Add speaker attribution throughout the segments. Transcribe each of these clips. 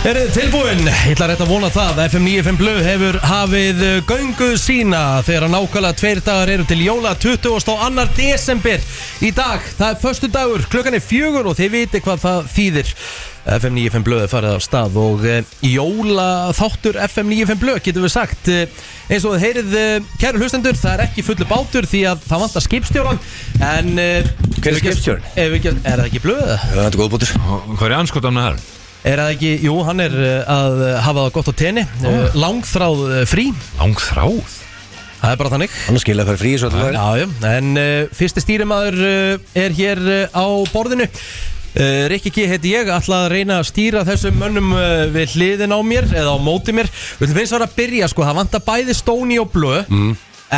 Speaker 1: Eru þið tilbúin? Ég ætla rétt að vona það FM 95 Blu hefur hafið uh, göngu sína þegar að nákvæmlega tveir dagar eru til jóla 20. og annar desember í dag. Það er förstu dagur, klukkan er fjögur og þið viti hvað það þýðir. FM 95 Blu er farið af stað og uh, jóla þáttur FM 95 Blu getum við sagt. Uh, eins og þið heyrið, uh, kæru hlustendur, það er ekki fullu bátur því að það vantar skipstjóran. En, uh,
Speaker 2: Hver er skipstjórinn?
Speaker 1: Ef við ekki- Er það ekki blöð?
Speaker 2: Það er góðbútur
Speaker 3: Hvað er anskotan að það?
Speaker 1: Er það ekki, jú, hann er uh, að uh, hafa það gott á tenni oh. Langþráð uh, frí,
Speaker 3: Lang þráð
Speaker 1: það er bara þannig
Speaker 2: Hann skilja fyrir frí svo alltaf
Speaker 1: Já, já, en uh, fyrsti stýrimaður uh, er hér uh, á borðinu uh, Rikki G heiti ég, ætla að reyna að stýra þessum mönnum uh, við hliðin á mér eða á móti mér Við ætlum eins og að byrja, sko, það vantar bæði stóni og blöð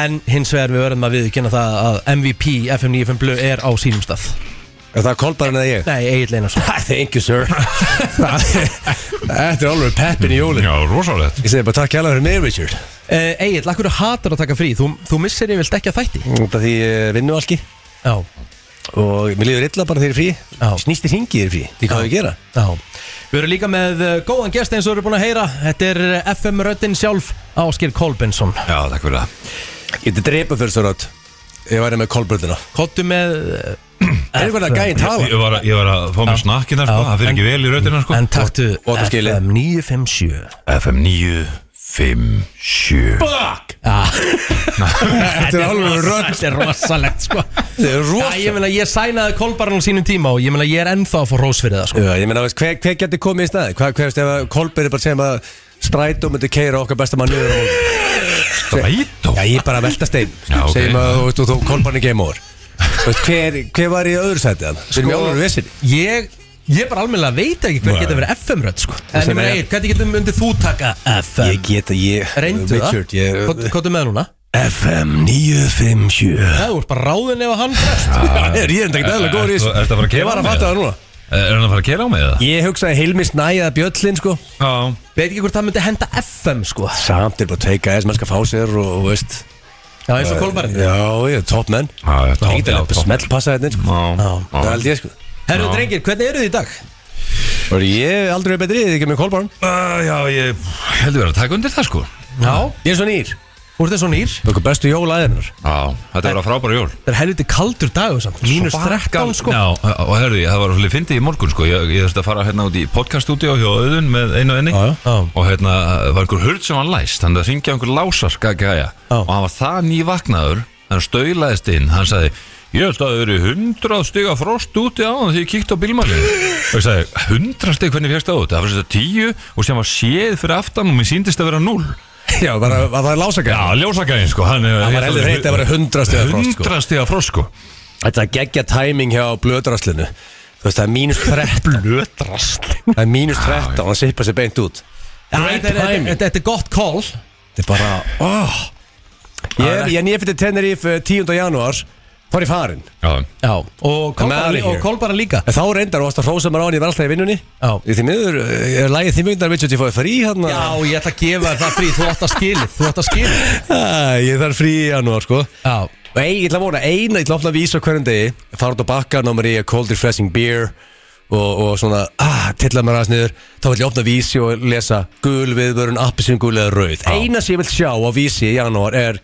Speaker 1: En hins vegar við verðum að viðkynna það að MVP FM95 Blö er á sínum stað
Speaker 2: Það er kolbarinn eða ég
Speaker 1: Nei, Egil Einarsson
Speaker 2: Thank you sir Þetta er alveg peppin í jólin
Speaker 3: Já, rosalegt
Speaker 2: Ég segi bara takk hella fyrir mig Richard
Speaker 1: uh, Egil, akkur hatar að taka frí, þú, þú missir yfirlt ekki að þætti
Speaker 2: Út af því ég vinnu alki
Speaker 1: Já,
Speaker 2: Og mér líður illa bara þegar ég er
Speaker 1: Já.
Speaker 2: frí Snýst í hringi þegar ég er frí Því hvað á ég að gera
Speaker 1: Já, við erum líka með uh, góðan gest eins og við erum búin að heyra Þetta er uh, FM röddinn sjálf Áskir Kolbensson
Speaker 3: Já, takk fyrir það
Speaker 2: Ég geti drepa fyrir svo rátt Ég væri með kolbarnina
Speaker 1: Kottu með uh,
Speaker 2: Er eitthvað að gæinn tala?
Speaker 3: Ég var, að- ég var að fá mér snakkina sko,
Speaker 1: Já,
Speaker 3: það fyrir ekki vel í rautina sko
Speaker 1: En taktu
Speaker 2: og þetta skilið.
Speaker 1: FM 957
Speaker 3: FM 9, 5, 7
Speaker 2: Fuck Þetta er alveg rödd
Speaker 1: Þetta er rosalegt sko
Speaker 2: Þetta er
Speaker 1: Já, ég
Speaker 2: rosa
Speaker 1: meina ég sænaði Kolbarn á sínum tíma og ég meina ég er ennþá að fá rós fyrir það sko
Speaker 2: Já, Ég meina, veist, hver, hver getur komið í staði? Hvað hverst ef að Kolbjörn er bara að segja maður Strætó myndi keira okkar besta mann niður á hólum?
Speaker 3: Strætó
Speaker 2: Já, ég er bara að velta stein sko.
Speaker 3: Já, ok.
Speaker 2: Segjum að þú, þú, þú kolbarni game over Veist, hver, hver var í öðru sæti hann? Við
Speaker 3: Sko-
Speaker 2: erum í álur vissinni
Speaker 1: Ég, ég bara almennilega veit ekki hver getur verið FM rödd sko En ég
Speaker 2: sem
Speaker 1: meina
Speaker 2: er-
Speaker 1: Egil, hvernig getum undir þú taka FM?
Speaker 2: get að ég
Speaker 1: Reyndu
Speaker 2: Richard, ég,
Speaker 1: það? Kottu með núna?
Speaker 2: FM 957
Speaker 1: Það voru bara ráðin ef að hann brest
Speaker 2: Ég er enda ekki aðlega góður í
Speaker 3: Ertu- ertu að fara að
Speaker 2: Ég
Speaker 3: kela
Speaker 2: var
Speaker 3: á
Speaker 2: að
Speaker 3: mig
Speaker 2: fatta það
Speaker 3: eða?
Speaker 2: núna
Speaker 3: Er hann að fara að kera á mig eða?
Speaker 2: Ég hugsaði Hilmis næjaða bjöllin sko
Speaker 3: Já
Speaker 1: Veit ekki hvort það myndi henda FM sko
Speaker 2: Samt er bara teika eða sem skal fá sér og, og veist
Speaker 1: Já eins og kólbarinn
Speaker 2: Já, ég er top menn
Speaker 3: Já, já, topp,
Speaker 2: Lítil
Speaker 3: já,
Speaker 2: upp
Speaker 3: topp.
Speaker 2: smell passa þetta sko
Speaker 3: Já,
Speaker 2: Það
Speaker 3: já.
Speaker 2: held ég sko
Speaker 1: Herru drengir, hvernig eru þið í dag?
Speaker 2: Og ég hef aldrei verið betri, ég er ekki með kolbarn
Speaker 3: Uh, Já, ég heldur verið að taka undir það sko
Speaker 1: Já
Speaker 2: Ég er svo nýr
Speaker 1: Úr þessu nýr
Speaker 2: Okkur bestu jólæðinar
Speaker 3: Já, þetta var að frábæra jól
Speaker 1: Það er helviti kaldur dagur samt Mínus 13 sko
Speaker 3: Já, og herðu, ég- það var svolítið fyndið í morgun sko Ég, ég þurfti að fara hérna út í podcaststudio hjá auðun með einu og enni
Speaker 2: Já, já.
Speaker 1: Já.
Speaker 3: Og hérna var einhver hurð sem var læst Þannig að syngja einhver lásarka gæja
Speaker 1: Já.
Speaker 3: Og hann var það nývaknaður Hann stöðlaðist inn, hann sagði Ég held að það eru hundrað stiga frost úti á því ég kíkti á bílmælinu Og ég sagði, hundrað stig hvernig férst það út Það var svolítið tíu og sem var séð fyrir aftan Og mér síndist að vera null
Speaker 2: Já, var það var það lásaka
Speaker 3: Já, ljósakæðin sko Hann
Speaker 2: Það var heldur reynt að vera 100 stiga frost sko.
Speaker 3: hundrað stiga frost sko
Speaker 2: Þetta er geggja tæming hjá blöðdraslinu Þú veist, það er mínus 13 Blöðdraslinu? Það er mínus 13 og það sippa sér beint út
Speaker 1: Já, Þetta er- þetta- þetta- þetta er gott call
Speaker 2: Þetta er bara, oh Ég er, ég er nýfið til Tenerife eh, 10. janúar Þá er ég farin
Speaker 3: Já,
Speaker 1: Já Og
Speaker 2: out
Speaker 1: kólbarinn
Speaker 2: of here.
Speaker 1: og kólbarinn líka
Speaker 2: En þá reyndar og það hrósa mér á hann ég var alltaf í vinnunni
Speaker 1: Já.
Speaker 2: Í því miður, eh, er lagið því miður Richard, ég fóði frí hérna
Speaker 1: Já, ég ætla að gefa þér það frí Þú átt að skilið Þú átt að skilið
Speaker 2: Æ, Ég þarf frí í janúar, sko
Speaker 1: Já
Speaker 2: Nei, ég ætla að vona eina, ég ætla að opna að vísa á hverjum degi fara út á bakka, ná mér í a cold refreshing beer og, og svona ah, tilla mér aðeins niður, þá ætla ég að opna vísi og lesa gul viðvörun, appisinn gul eða rauð eina sem ég vil sjá á vísi í janúar er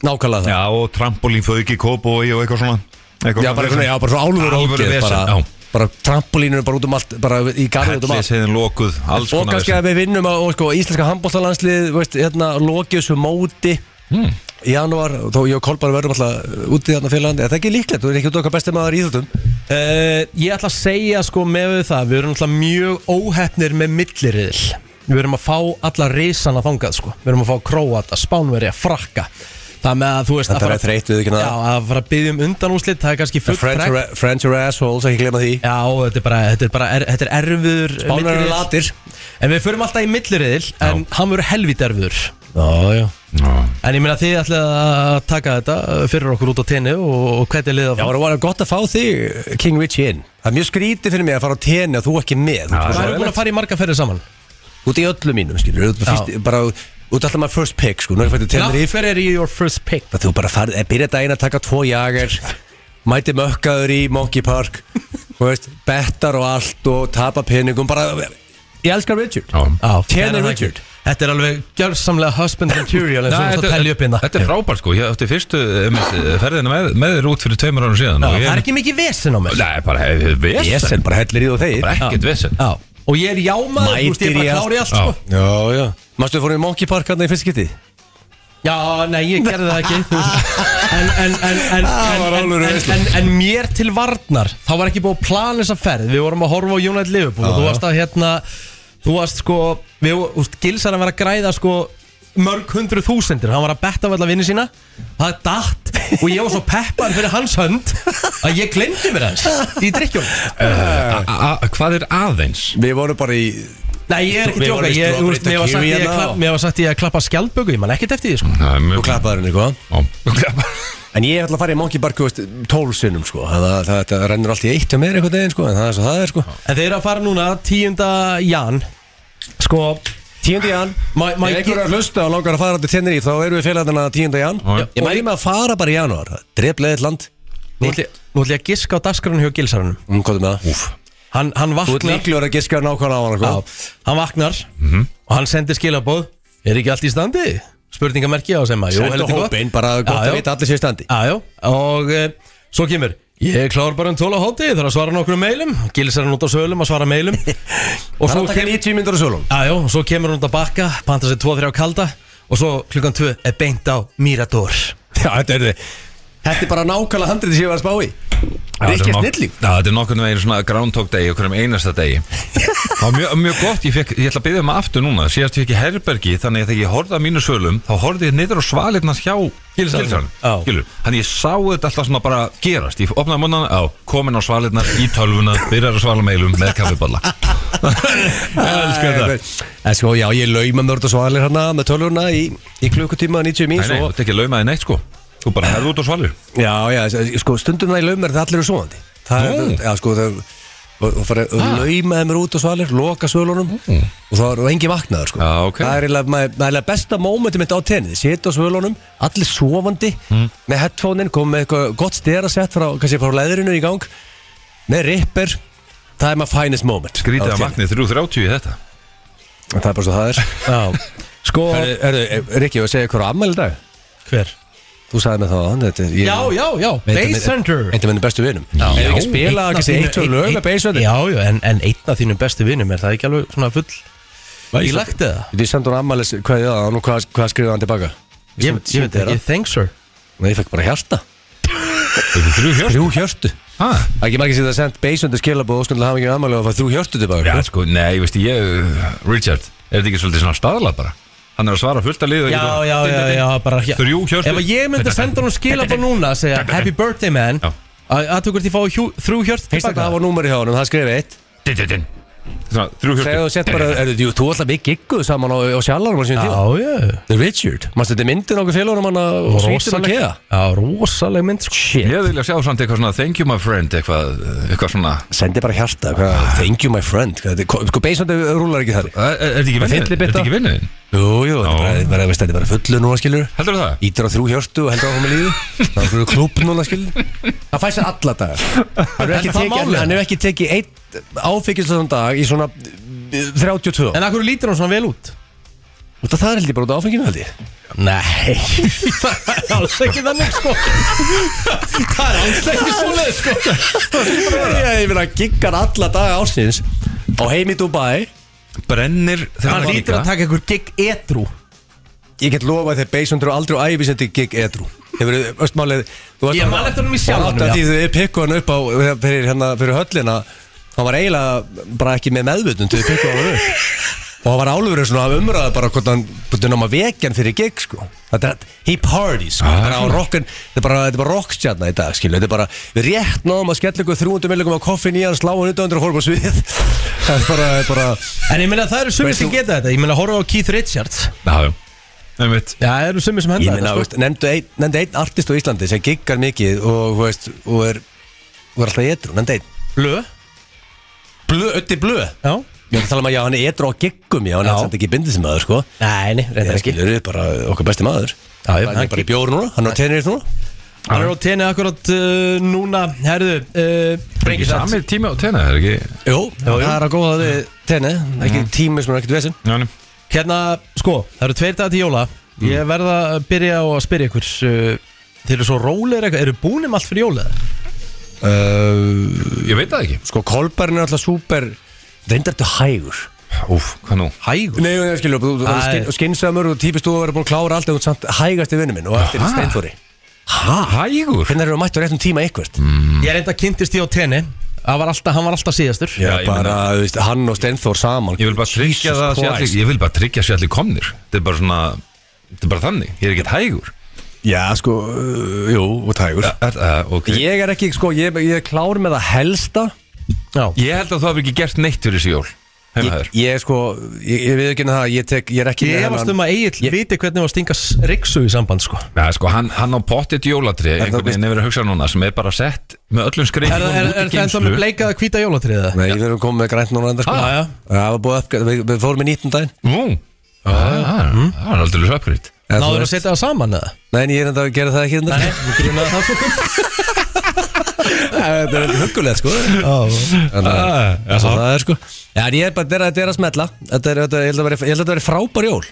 Speaker 2: nákvæmlega það
Speaker 3: Já, og trampolín fauk í kópói og eitthvað svona eitthvað
Speaker 2: já, bara, svona, já, bara svo álfur
Speaker 3: Alvöru
Speaker 2: ógeð
Speaker 3: vesen,
Speaker 2: bara,
Speaker 3: já.
Speaker 2: bara trampolínur bara út um allt, bara í garði út um allt
Speaker 3: Helliseiðin lokuð, alls
Speaker 2: og
Speaker 3: konar
Speaker 2: kannski
Speaker 3: vesen.
Speaker 2: að við vinnum að og, sko, íslenska handbóltalandslið, veist, hérna lokið þessu móti
Speaker 3: Hmm.
Speaker 2: í janúar, og þó ég og Kolbar verðum alltaf úti þarna fyrir landi, Er það er ekki líklegt, þú er ekki út okkar besti maður í íþjóttum
Speaker 1: Uh, ég ætla að segja sko með það Við erum alltaf mjög óhefnir með milliriðil Við erum að fá alla risana þangað sko Við erum að fá króata, spánverja, frakka Það með að þú veist
Speaker 2: Þetta
Speaker 1: að
Speaker 2: er
Speaker 1: fara-
Speaker 2: þreytt, viðurkenna það.
Speaker 1: Já, að fara að byggja um undanúslit Það er kannski full
Speaker 2: Friends
Speaker 1: frekk
Speaker 2: Hérna- are, friends are assholes, ekki glemma því
Speaker 1: Já, þetta er bara, þetta er bara er, þetta er erfiður
Speaker 2: Spánverjar eru
Speaker 1: milliriðill.
Speaker 2: latir.
Speaker 1: En við förum alltaf í milliriðil En hann verður helvít erfiður
Speaker 2: Já, já
Speaker 3: Já.
Speaker 1: En ég meina þið ætlaði að taka þetta fyrir okkur út á tenni og, og hvernig liða
Speaker 2: Það var að vera gott að fá þig, King Richie, inn Það er mjög skrítið fyrir mig að fara á tenni og þú ekki með Þú-
Speaker 1: Það eru búin að fara í marga ferðir saman
Speaker 2: Þú ert í öllu mínum, skilur Þú ert fyrst- bara, þú ert alltaf maður first pick, sko Nú er ég fættið tenni
Speaker 1: Hver er í your first pick?
Speaker 2: Það þú bara farið, eh, byrja daginn að taka tvo jager Mæti mökkaður í Monkey Park Þú veist, bettar og allt og tapa peningum Bara Ég elskar Richard
Speaker 3: Já.
Speaker 2: Kenny Richard
Speaker 1: Þetta er alveg gjörsamlega husband material eins og
Speaker 3: Nei,
Speaker 1: þú ert að telja upp hérna
Speaker 3: þetta er frábært sko, ég átti fyrstu einmitt, ferðina með, með þér út fyrir tveimur árum síðan og
Speaker 1: Já,
Speaker 3: ég-
Speaker 1: Það er ekki mikið vesen á mér
Speaker 3: Nei, bara hefði vesen
Speaker 2: Jesen, bara hellir í þú
Speaker 3: Bara
Speaker 2: þeir
Speaker 3: ekkert vesen
Speaker 1: Já, og ég er jámaður, þú veist, ég er
Speaker 2: Mætir í
Speaker 1: bara
Speaker 2: allt.
Speaker 1: klári allt
Speaker 3: Já.
Speaker 1: sko.
Speaker 2: Já, já Mástu við fórum í Monkey Park hann í fyrst getið?
Speaker 1: Já, nei, ég gerði það ekki þú veist. En, en, en, en,
Speaker 2: Það var
Speaker 1: en, en,
Speaker 2: alvöru
Speaker 1: en,
Speaker 2: veisla.
Speaker 1: en, en mér til varnar Þá var ekki búið að plana þessa ferð Við vorum að horfa á United Liverpool og Þú varst að hérna Þú varst sko Við úst, gilsar að vera að græða sko Mörg hundru þúsendir Hann var að betta á alla vinni sína Það er datt Og ég var svo peppar fyrir hans hönd Að ég glemdi mér hans Í drikkjónum
Speaker 3: A- a- a- Hvað er aðeins?
Speaker 2: Við vorum bara í
Speaker 1: Nei, ég er ekki
Speaker 2: Við
Speaker 1: tjóka
Speaker 2: vorum í
Speaker 1: Ég,
Speaker 2: strawberry
Speaker 1: úst, mér, var sagt,
Speaker 2: takiri
Speaker 1: ég,
Speaker 2: hérna
Speaker 1: klapp,
Speaker 2: og-
Speaker 1: mér var sagt ég að klappa skjaldböku Ég man ekkert eftir því sko
Speaker 3: Það er mjög
Speaker 2: Þú klappaður henni, hvað?
Speaker 3: Já, þú klappar.
Speaker 2: En ég ætla að fara í Monkey Park tólsunum, sko Það, það, það, það rennur allt í eitt hjá mér einhvern veginn, sko En það er svo það er, sko
Speaker 1: En þeir eru að fara núna 10. jan Sko
Speaker 2: Tíundi jan
Speaker 1: Má- má
Speaker 2: Ef
Speaker 1: ég
Speaker 2: einhver er að hlusta og langar að fara til tennir í Þá eru við félagarna tíundi jan
Speaker 3: Já, já.
Speaker 2: Ég mæli með að fara bara í janúar Drefleðið land
Speaker 1: Nú ætla ég- nú ætla ég að giska á dagskránu hjá gilsarunum
Speaker 2: Um, hvað er með það?
Speaker 1: Hann, hann
Speaker 2: Þú ert
Speaker 1: vaknar
Speaker 2: líklegur að giska nákvæmlega á hana,
Speaker 1: á,
Speaker 2: sko
Speaker 1: Hann vaknar
Speaker 2: Mhm.
Speaker 1: Og hann sendir skilabóð Er ekki allt í standi? Spurningamerki á sem að jú,
Speaker 2: Sendu
Speaker 1: heldur gott.
Speaker 2: hópinn, bara gott
Speaker 1: Já, já.
Speaker 2: að vita að allir séu í standi
Speaker 1: Já, já, og e, svo kemur Ég er klár bara um 12 á hóti, ég þarf að svara nokkrum meilum Gilsarinn út á sölum að svara meilum Og
Speaker 2: Það
Speaker 1: svo
Speaker 2: er að taka
Speaker 1: kemur
Speaker 2: 90 myndur á sölum
Speaker 1: Já, já, og svo kemur hún út að bakka Panta sér 2-3 kalda Og svo klukkan 2 er beint á Mirador
Speaker 2: Já, þetta er þið Þetta er bara nákvæmlega handrið sem ég var að spá í
Speaker 3: Já, þetta
Speaker 2: Rikki
Speaker 3: er
Speaker 2: er
Speaker 3: nokk-
Speaker 2: snilling
Speaker 3: Já, þetta er nokkurn veginn svona groundhog day okkur um einasta degi Það var mjög, mjög gott, ég, fekk, ég ætla að byggja um aftur núna Síðast ég ekki herbergi, þannig að þegar ég horfði að mínu svölum Þá horfði ég niður á svalirnas hjá
Speaker 1: Gilsárnum.
Speaker 3: Gilsárnum.
Speaker 1: Já.
Speaker 3: Skilur, Þannig ég sá þetta alltaf svona bara gerast Ég opnaði munnana, á, komin á svalirnar í tölvuna Byrjar að svala meilum með kaffiballa Ég elskar þetta
Speaker 2: En sko, já, ég lauma mörd og svalir hana með tölvuna í, í klukkutíma 90 mín
Speaker 3: Nei, nei, þú
Speaker 2: svo,
Speaker 3: ert ekki að lauma þig neitt sko Þú bara herðu út á svalir
Speaker 2: Já, já, sko, stundum það ég lauma er það allir eru svoandi Það er,
Speaker 3: Nú.
Speaker 2: já, sko, það og og fara að lauma þeim út og svalir loka svölunum og það eru engi vaknaður sko.
Speaker 3: Já, ok.
Speaker 2: það er eiginlega- maður- maður er eiginlega besta mómentum mitt á tennið, sita á svölunum allir sofandi, með headphone-in komið með eitthvað gott sterasett frá, kannski frá leðrinu í gang með ripper, það er my finest moment á
Speaker 3: Grítið að
Speaker 2: tennis.
Speaker 3: vaknið 3.30 í þetta
Speaker 2: En Það er bara svo það er
Speaker 1: Já, sko
Speaker 2: Herðu, herðu, Rikki, ég var að segja hver á ammæli dag
Speaker 1: Hver?
Speaker 2: Þú sagði mér það á hann þetta er- ég-
Speaker 1: Já, já, já,
Speaker 2: Einn
Speaker 1: Base
Speaker 2: af-
Speaker 1: Center
Speaker 2: Einn af minni bestu vinum
Speaker 3: Já.
Speaker 2: Ég hef ekki
Speaker 3: Já.
Speaker 2: spilað kannski eitt og lög með Base Center
Speaker 1: Já, já, en, en einn af þínum bestu vinnum er það ekki alveg svona full í lagt eða?
Speaker 2: Ég sendi hún ammæli hvað ég það og hvað, hvað skrifaði hann tilbaka
Speaker 1: Ég, ég veit ekki, thanks sir
Speaker 2: Nei, ég fekk bara hjarta
Speaker 3: Þetta er þrjú hjörst
Speaker 2: Þrjú hjartu
Speaker 3: Ha?
Speaker 2: Það er ekki margir sem það sendt Base Center skilabóð og skundilega hafa ekki ammæli og það þrjú hjartu tilbaka
Speaker 3: Já, sko, nei, veist ég, Richard, er þetta ekki svolítið svona staðlað bara? Hann er að svara fullt að liða
Speaker 1: Já, já, já, já, bara hér
Speaker 3: Þrjú hjörtu
Speaker 1: Ef að ég myndi að senda hún skilabóð núna að segja Happy birthday man
Speaker 3: Já.
Speaker 1: að Aðtökur því fá hjú- þrjú hjört
Speaker 2: Fyrst að það var númeri hjá honum, það skrifaði eitt
Speaker 3: Din-din-din. Svona, Þrjú
Speaker 2: Segðu og
Speaker 3: hjörtu
Speaker 2: sett bara, er, jú, þú alltaf við gigguð saman á, á sjallarum á sínum tíma
Speaker 1: Já, já
Speaker 2: The Richard, mannstu þetta er myndin okkur félagunum hann og svítum að keða
Speaker 1: Já, rosaleg mynd sko. Shit
Speaker 3: Ég vilja sjá samt eitthvað svona thank you my friend eitthvað, eitthvað svona
Speaker 2: Sendi bara hjarta, hvað, thank you my friend hvað, þetta er- Sko, Base Center rúlar ekki þar
Speaker 3: Er er þetta ekki vinnuðin? Er
Speaker 2: Fyllibytta.
Speaker 3: þetta ekki vinnuðin?
Speaker 2: Jú, jú, þetta er
Speaker 3: Já.
Speaker 2: bara, bara, veist, þetta er bara fullu núna skilur
Speaker 3: Heldur það?
Speaker 2: Ítir á þrjú hjörtu og heldur áfram í lífi Það er okkur klúb núna skilur Það fæst sér alla dagar Hann hefur ekki,
Speaker 1: En það
Speaker 2: tekið-
Speaker 1: málið?
Speaker 2: hann hefur ekki tekið eitt áfengislaðan dag í svona eh, 32
Speaker 1: En akkur lítur hún svona vel út?
Speaker 2: Út af það er heldur bara út af áfenginu heldur ég
Speaker 1: Nei Það er alls ekki þannig sko Það er alls ekki svoleið sko
Speaker 2: Já, ég finna að giggar alla daga ásins Á heim í Dubai
Speaker 3: Brennir þegar
Speaker 1: Hann lítur að taka einhver gig edru
Speaker 2: Ég get lofa þegar Beisundur aldrei á æfi sendi gig edru Hefur þið östmálið
Speaker 1: Ég man eftir honum í sjálfanum,
Speaker 2: Það
Speaker 1: já.
Speaker 2: því þau pikku hann upp á fyrir, hérna, fyrir höllina Hann var eiginlega bara ekki með meðvutund Þau pikku hann upp Og hann var álfurinn svona af umræða bara hvort hann Hvort hann á að vekja hann fyrir gig sko Þetta er he parties sko
Speaker 3: Ah,
Speaker 2: Bara á
Speaker 3: svona.
Speaker 2: rockin- Þetta er bara, þetta er bara rockstjarna í dag skilu Þetta er bara við rétt náðum að skella ykkur 300 millikum á koffin í hann Slá hann 900 og horfa á svið Það er bara, þetta er bara
Speaker 1: En ég meina það eru sumir
Speaker 2: Veist
Speaker 1: sem
Speaker 2: þú-
Speaker 1: geta þetta Ég meina horfa á Keith Richards
Speaker 3: Já, já Einmitt.
Speaker 1: Já, það eru sumir sem
Speaker 2: Ég
Speaker 1: henda
Speaker 2: meina,
Speaker 1: þetta
Speaker 2: veist, nefndu einn nefndu einn artist á Íslandi sem giggar mikið og, þú veist, og er, og er alltaf edru, nefndu einn
Speaker 1: Blö
Speaker 2: Blö, ötti blö Ég
Speaker 1: Já
Speaker 2: var að tala um að já, hann er edru á giggum, já, hann
Speaker 1: Já.
Speaker 2: er alltaf ekki bindið sem maður, sko
Speaker 1: Nei, nei, reyndar
Speaker 2: Það
Speaker 1: ekki
Speaker 2: skilur við bara okkar besti maður
Speaker 1: Já, já,
Speaker 2: Hann
Speaker 1: hann
Speaker 2: er bara í bjóru núna, hann er á tennis núna
Speaker 1: Hann er á tenni akkurat uh, núna Herðu, uh,
Speaker 3: Ekki
Speaker 1: Brengisand
Speaker 3: sami tími á tenni, er ekki?
Speaker 2: Jú, það er að góða við tenni Ekki tími sem er ekkert vesinn
Speaker 3: Já, nei.
Speaker 1: Hérna, sko, það eru tveir dagar til jóla Ég verða að byrja á að spyrja ykkur uh, Þeir eru svo rólegir eitthvað Eru búin um allt fyrir jóla?
Speaker 2: uh,
Speaker 3: Ég veit það ekki
Speaker 2: Sko, kolbarinn er alltaf súper Reyndar þetta hægur
Speaker 3: Úf, hvað nú?
Speaker 1: Hægur
Speaker 2: Nei, ég skilur, þú
Speaker 1: Æ.
Speaker 2: og skinsamur og típist þú að vera búin að klára allt en þú ert samt hægast í vinnu minn og eftir
Speaker 3: Aha.
Speaker 2: steinfóri Hæ?
Speaker 3: Hægur?
Speaker 2: Hvernig eru að mættu réttum tíma eitthvað?
Speaker 1: Ég reynda að kynntist ég á tenni Það var alltaf, hann var alltaf síðastur
Speaker 2: Já,
Speaker 3: Já, ég
Speaker 2: bara, þú veist, hann og Steinþór saman
Speaker 3: Ég vil bara tryggja það að sé allir Ég vil bara tryggja að sé allir komnir Þetta er bara svona Þetta er bara þannig Ég er ekkert hægur
Speaker 2: Já, sko, uh, jú, og tægur
Speaker 3: Er það, Eh, ok
Speaker 2: Ég er ekki, sko, ég, ég er klár með það helsta
Speaker 1: Já,
Speaker 3: Ég held að þú hafi ekki gert neitt fyrir þessi jól Heima
Speaker 2: Ég,
Speaker 3: þér
Speaker 2: ég sko, ég, ég við ekki um það Ég, tek, ég er ekki
Speaker 1: ég efast um að Egil
Speaker 2: Ég-
Speaker 1: viti hvernig var að stinga riksu í samband, sko
Speaker 3: Já, sko, hann, hann á pottit jólatri einhvern veginn hefur að hugsa núna sem er bara sett með öllum
Speaker 1: Er, er,
Speaker 3: skreifingunum
Speaker 1: er, er
Speaker 3: út í
Speaker 1: það ennþá
Speaker 3: geymslu.
Speaker 1: með bleikað að hvita jólatriða?
Speaker 2: Nei, við erum komið með grænt núna enda, sko
Speaker 1: Ah, já.
Speaker 2: Það var búið að uppgæða, við, við fórum í 19 daginn
Speaker 3: Nú, það er- það er aldrei uppgriðt
Speaker 2: En þú
Speaker 1: Náður að
Speaker 2: veist-
Speaker 1: setja það saman eða?
Speaker 2: Nei, en ég er enda að gera það ekki hérna. enda
Speaker 1: Þú grunaði það svo
Speaker 2: Þetta er huggulegt, sko Þannig að-
Speaker 3: Það
Speaker 2: Svo það er sko Já, en ég er bara, þetta er- þetta er að smella Þetta er, þetta, ég held að veri- ég held að þetta verið frábær jól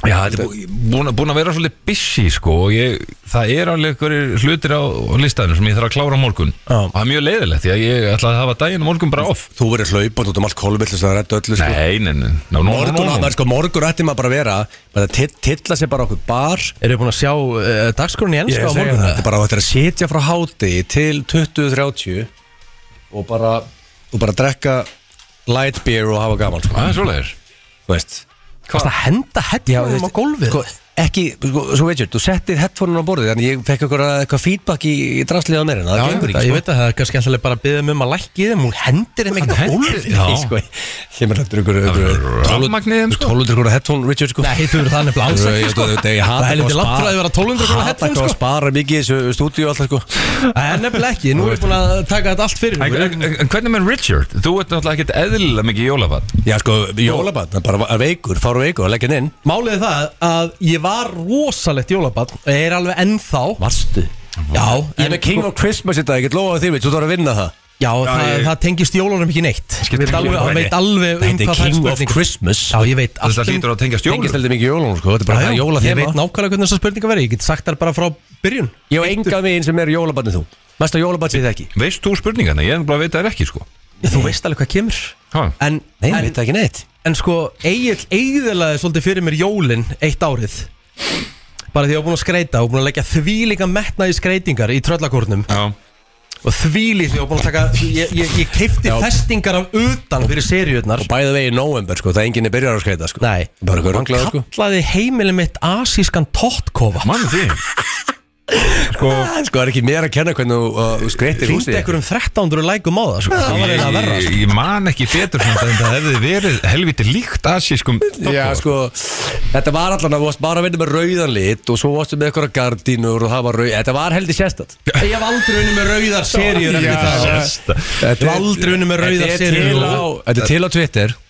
Speaker 3: Já, þetta er bú- búin, að- búin að vera svolítið busy sko og ég, það er alveg einhverjir hlutir á, á listanum sem ég þarf að klára á morgun
Speaker 1: Já.
Speaker 3: og það er mjög leiðilegt því að ég ætla að hafa daginn á morgun bara off
Speaker 2: Þú verið hlaupand út um allt kolvill þess að redda öllu sko
Speaker 3: Nei, nei, nei, ná, ná,
Speaker 2: Morgun,
Speaker 3: ná,
Speaker 2: það
Speaker 3: ná.
Speaker 2: er sko, morgun ætti maður bara að vera maður að till- tilla sér bara okkur bar
Speaker 1: Eru búin að sjá uh, dagskrón í ennska á
Speaker 2: Sko,
Speaker 1: morgun?
Speaker 2: Þetta er bara þetta er að sitja frá háti til 20.30 og bara og bara drekka light beer og hafa gaman sko,
Speaker 3: Það er svolítið
Speaker 2: þú veist
Speaker 1: Varstu að henda
Speaker 2: þú
Speaker 1: hellunum Ah. á
Speaker 2: veist,
Speaker 1: gólfið?
Speaker 2: sko, ekki, sko, svo veit ég, þú settir headphone á borðið en ég fekk eitthvað, eitthvað feedback í, í drastlið á mér en það
Speaker 1: Já,
Speaker 2: gengur
Speaker 1: ég,
Speaker 2: ekki
Speaker 1: veit að það er kannski alltaf bara að byggja um að lækki þeim Hún hendir þeim ekkert á
Speaker 3: hendir-
Speaker 1: gólfið
Speaker 3: Já.
Speaker 2: Nei, sko, ég meina þetta er ykkur
Speaker 3: verður rafmagnið, sko.
Speaker 2: 1200 krónar headphone Richard sko
Speaker 1: Nei, þú eru þannig blása
Speaker 2: Ég-
Speaker 1: ekki
Speaker 2: ég-
Speaker 1: sko
Speaker 2: ég-
Speaker 1: Það er
Speaker 2: ég- ég hata eitthvað
Speaker 1: heldur
Speaker 2: að
Speaker 1: langt frá því að vera 1200 krónar
Speaker 2: Hata
Speaker 1: headphone
Speaker 2: ekki að
Speaker 1: sko
Speaker 2: spara mikið í þessu stúdíu alltaf sko
Speaker 1: En nefnilega ekki, nú erum við búin að taka þetta allt fyrir okkur.
Speaker 3: En en hvernig með Richard? Þú ert náttúrulega ekkert eðlilega mikið jólabann
Speaker 2: Já sko, jólabann, það er bara að veikur, fara veikur og leggja hann inn
Speaker 1: Málið er það að ég var rosalegt jólabann og ég er alveg ennþá
Speaker 2: Varstu?
Speaker 1: Já,
Speaker 2: Ég
Speaker 1: sko-
Speaker 2: er með King of Christmas í dag, ég get lofaði því mitt, þú þarf að vinna það
Speaker 1: Já, það,
Speaker 3: ég-
Speaker 1: það tengist jólunum ekki neitt Ég veit
Speaker 3: Skiptir ekki
Speaker 1: alveg,
Speaker 3: máli.
Speaker 1: hann veit alveg um
Speaker 2: Þetta er
Speaker 1: hvað það er
Speaker 2: King of
Speaker 1: spurning
Speaker 2: Christmas
Speaker 1: Já, ég veit um
Speaker 3: Þetta hlýtur að tengjast
Speaker 2: Tengist
Speaker 3: jólum
Speaker 2: heldur mikið jólun sko, þetta er bara
Speaker 1: Já, já,
Speaker 2: jóla
Speaker 1: Ég veit nákvæmlega hvernig þessar spurningar verið Ég get sagt þær bara frá byrjun
Speaker 2: Ég á enga veginn sem er jólabannið þú Mesta jólabann sem ég þekki
Speaker 3: Veist þú spurningarna? Ég er bara að veita þær ekki sko
Speaker 1: Þú veist alveg hvað kemur
Speaker 3: Ha?
Speaker 1: En,
Speaker 2: Nei, ég
Speaker 1: en,
Speaker 2: veit það ekki neitt
Speaker 1: En sko, Egil eigðilaði svolítið fyrir mér jólin eitt árið Bara því ég var búin að skreita og búin að leggja þvílíka metna í skreitingar í tröllakórnum
Speaker 3: Já,
Speaker 1: Og þvílík því ég var búin að taka, ég, ég, ég keipti
Speaker 2: Já.
Speaker 1: festingar af utan fyrir seriurnar
Speaker 2: Og bæðið vegi í november sko, það enginn er byrjar að skreita sko
Speaker 1: Nei,
Speaker 2: Bara eitthvað rönglega sko
Speaker 1: kallaði heimili mitt asískan tóttkofa
Speaker 3: mann því Sko,
Speaker 2: Sko, það er ekki mér að kenna hvernig þú uh, þú skreytir
Speaker 1: Ringdi
Speaker 2: húsið
Speaker 1: ekkur um 1300 lækum á það, sko Það var eiginlega verra
Speaker 3: ég,
Speaker 1: sko.
Speaker 3: ég man ekki betur samt en það hefði verið helviti líkt asískum
Speaker 2: Já, sko, þetta var allan að þú varst bara að vinna með rauðan lit og svo varstu með eitthvað gardínur og það var rauð, þetta var heldur sérstætt
Speaker 1: Ég hef aldrei unni með rauðar seriur
Speaker 3: Já,
Speaker 1: eftir það
Speaker 3: sérsta.
Speaker 1: Ég hef aldrei unni með rauðar seriur
Speaker 2: Þetta er til á Twitter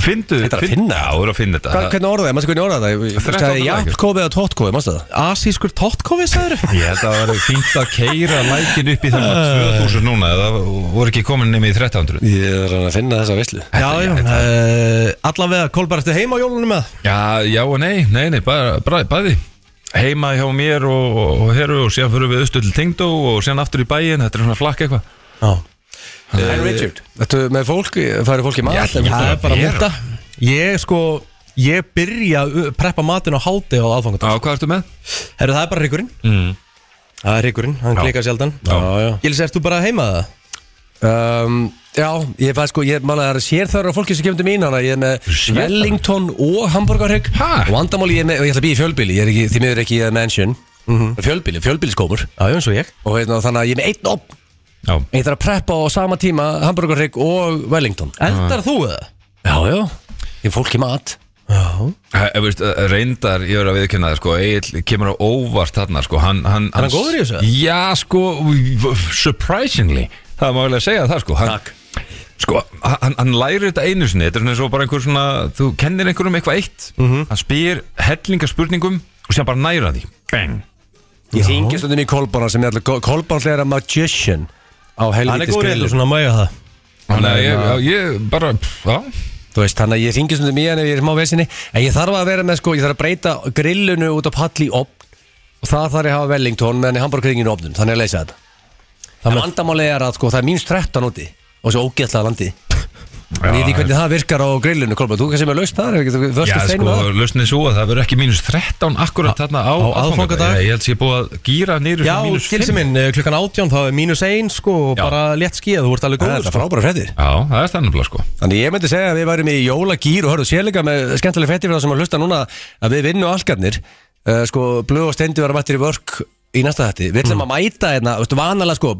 Speaker 3: Findu,
Speaker 2: Þetta er að
Speaker 3: finn-
Speaker 2: finna.
Speaker 3: Já, þú er að finna þetta
Speaker 2: Hvað- Hvernig orðaði, maður hvernig orðaði það? Þú
Speaker 3: 13
Speaker 2: sagði
Speaker 3: dagar.
Speaker 2: jafnkófið eða tóttkófið, maður það?
Speaker 1: Asískur tóttkofi, sagður
Speaker 3: Ég held að það var fínt að keira lækin upp í þannig 2000 núna Það voru ekki komin nema í 1300
Speaker 2: Ég er að finna þessa visslu
Speaker 1: Já, já, uh, allavega Kolbar, ertu heima á jólunum með?
Speaker 3: Já, já og nei, nei, nei, bara, bara, bæði Heima hjá mér og, og, og heru og síðan fyrir við austur til Tengdó og síðan aftur í bæin, þetta er svona flakk eitthvað
Speaker 1: Já,
Speaker 2: En Richard Þetta með fólk, farið fólk í mat
Speaker 3: Já,
Speaker 1: það
Speaker 3: Það
Speaker 1: er bara að
Speaker 3: er.
Speaker 1: múta Ég sko, ég byrja að uh, preppa matinn á háti á aðfangandag
Speaker 3: Á, hvað ertu með?
Speaker 1: Herru, það er bara hryggurinn
Speaker 3: Mm.
Speaker 1: Það er hryggurinn, hann
Speaker 3: Já.
Speaker 1: klikar sjaldan
Speaker 3: Já,
Speaker 2: já.
Speaker 1: Gils, ertu bara heima það?
Speaker 2: um, Já, ég fæði sko, ég manna það er sérþörður á fólki sem kemur til mín Þannig að ég er með
Speaker 3: Sérþarfar?
Speaker 2: Wellington og hamburgarhygg
Speaker 3: Ha?
Speaker 2: Og andamáli ég er með, og ég ætla að býja í fjölbíli Ég er ekki, því miður ekki í að mansion Fjölbíli, fjölbíliskómur
Speaker 1: Mhm. Já, eins og ég
Speaker 2: Og heitna, þannig að ég er með einn opn
Speaker 3: Já,
Speaker 2: Ég þarf að preppa á sama tíma hamburgarhygg og Wellington
Speaker 1: Eldar þú það?
Speaker 2: Já, já, ég er fólk í mat
Speaker 1: Já
Speaker 3: Æ, Þú e, veist, reyndar, ég verður að viðkynna það, sko, Egil kemur á óvart þarna, sko, hann... hann er
Speaker 1: hann góður í þessu?
Speaker 3: Já, sko, surprisingly, það má vel að segja það, sko. Hann, Sko, hann, hann lærir þetta einu sinni, þetta er svona eins og bara einhver svona, þú kennir Mhm. einhverjum eitthvað eitt, hann spyr hellinga spurningum og sér bara næra því. Bang.
Speaker 2: Ég hringi stundum í Kolbána sem er alltaf Kolbána er að magician
Speaker 1: Hann er
Speaker 2: á helviti
Speaker 1: góð reyður
Speaker 2: skriðu
Speaker 1: svona að mæja það
Speaker 3: Þannig að ég, já, ég bara, pff, já
Speaker 2: Þú veist, þannig að ég hringi stundum í hann ef ég er smá vesinni En ég þarf að vera með sko, ég þarf að breyta grillunu út á pall í opn Og það þarf ég að hafa Wellington meðan ég hamburgringinu opnum Þannig að leysa þetta Það vandamáli er að sko, það er mínus 13 úti Og svo ógeðlaða landi En ég veit ekki hvernig það virkar á grillinu, Kolbána Þú kannski með laust þar, ef ekki, þú
Speaker 3: Já,
Speaker 2: vörstu
Speaker 3: sko,
Speaker 2: steinu þar
Speaker 3: lausnið svo að það verður ekki mínus 13 akkurat þarna á,
Speaker 1: á aðfangadag.
Speaker 3: Ég, ég held að ég er búið að gýra niður
Speaker 1: Já,
Speaker 3: svona mínus
Speaker 1: gilsi
Speaker 3: 5.
Speaker 1: minn, eh, klukkan 18 þá er mínus 1 sko og
Speaker 3: Já.
Speaker 1: bara létt skíða, þú ert alveg sko.
Speaker 2: Það
Speaker 1: góð
Speaker 2: er þetta frábæra freddir
Speaker 3: Já, það er stannumlega sko
Speaker 2: Þannig ég myndi segja að við værum í jólagýr og hörðu sérleika með skemmtileg fætti fyrir það sem að hlusta núna að við vinnu allgarnir uh, sko, blöð og stendi verðum mættir í vörk í næsta þætti, við
Speaker 1: Mm.
Speaker 2: ætlum að mæta hérna, veistu, vanalega sko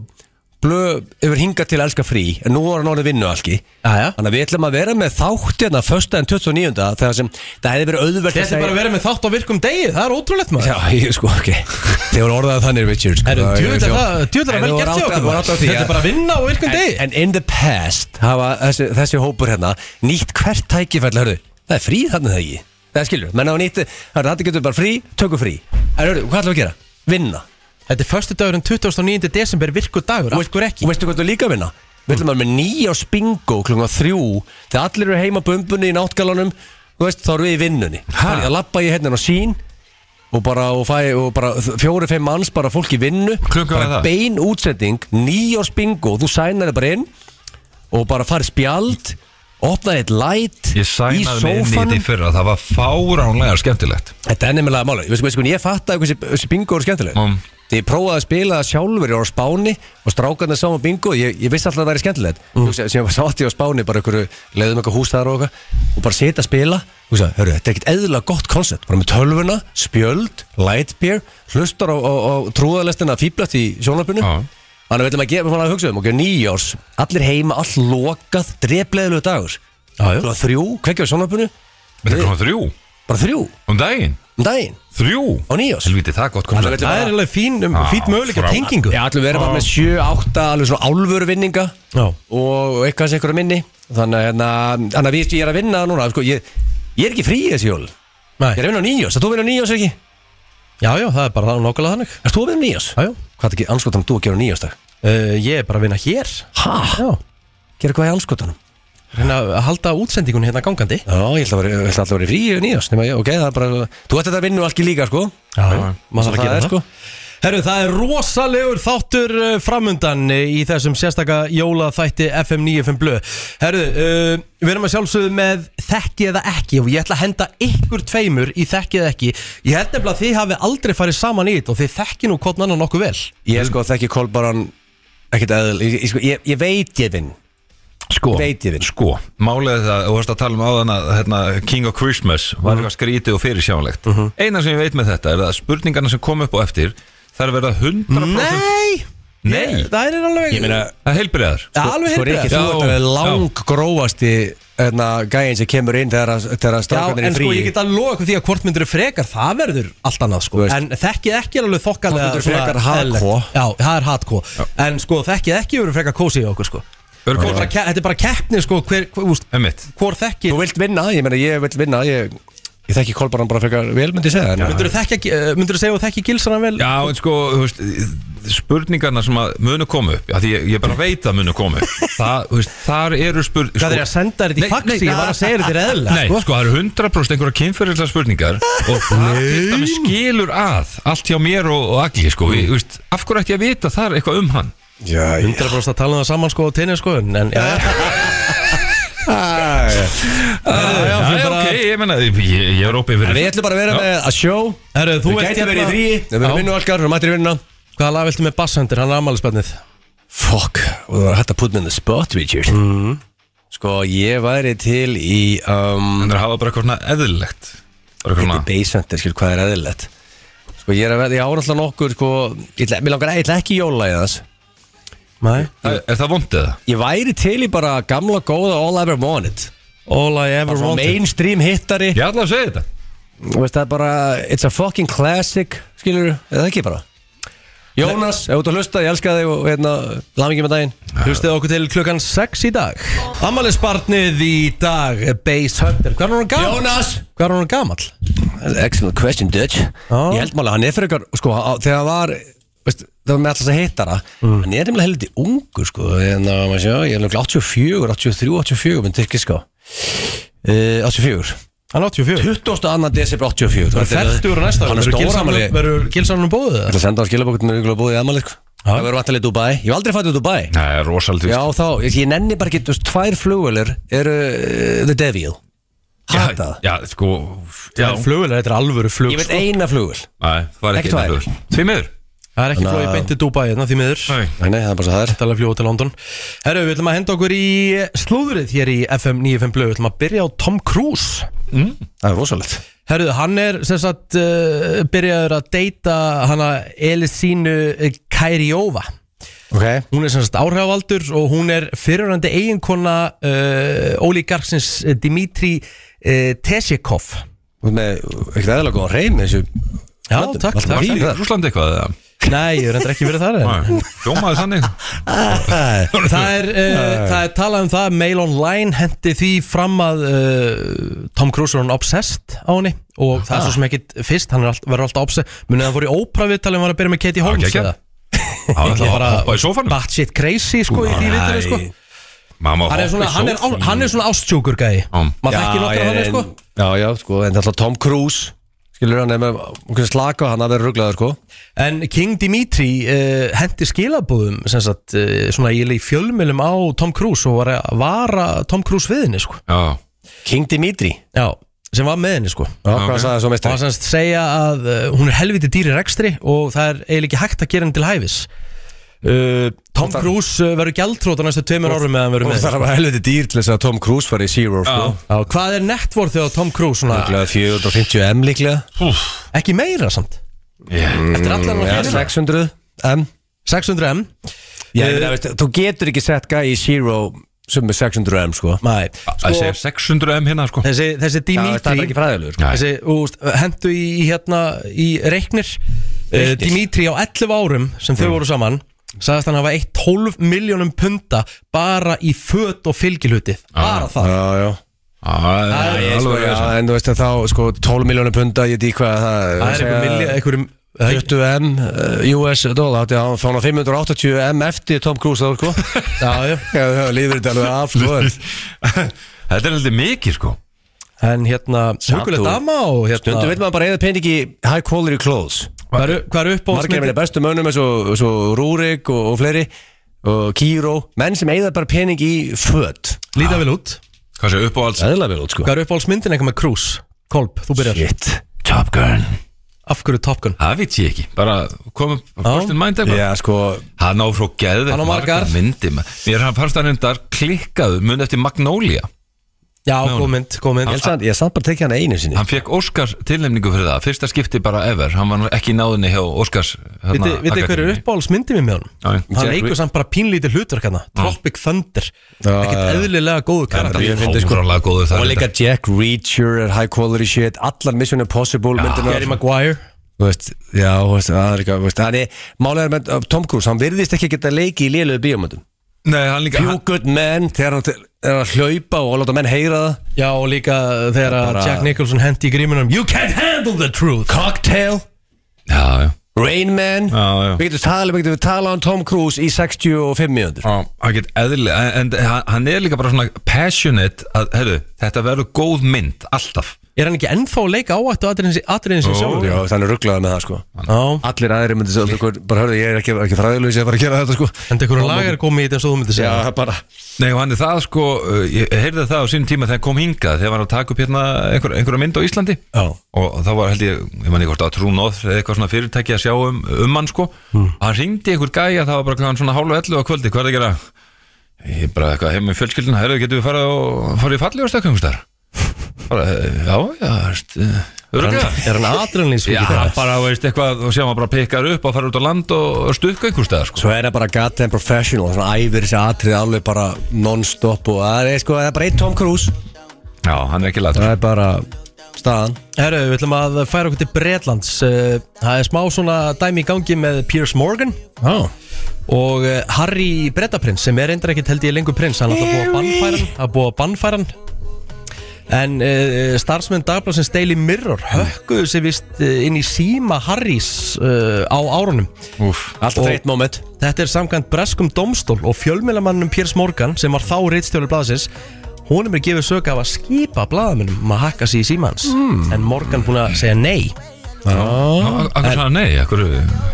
Speaker 2: blöð yfir hinga til elska frí, en nú var hann orðið vinnu algi,
Speaker 1: Jæja.
Speaker 2: þannig að við ætlum að vera með þátt hérna, fösta en 29. þegar sem það hefði verið auðvelt
Speaker 1: Þetta er bara að vera með þátt á virkum degi, það er ótrúlegt maður
Speaker 2: Já, ég sko, ok Þeir voru orðaðið þannig, Richard sko.
Speaker 1: Herru,
Speaker 2: Það er-
Speaker 1: djöfull er það- djöfull er
Speaker 2: En
Speaker 1: það vel
Speaker 2: þú
Speaker 1: gert hjá
Speaker 2: voru átt-
Speaker 1: okkur
Speaker 2: voru átt á því,
Speaker 1: Þetta er
Speaker 2: ja.
Speaker 1: bara að vinna á virkum degi
Speaker 2: En in the past hafa þessi, þessi hópur hérna nýtt hvert tækifæll, hörru, það er frí þarna það ekki Það skilur, menn á nýtt, hörru, þetta getur bara frí, tökum frí En hörru, hvað ætlum við að gera? Vinna
Speaker 1: Þetta er förstu dagurinn 29. desember virku dagur, af hverju ekki?
Speaker 2: Og veistu hvað þú líka að vinna? Við ætlum að vera með nýja og spingo klunga þrjú Þegar allir eru heima á bumbunni í náttgalanum Þú veist, þá eru við í vinnunni Þannig að labba ég hérna á sín Og bara, og fæ, og bara fjóri-fimm manns bara fólk í vinnu
Speaker 3: Klukkan var
Speaker 2: Bara
Speaker 3: það?
Speaker 2: bein útsetting, nýjárs bingo Þú sænar þig bara inn Og bara farið spjald Opnaði eitt light
Speaker 3: Ég sænaði mig inn í þetta í fyrra, það var fáránlega skemmtilegt
Speaker 2: Þetta er nefnilega máli Ég, sko, ég fatt að þessi bingo eru skemmtileg
Speaker 3: Mm.
Speaker 2: Þegar ég prófaði að spila það sjálfur Ég var á Spáni og strákarna sá um bingo Ég, ég vissi alltaf að það er skemmtilegt mm. Sem ég var sátt ég á Spáni bara einhverju Leðum eitthvað hús þar og eitthvað Og bara sita að spila Þú veist, hörru, Þetta er ekkert eðla gott koncept Bara með tölvuna, spjöld, light beer Hlustar á, á, á trúðalestina fýblast í sjónarpinu
Speaker 3: Já.
Speaker 2: Þannig veitum að gefa að hugsa um okay, Nýjárs, allir heima, allt lokað Drefleðilegu dagur
Speaker 1: já.
Speaker 2: Klukkan Þrjú, kvekja á sjónarpinu
Speaker 3: Þetta er komað þrjú,
Speaker 2: Bara þrjú,
Speaker 3: um daginn,
Speaker 2: um daginn
Speaker 3: þrjú
Speaker 2: Á nýjárs
Speaker 3: Helviti, það er gott komað
Speaker 2: Þannig að
Speaker 1: Það er alveg fín, um,
Speaker 3: Já,
Speaker 1: fín möguleika
Speaker 3: frábært.
Speaker 1: tengingu
Speaker 2: Ah,
Speaker 1: Ah.
Speaker 2: Já, ætlum við erum bara með 7, 8 alveg svona álvöru vinninga
Speaker 1: Já.
Speaker 2: og eitthvað sem einhverju minni þannig að hérna, þannig að við ég er að vinna núna sko, ég, ég er ekki frí í þessi jól ég er
Speaker 1: Nei.
Speaker 2: að vinna á nýjós, það þú að vinna á nýjós ekki?
Speaker 1: já, já, það er bara það nákvæmlega þannig
Speaker 2: Er þú að vinna á nýjós?
Speaker 1: Já, já,
Speaker 2: Hvað er ekki anskotanum þú að gera á nýjósdag?
Speaker 1: uh, ég er bara að vinna hér
Speaker 2: Ha?
Speaker 1: Já,
Speaker 2: Gera hvað í anskotanum?
Speaker 1: reyna að halda útsendingun hérna gangandi
Speaker 2: Já, ég ætla að vera, ég ætla alltaf að vera í frí í nýjós nema ég, ok, það er bara þú ætti þetta að vinna og allt líka sko
Speaker 1: Já,
Speaker 3: já.
Speaker 1: maður þarf að
Speaker 2: Það
Speaker 1: gera
Speaker 2: er
Speaker 1: það
Speaker 2: sko.
Speaker 1: Herru, það er rosalegur þáttur uh, framundan uh, í þessum sérstaka jólaþætti FM 95 Blu Herru, uh, við erum að sjálfsögðu með þekki eða ekki og ég ætla að henda ykkur tveimur í þekki eða ekki Ég held nefnilega að þið hafi aldrei farið saman í þetta og þið þekki nú hvort annan nokkuð vel
Speaker 2: ég sko þekki kolbaran ekkert eðl, ég, ég, sko, ég, ég veit ég vinn
Speaker 3: Sko,
Speaker 2: Veit ég þig.
Speaker 3: sko, málið er það, þú varst að tala um áðan að hérna, King of Christmas var eitthvað skrítið og fyrirsjánlegt Einar sem ég veit með þetta er að spurningarna sem kom upp á eftir Það er verið að 100%
Speaker 1: Nei,
Speaker 3: Nei.
Speaker 1: það er alveg
Speaker 2: Ég meina,
Speaker 3: Það er heilbriðar
Speaker 1: Já, alveg
Speaker 2: Sko Rikki,
Speaker 1: heilbrigð
Speaker 2: þú
Speaker 3: Já,
Speaker 2: ert alveg
Speaker 3: já.
Speaker 2: lang grófasti hérna, gæin sem kemur inn þegar, að- þegar að
Speaker 1: Já,
Speaker 2: strákarnir
Speaker 1: en
Speaker 2: er
Speaker 1: sko
Speaker 2: frí
Speaker 1: ég get að loka ykkur því að hvort myndur frekar það verður allt annað sko
Speaker 2: Þú veist.
Speaker 1: En þekkið ekki er alveg þokkalega
Speaker 2: Hvort myndirðu
Speaker 1: svona
Speaker 2: frekar hardcore?
Speaker 1: eðlilegt. Já, það er hardcore En sko þekkið ekki verður frekar kósi í okkur sko
Speaker 3: Verður
Speaker 1: Þetta er
Speaker 3: kósí.
Speaker 1: bara ke- Þetta er bara keppni sko hver, hver, úst,
Speaker 3: Emmitt
Speaker 1: Hvor þekki
Speaker 2: Þú vilt vinna, ég meina ég vilt vinna Ég, ég þekki kolbaran bara frekar vel myndi ég segja en-
Speaker 1: Myndur þú eh, segja að þekki gilsana vel?
Speaker 3: Já, en sko, þú veist, spurningarna sem að munu komu upp, já, því ég, ég bara veit að munu komu upp, það, þú veist, þar eru spurningar
Speaker 1: Hvað er ég að senda þér þetta í faxi? Ég var að segja þér þetta eðla
Speaker 3: Nei, sko, það eru 100% einhverja kynferðislega spurningar og það til dæmis skilur að allt hjá mér og, og allir, sko, við, þú veist, af hverju ætti ég að vita þar eitthvað um hann?
Speaker 2: Já, ég-
Speaker 1: 100% að tala um það saman sko á tenni sko En já,
Speaker 2: Ah, já.
Speaker 3: Já, já, ok, ég menna, ég, ég er opið
Speaker 2: Við
Speaker 3: fyrir
Speaker 2: ætlum bara að vera
Speaker 3: Já.
Speaker 2: með að sjó
Speaker 1: herru, þú
Speaker 2: Við
Speaker 1: ert
Speaker 2: gætum verið í frí Við erum
Speaker 1: Já.
Speaker 2: vinnu allgar, við erum mættir í vinnuna
Speaker 1: Hvaða lag viltu með bassendur? Hann er ammælisbarnið
Speaker 2: Fuck, og það var hægt að put me in the spot, Richard Sko, ég væri til í um,
Speaker 3: Þannig að hafa bara eitthvað svona eðlilegt Bara eitthvað
Speaker 2: Þetta
Speaker 3: svona
Speaker 2: er beisent, skil, hvað er eðlilegt Sko, ég er að verða, ég ára alltaf nokkur Sko, ég ætla- mig langar, ég ætla ekki jóla í þess
Speaker 1: Nei
Speaker 3: Er, er það vondið það?
Speaker 2: Ég væri til í bara gamla góða All I Ever Wanted
Speaker 1: All I ever
Speaker 2: Svo
Speaker 1: wanted
Speaker 2: mainstream hittari
Speaker 3: Ég ætla að segja þetta
Speaker 2: Þú veist það er bara It's a fucking classic Skilur, eða ekki bara Jónas, ef þú ert að hlusta, ég elska þig og hérna, lamingi með daginn
Speaker 1: Hlustið okkur til klukkan 6 í dag Amalisbarnið í dag Base Hunter Hvað er hún gammal?
Speaker 2: Jónas!
Speaker 1: Hvað er hún gammal?
Speaker 2: Excellent question, Dutch
Speaker 1: Já.
Speaker 2: Ég held mála, hann er fyrir ykkur sko, á- þegar hann var, veist, það var með alltaf að hitta hana Hann er nefnilega heldur ungur, sko En að maður sjá, ég er nefnilega 84, 83, 84 Menn tyrkis, sko uh, 84
Speaker 1: Hann er 84
Speaker 2: 22. desember 84
Speaker 1: Það er 30 úr næsta
Speaker 2: Hann er stóramali
Speaker 1: Gilsamnum- Verður um gilsanum bóðið það?
Speaker 2: Það er að senda á skilabokk Það er ykkur að búið í aðmali, sko Það verður vantilega í Dubai Ég hef aldrei fættið í Dubai
Speaker 3: Það er rosalega
Speaker 2: Já, þá, ég, ég nenni bara ekki, þú veist, tvær flugvelir eru uh, The Devil Hata það
Speaker 3: Já, sko Já,
Speaker 1: Flugvel, þetta er alvöru flug sko.
Speaker 2: Ég veit eina flugvel
Speaker 3: Nei, það var
Speaker 2: Ekki
Speaker 3: ekki
Speaker 2: tvær.
Speaker 3: einhver Því miður
Speaker 1: Það er ekki
Speaker 2: Þannig að-
Speaker 1: flóið beinti Dubai hérna því miður
Speaker 3: Nei.
Speaker 2: Nei, nei, það er bara svo það er
Speaker 1: Þetta er alveg fljóð til London Herru, við ætlum að henda okkur í slúðrið hér í FM 95 Blöð Við ætlum að byrja á Tom Cruise
Speaker 2: Það er rosalegt
Speaker 1: Herru, hann er sem sagt uh, byrjaður að deyta hana Elisínu Kærióva
Speaker 2: Ok
Speaker 1: Hún er sem sagt áhrifavaldur og hún er fyrirrandi eiginkona uh, oligarksins Dimitri uh, Tesjekov
Speaker 2: Þú með, ekkert eðalega góð reyn þessu
Speaker 1: Já,
Speaker 2: Röddum.
Speaker 1: takk,
Speaker 2: Allt
Speaker 1: takk,
Speaker 3: Var það í
Speaker 2: það.
Speaker 3: Rúsland eitthvað eða?
Speaker 1: Nei, ég er endur ekki verið þar en-
Speaker 3: Nei, Hljómaði þannig
Speaker 1: Það er, uh, það er talað um það Mail Online hendi því fram að uh, Tom Cruise er hann obsessed á henni og það er svo sem ekkit fyrst, hann er allt, verður alltaf obsessed munið að hann fór í ópera viðtalið var að byrja með Katie Holmes
Speaker 3: geggjað.
Speaker 1: eða?
Speaker 3: Það
Speaker 1: Ég
Speaker 3: var bara
Speaker 1: bara-
Speaker 3: að hoppa í sófanum
Speaker 1: Bat shit crazy sko í því viðtalið sko
Speaker 3: Mamma
Speaker 1: Hann er svona, hann er, á- hann er svona ástjúkur gæi maður þekkir nokkra hann sko
Speaker 2: Já, já, sko, en það er alltaf Tom Cruise Skilur hann, ef maður slaka hann að vera rugglaður, sko
Speaker 1: En King Dimitri uh, hendi skilabúðum sem sagt, uh, svona í fjölmjölum á Tom Cruise og var að vara Tom Cruise við henni sko
Speaker 3: Já,
Speaker 2: King Dimitri Já,
Speaker 1: Já, sem var með henni sko
Speaker 2: hvað
Speaker 3: ok.
Speaker 2: sagði það svo
Speaker 1: Það var
Speaker 2: meistari?
Speaker 1: semst segja að uh, hún er helviti dýri rekstri og það er eiginlega ekki hægt að gera henni til hæfis uh, Tom Cruise uh, verður gjaldtrót á næstu tveimur árum meðan verður
Speaker 2: Og
Speaker 1: með
Speaker 2: það er bara helviti dýr til þess að Tom Cruise fari í Zero, sko
Speaker 3: já
Speaker 1: Já, Hvað er nettvorðið á Tom Cruise? Svona,
Speaker 2: Rugglaður 450 M líklega
Speaker 3: Úff,
Speaker 1: ekki meira samt
Speaker 3: yeah.
Speaker 1: Eftir allan
Speaker 2: Mm, Já,
Speaker 1: hann að
Speaker 2: 600 M Eh,
Speaker 1: 600 M
Speaker 2: Já, ég meina, veist, þú getur ekki sett gæi í Zero sem er 600 M, sko
Speaker 1: Nei,
Speaker 3: Það segir 600 M hérna sko
Speaker 1: þessi, þessi
Speaker 2: það er
Speaker 1: Dimitri
Speaker 2: ekki fræðilegur, sko
Speaker 3: Nei.
Speaker 1: þessi, úst, hendu í, í hérna í reiknir uh, Dimitri á 11 árum sem
Speaker 2: Mm.
Speaker 1: þau voru saman sagðist hann hafa 1,12 miljónum punta bara í föt og fylgilhuti bara það
Speaker 2: Já, já
Speaker 3: Það
Speaker 1: Það er
Speaker 3: er
Speaker 2: Sko,
Speaker 3: alveg
Speaker 2: já,
Speaker 3: þess
Speaker 2: en þú veist að þá, sko, 12 miljónum punda, ég dýk hvað það
Speaker 1: Það er einhver milli, einhverjum það er-
Speaker 2: 20 M uh, US dólar, þá átti hann á 580 M eftir Tom Cruise þá, sko
Speaker 1: Já, já
Speaker 2: Já, það lífur þetta alveg af, sko
Speaker 3: Þetta er heldur mikið sko
Speaker 1: En hérna, hugulegt
Speaker 2: þú-
Speaker 1: dama og
Speaker 2: Stundum veit
Speaker 1: hérna
Speaker 2: maður bara eða pening í high quality clothes
Speaker 1: Hvað eru- hvað eru
Speaker 2: Margir
Speaker 1: uppáhaldsmyndir?
Speaker 2: minni bestu mönnum eins og, eins og Rúrik og, og fleiri og Kíró, menn sem eigða bara pening í föt
Speaker 1: Líta
Speaker 2: Ah.
Speaker 1: vel út
Speaker 3: Hvað segir upp á alls
Speaker 2: Æðla vel út, sko
Speaker 1: Hvað eru uppáhaldsmyndin eitthvað með Cruise? Kolb, þú byrjar
Speaker 2: Shit, Top Gun
Speaker 1: Af hverju Top Gun?
Speaker 3: Það veit ég ekki Bara komum First in mind eitthvað
Speaker 2: Já, sko,
Speaker 3: Hann á frá geðið
Speaker 1: Hann á margar.
Speaker 3: myndi Mér hann fannst hann undar klikkaðu mun eftir Magnolia
Speaker 1: Já, góð mynd, góð mynd
Speaker 2: ég held samt- ég samt bara tekið hann einu sinni
Speaker 3: Hann fekk Óskars tilnefningu fyrir það Fyrsta skipti bara ever Hann var nú ekki í náðinni hjá Óskars hérna,
Speaker 1: Vitið vitið hverju eru uppáhaldsmyndir mér með
Speaker 3: Já,
Speaker 1: honum? Hann leikur samt bara pínlítið hlutverk hérna
Speaker 3: Ah.
Speaker 1: Tropic Thunder
Speaker 2: Já,
Speaker 1: Ekkert
Speaker 2: já.
Speaker 1: eðlilega góðu karakter
Speaker 2: Ég fyndi,
Speaker 3: Ég finnst
Speaker 2: sko.
Speaker 3: sko Órálega góður það
Speaker 2: Og
Speaker 3: reyndar.
Speaker 2: líka Jack Reacher er high quality shit Allar Mission Impossible myndirnar
Speaker 1: Gary Maguire
Speaker 2: Þú veist, já, þú veist, það er líka þú veist, hann er, Málega er með uh, Tom Cruise Hann virðist ekki geta leiki í lélugu bíómyndum
Speaker 3: Nei, hann líka
Speaker 2: Few good men Þegar hann til- er að hlaupa og láta menn heyra það
Speaker 1: Já, og líka þegar að
Speaker 2: Bara-
Speaker 1: Jack Nicholson hendi í grímunum You can't handle the truth
Speaker 2: Cocktail,
Speaker 3: Já, já
Speaker 2: Rain Man
Speaker 3: Já, já.
Speaker 2: Við getum talað við getum talað um Tom Cruise í 65 mjöndur
Speaker 3: Já, hann get eðlilega En, en hann- hann er líka bara svona passionate að, heyrðu, Þetta verður góð mynd, alltaf
Speaker 1: Er hann ekki ennþá að leika áættu atriðin sem
Speaker 3: Jó.
Speaker 1: sjálfur?
Speaker 2: Já, þannig rugglaði með það sko
Speaker 1: Já,
Speaker 2: Allir aðri myndi sér Bara hörðu, ég er ekki, ekki fræðilegur sem var að gera þetta sko
Speaker 1: Enda ykkur lagar komið í þetta svo þú myndir segja
Speaker 2: Já, bara
Speaker 3: Nei, og hann er það sko uh, Ég heyrði það á sínum tíma þegar hann kom hingað Þegar hann var að taka upp hérna einhver, einhverja mynd á Íslandi
Speaker 2: Já.
Speaker 3: Og þá var held ég, ég manni hvort að Trú Nóð eða eitthvað svona fyrirtæki að sjá um, um hann sko Hann ringdi einhver gæja, það var bara hann svona hálfa 11 á kvöldi Hvað er að gera? Ég er bara eitthvað heim með fjölskyldina Herðu, getum við farið, og, farið í falli og stökkum þar? Bara, eh, já, já, veist Öruglega
Speaker 1: Er hann
Speaker 3: Já,
Speaker 1: atriðinlýsvík?
Speaker 3: hann bara veist eitthvað og sé hann bara pikkar upp og fara út á land og stukka einhvers stað sko.
Speaker 2: Svo er það bara goddamn professional Svona æfir þessi atrið alveg bara non-stop Og það er sko, það er bara einn Tom Cruise
Speaker 3: Já, hann er ekki latur
Speaker 2: Það er bara staðan
Speaker 1: Herru, við ætlum að færa okkur til Bretlands Uh, Það er smá svona dæmi í gangi með Piers Morgan
Speaker 2: Já
Speaker 1: og uh, Harry Bretaprins sem er reyndar ekkert held ég lengur prins hann er alltaf búið að bannfæra hann að búið að bannfæra hann En uh, starfsmenn dagblansins Daily Mirror hökkuðu sig vist uh, inn í síma Harrys uh, á árunum
Speaker 2: Úf, alltaf
Speaker 1: Og-
Speaker 2: þreitt moment
Speaker 1: Þetta er samkvæmt breskum domstól og fjölmjölamannum Piers Morgan sem var þá reittstjóri blaðsins Honum er gefið sög af að skipa blaðamennum um að hakka sig í símans mm. En Morgan búin að segja nei
Speaker 3: Akkur sagði nei, akkur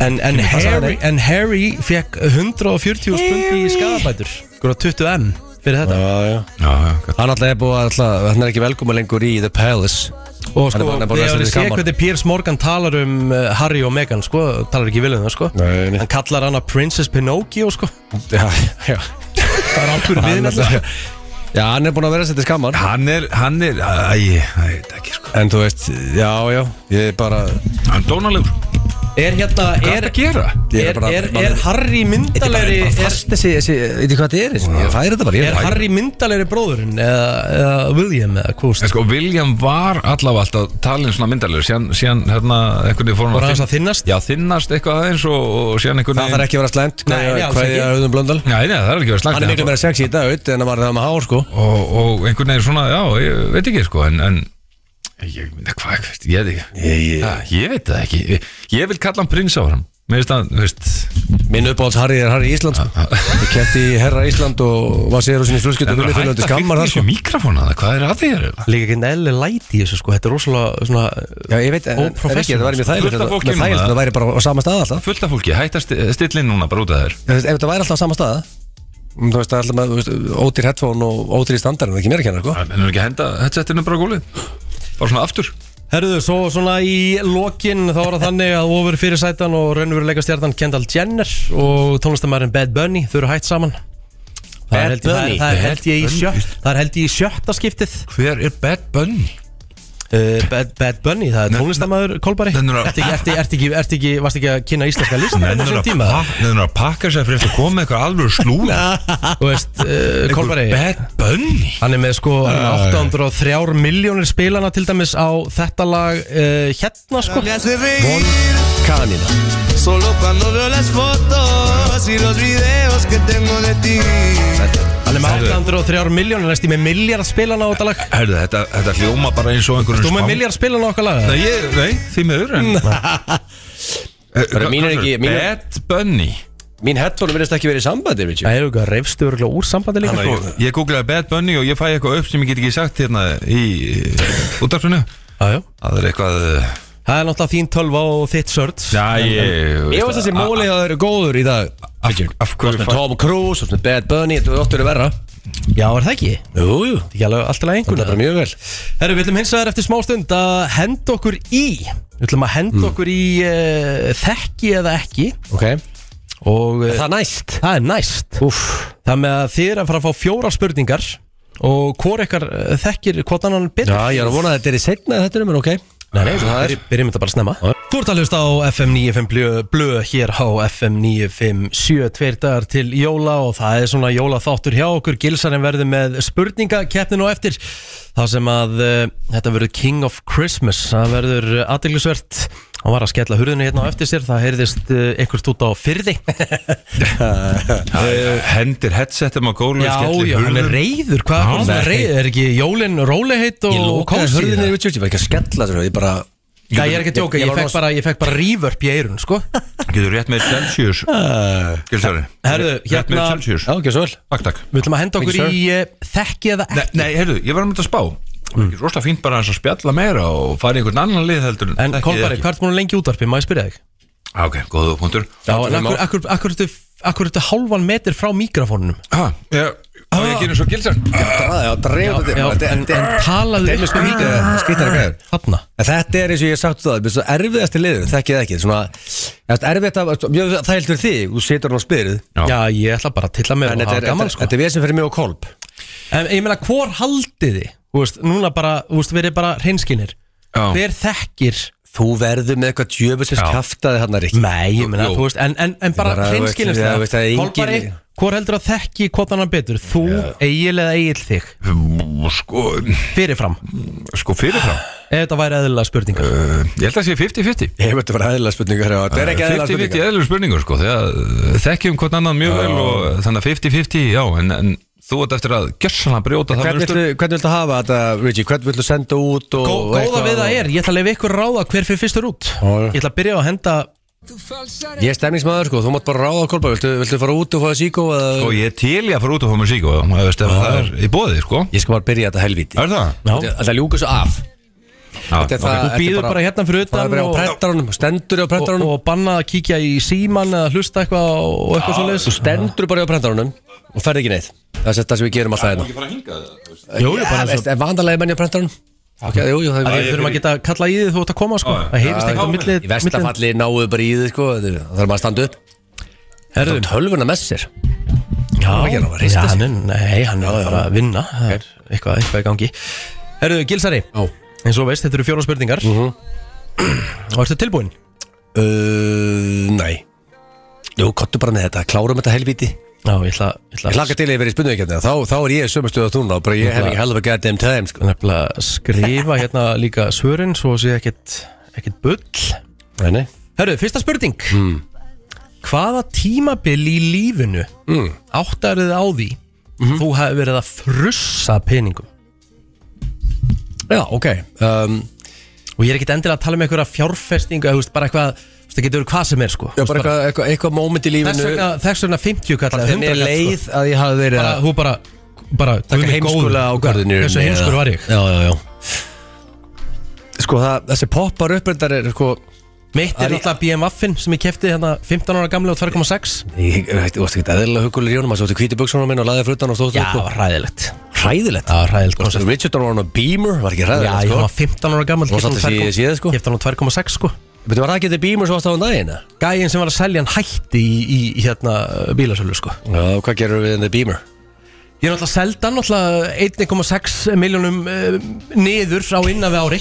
Speaker 1: En, en,
Speaker 2: sagði
Speaker 1: Harry, en Harry fekk 140 spundi í skadabætur Góra 20 M fyrir þetta
Speaker 2: já, já.
Speaker 3: Já, já, gott.
Speaker 2: Hann alltaf er búið að alltaf, hann er ekki velkoma lengur í The Palace
Speaker 1: Og sko,
Speaker 2: Hann er bara- hann er bara að
Speaker 1: þegar ég
Speaker 2: lesa þetta
Speaker 1: sé
Speaker 2: gaman.
Speaker 1: hvernig Piers Morgan talar um uh, Harry og Meghan, sko, talar ekki vel um það, sko
Speaker 2: Nei, nei.
Speaker 1: Hann kallar hana Princess Pinocchio, sko
Speaker 2: Já, já
Speaker 1: Það er algjör
Speaker 2: Hann
Speaker 1: viðnefna
Speaker 2: alltaf, já, hann er búin að vera sér til skammar
Speaker 3: Hann er, hann er, æ, ég veit ekki sko
Speaker 2: En þú veist, já, já Ég er bara,
Speaker 3: Hann er dónalegur,
Speaker 1: Er hérna,
Speaker 3: hvað er
Speaker 1: er,
Speaker 3: það að gera?
Speaker 2: ég
Speaker 1: er,
Speaker 2: er bara
Speaker 1: er, er Harry myndalegri er,
Speaker 2: fast þessi, þessi, veitir hvað þetta er þessi? Ég færi þetta bara, ég
Speaker 1: er Harry myndalegri bróðurinn eða, eða William eða
Speaker 3: En
Speaker 1: hvort
Speaker 3: sko, William var allavega alltaf talin svona myndalegur síðan, síðan hérna, einhvern veginn fór hann
Speaker 1: Var aðeins að þynnast?
Speaker 3: Já, þynnast eitthvað aðeins og, og síðan einhvern
Speaker 2: Það þarf ekki að vera slæmt
Speaker 1: Nei, nei, alls
Speaker 2: Hvað um
Speaker 1: ekki.
Speaker 2: er auðvitað blöndal?
Speaker 3: Já, nei, það er ekki verið slæmt
Speaker 2: Hann er
Speaker 3: en
Speaker 2: miklu
Speaker 3: það-
Speaker 2: meira sexy í dag, auðvitað, en hann var það með hár, sko
Speaker 3: og, og einhvern veginn svona, já, ég veit ekki sko En, en ég, hvað, hvað, ég veit ekki
Speaker 2: Ég,
Speaker 3: Já, Ég veit það ekki Ég, ég vil kalla hann prins á hann Mér veist að, þú veist
Speaker 2: Minn uppáhalds Harry er Harry Ísland sko. Ég kætti í Herra Ísland og var sér á sinni slúskjöld og
Speaker 3: En
Speaker 2: gulli
Speaker 3: að
Speaker 2: fyrir undir
Speaker 3: hætta
Speaker 2: skammar
Speaker 3: fyrir
Speaker 2: þar
Speaker 3: þessu
Speaker 2: sko.
Speaker 3: mikrofónu Hvað er að þér?
Speaker 1: Líka ekki eðli læti í þessu, sko, þetta er rosalega svona
Speaker 2: Já, ég veit, en,
Speaker 1: Ó,
Speaker 2: en ekki,
Speaker 1: professional.
Speaker 2: það væri mjög
Speaker 3: Fullt
Speaker 2: þægilegt
Speaker 3: af
Speaker 2: þetta-
Speaker 3: fólki
Speaker 2: mjög
Speaker 3: núna.
Speaker 2: þægilegt, það væri bara á sama stað alltaf
Speaker 3: Fullt af fólki, hætta að stilla inn núna bara út af þér
Speaker 2: Ef ef þetta væri alltaf á sama stað mm, Þú veist, það er alltaf með þú veist, ódýr headphone og ódýr standard Það er ekki mér að kenna, sko
Speaker 3: En er ekki að henda headsetinu bara á gólið Bara svona aftur
Speaker 1: Herðu, svo svona í lokin þá var það þannig að ofur fyrir sætan og raunveruleika stjartan Kendall Jenner og tónlistamærin Bad Bunny, þau eru hætt saman Það er
Speaker 2: Bad
Speaker 1: held ég- það er-
Speaker 2: Bunny?
Speaker 1: það er held ég í
Speaker 3: Bad
Speaker 1: sjö-
Speaker 3: Bunny?
Speaker 1: það er held ég í sjötta skiptið
Speaker 3: Hver er Bad Bunny?
Speaker 1: Uh, Bad, Bad Bunny, það er
Speaker 3: Nen-
Speaker 1: tónlistamæður Kolbari
Speaker 3: Nennirðu að-
Speaker 1: Ertu ekki, ertu, ertu ekki, ertu ekki, varst ekki að kynna íslenska listan á
Speaker 3: Nennir
Speaker 1: þessum
Speaker 3: að,
Speaker 1: tíma?
Speaker 3: pak nennir að pakka sér fyrir eftir að koma með eitthvað alveg slúð
Speaker 1: Þú veist, uh, Kolbari
Speaker 3: Bad Bunny
Speaker 1: Hann er með sko hann er með 803 miljónir spilana til dæmis á þetta lag uh, hérna sko
Speaker 4: Me hace reír
Speaker 2: Kanina
Speaker 4: solo cuando veo las fotos y los videos que tengo de ti.
Speaker 1: Hann er með 803 miljónir, næst í með miljard spilana á þetta lag
Speaker 3: Herðu, þetta, þetta hljóma bara eins og einhvern
Speaker 1: Þú með miljard spilun á okkar laga
Speaker 3: Nei, ég, nei, því miður en Eh,
Speaker 2: Bara mín er ekki- mín er-
Speaker 3: Bad Bunny
Speaker 2: Mín headphone virðist ekki verið í sambandi, við
Speaker 1: Það eru eitthvað reyfstu örgulega úr sambandi líka
Speaker 3: Sko, Ég googlaði Bad Bunny og ég fæ eitthvað upp sem ég get ekki sagt hérna í útarfinu
Speaker 1: Jájá
Speaker 3: Það er eitthvað eh,
Speaker 1: Það er náttúrulega þín tölva og þitt sörd
Speaker 3: Já, ég
Speaker 2: Ég veist þessi
Speaker 3: að-
Speaker 2: móli að það eru góður í dag
Speaker 3: af, af hverju
Speaker 2: Með
Speaker 3: fæ
Speaker 2: Tom Cruise, og svona Bad Bunny, þetta er óttur verra
Speaker 1: Já, er það ekki?
Speaker 2: Jú, jú,
Speaker 1: Ekki alveg alltaf
Speaker 2: þetta er
Speaker 1: einhvern
Speaker 2: bara mjög vel
Speaker 1: Herru, við ætlum hins vegar eftir smá stund að henda okkur í Við ætlum að henda okkur í uh, þekki eða ekki
Speaker 2: okay.
Speaker 1: Og uh,
Speaker 2: Það er næst
Speaker 1: það er næst
Speaker 2: Úff,
Speaker 1: Það með að þið er að fara að fá fjóra spurningar Og hvor ykkar eh, þekkir hvort annan betur
Speaker 2: Já, ég er að vona að þetta er í seinna þetta er um, en ok
Speaker 1: Nei, nei,
Speaker 2: það er-
Speaker 1: við byrjum þetta bara snemma Þú ert að hlusta á FM 95 blö, blö hér á FM 957 tveir dagar til jóla og það er svona jólaþáttur hjá okkur Gilsarinn verður með spurningakeppnin og eftir það sem að uh, þetta verður King of Christmas það verður aðdeglisvert hann var að skella hurðinu hérna á eftir sér það heyrðist uh, einhvert út á fyrði
Speaker 3: Eh, Hendir headsetum á gólfi
Speaker 1: Já, já, hann er reyður hvað
Speaker 3: Já,
Speaker 1: hann er reyður, er ekki jólin róliheit og
Speaker 2: Ég lokaði
Speaker 1: kósí?
Speaker 2: hörðinni yfir tjótt, ég var ekki að skella þessu Ég bara
Speaker 1: Nei, ég er ekki að djóka, ég,
Speaker 2: var
Speaker 1: fekk
Speaker 2: rosa-
Speaker 1: bara, ég fekk bara reverb í eirun, sko
Speaker 3: Getur rétt með Celsius Gilsari
Speaker 1: Herðu,
Speaker 3: Rétt með
Speaker 1: hérna-
Speaker 3: Celsius
Speaker 2: Já, ekki svo vel
Speaker 3: Takk, takk
Speaker 1: Við ætlum að henda okkur
Speaker 2: Thank
Speaker 1: í uh, þekki eða
Speaker 3: Nei,
Speaker 1: ekki
Speaker 3: nei heyrðu, ég var að mynda að spá mm. Róslega fínt bara aðeins að spjalla meira og fara í einhvern annan lið heldur
Speaker 1: En Kolbari, hvað ertu búin að lengi í útvarpi, má ég spyrja þig?
Speaker 3: Ah, ok, góðu punktur
Speaker 1: Já,
Speaker 2: það
Speaker 1: en
Speaker 2: má.
Speaker 1: akkur, akkur, akkur, ertu, akkur ertu hálfan metur frá mikrofónunum
Speaker 3: ah, ég, ah. ég gerir svo gilsar
Speaker 2: Það er að dreifa
Speaker 1: Já,
Speaker 2: þetta
Speaker 1: en, en talaðu Ah,
Speaker 2: Demis sko hítið að skýttar að gæður
Speaker 1: Hanna
Speaker 2: En þetta er eins og ég hef sagt það, þetta er svo erfiðasti liður, þekkið ekki, svona, þetta er erfiðast að, mjög þægilt fyrir þig, þú situr hann á spyrðu,
Speaker 3: Já.
Speaker 1: Já, ég ætla bara að tilla mér og
Speaker 2: en þetta
Speaker 1: hafa
Speaker 2: er,
Speaker 1: gaman
Speaker 2: þetta,
Speaker 1: sko
Speaker 2: þetta er við sem fyrir mig og kolb.
Speaker 1: En ég meina, hvor haldið þið? Þú veist, núna bara, þú veist, verið bara hreinskinnir
Speaker 3: Já.
Speaker 1: Hver þekkir?
Speaker 2: Þú verður með eitthvað djöfusins
Speaker 3: Já.
Speaker 2: kjaftaði hann er ekki.
Speaker 1: Nei, ég meina,
Speaker 3: Jú.
Speaker 1: þú veist, en, en, en bara
Speaker 2: bara, þú veist,
Speaker 1: hreinskinnir
Speaker 2: já, þú veist, það er engin-
Speaker 1: Kolbari, hvor heldur að þekki hvort annan betur? Þú, Egil eða Egil þig?
Speaker 3: Sko,
Speaker 1: Fyrirfram,
Speaker 3: sko fyrirfram
Speaker 1: ef þetta væri eðlilega spurningar
Speaker 3: uh, Ég held að sé 50-50
Speaker 2: Ég hef þetta fyrir aðeinslega spurningu, hérna, þetta er ekki aðeinslega
Speaker 3: 50-50
Speaker 2: spurningu.
Speaker 3: eðlur spurningur sko Þegar uh, þekkjum hvort annan mjög vel og þannig að 50-50 já en, en þú ert eftir að gjössanlega brjóta það
Speaker 2: Hvernig
Speaker 3: munstur.
Speaker 2: viltu, hvernig viltu hafa þetta, Rigi? Hvernig viltu senda út og,
Speaker 1: Gó,
Speaker 2: og
Speaker 1: Góða við það er, ég ætla að leifa ykkur að ráða hver fyrir fyrstur út
Speaker 2: Já, já.
Speaker 1: Ég ætla að byrja á að henda
Speaker 2: Ég er stemningsmaður, sko, þú mátt bara ráða að kolpa Viltu, viltu fara út og fá að síkó eða...
Speaker 3: Sko ég er til ég að fara út og fá mér sík og maður veist ef það er í bóði sko
Speaker 2: Ég skal bara byrja þetta helvíti
Speaker 3: Er það?
Speaker 2: Þetta þetta ljúka svo af
Speaker 3: Já,
Speaker 2: Þetta
Speaker 1: Þú
Speaker 2: er það- þetta er
Speaker 1: býður bara hérna fyrir
Speaker 2: Það er
Speaker 1: utan
Speaker 2: bara á
Speaker 1: og,
Speaker 2: prentarunum, stendur á
Speaker 1: og,
Speaker 2: prentarunum
Speaker 1: og banna að kíkja í síman eða hlusta eitthvað og- og eitthvað svo
Speaker 2: Þú stendur bara á prentarunum og ferð ekki neitt Það er þetta sem við gerum alltaf hérna
Speaker 1: Jú, jú, bara eins og-
Speaker 2: En vandalega menni á prentarunum Ok, jú, jú, það
Speaker 1: Við
Speaker 2: er
Speaker 1: þurfum að geta kalla í þið þú ert að koma sko
Speaker 3: Já, já.
Speaker 1: Það heyrist ekkert á milli
Speaker 2: Í versta
Speaker 1: milli-
Speaker 2: falli náuðu bara í þið, sko Það þarf maður að standa upp Það
Speaker 1: Herðu,
Speaker 2: er tölvuna með sér
Speaker 1: Já,
Speaker 2: var ekki hann að reista
Speaker 1: já,
Speaker 2: sig.
Speaker 1: hann er- Nei, hann er bara að vinna Það er eitthvað, eitthvað í gangi Herðu, Gilsari,
Speaker 2: Já.
Speaker 1: eins og þú veist, þetta eru fjóra spurningar Og ertu tilbúin?
Speaker 2: Uh, nei Jú, kottu bara með þetta, klárum þetta helvíti Ég
Speaker 1: Já, ég ætla, ég ætla,
Speaker 2: hlakka til að ég verið í spurningakeppni þá, þá er ég sömu stöðu að túnna bara ég hef ekki helfa gæti um tæm sko.
Speaker 1: nefnilega að skrifa hérna líka svörin Svo sé ekkit, ekkit bull Hmm.
Speaker 2: Nei, nei
Speaker 1: Herru, fyrsta spurning Hvaða tímabil í lífinu mm. áttarið á því þú hefur verið að frussa peningum
Speaker 2: Já, ok um,
Speaker 1: og ég er ekkit endilega að tala um einhverja fjárfestingu eða þú veist, bara eitthvað, þú veist, það getur verið hvað sem er sko.
Speaker 2: Já, bara eitthvað, eitthvað, eitthvað moment í
Speaker 1: þess,
Speaker 2: lífinu
Speaker 1: vegna, þess vegna 50 kall eða
Speaker 2: Þenni
Speaker 1: 100 kall sko.
Speaker 2: leið að ég hafi verið
Speaker 1: bara,
Speaker 2: að
Speaker 1: þú bara, bara
Speaker 2: taka heimskula á garðinu
Speaker 1: þessu
Speaker 2: eða-
Speaker 1: heimskur var ég
Speaker 2: Já, já, já Sko, það, þessi poppar upprendar er sko
Speaker 1: mitt er
Speaker 2: Ari-
Speaker 1: náttúrulega BMF-in sem ég kefti hérna 15 ára gamla og 2,6
Speaker 2: Ég veit, þú varst ekki eðlilega hugulir í honum Það stótti hvíti buksunum minn og laðið fruttan og stótti
Speaker 1: já, það var hræðilegt
Speaker 2: Hræðilegt
Speaker 1: það var hræðilegt
Speaker 2: Varstu-
Speaker 1: koncept.
Speaker 2: Richard var hann á Beamer, var ekki
Speaker 1: já, ég
Speaker 2: hræðilegt
Speaker 1: var
Speaker 2: sko
Speaker 1: 15 ára gamla
Speaker 2: Og satt að sé- sé það, sko.
Speaker 1: kefti hann á 2,6 sko
Speaker 2: Betur var það ekki þetta Beamer svo ást á hann daginn? eða?
Speaker 1: gæinn sem var að selja hann hætti í, í, í hérna uh, bílasölu sko
Speaker 2: Já, hvað gerur við þetta Beamer?
Speaker 1: Ég er náttúrulega seldan, náttúrulega 1,6 miljónum uh, niður á innan við ári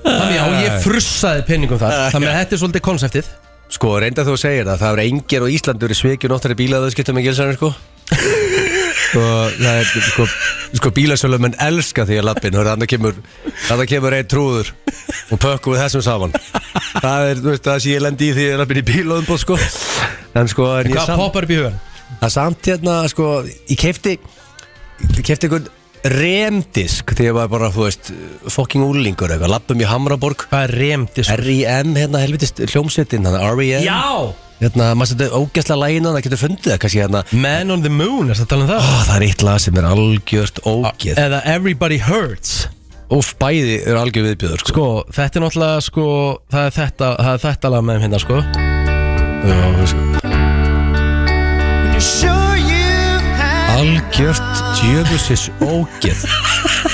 Speaker 1: Þannig já, ég frussaði penningum þar Þannig að þetta er svolítið konseptið
Speaker 2: Sko, reynda þú að segja það, það eru engir á Íslandur í svikju nóttari bílaðaðskiptum með gilsarinn, sko Sko, það er, sko, sko bílasölum en elska því að lappin og þannig kemur, þannig kemur einn trúður og pökkum við þessum saman Það er, þú veist, það sé ég lendi í því að lappin í bílaðumbóð, sko En sko, en ég
Speaker 1: Hvað
Speaker 2: samt,
Speaker 1: poppar upp í hugan?
Speaker 2: að samt hérna, sko, ég kefti, ég kefti einhvern remdisk þegar ég var bara, þú veist, fucking úlingur eitthvað, lappum í Hamraborg
Speaker 1: Hvað er remdis?
Speaker 2: R.E.M. hérna helvitist hljómsveitin hann R.E.M.
Speaker 1: Já!
Speaker 2: hérna maður setur ógæslega lægin hann það getur fundið það kannski hérna
Speaker 1: Man on the moon, er þetta talað um
Speaker 2: Ó,
Speaker 1: það?
Speaker 2: það er eitt lag sem er algjört ógeð
Speaker 1: Eða Everybody Hurts
Speaker 2: Úf, bæði er algjör viðbjöður sko.
Speaker 1: Sko, þetta er náttúrulega, sko, það er þetta, það er þetta lag með þeim hérna, sko
Speaker 2: Já, sko.
Speaker 4: Sure you have
Speaker 2: algjört djöfusis ógeð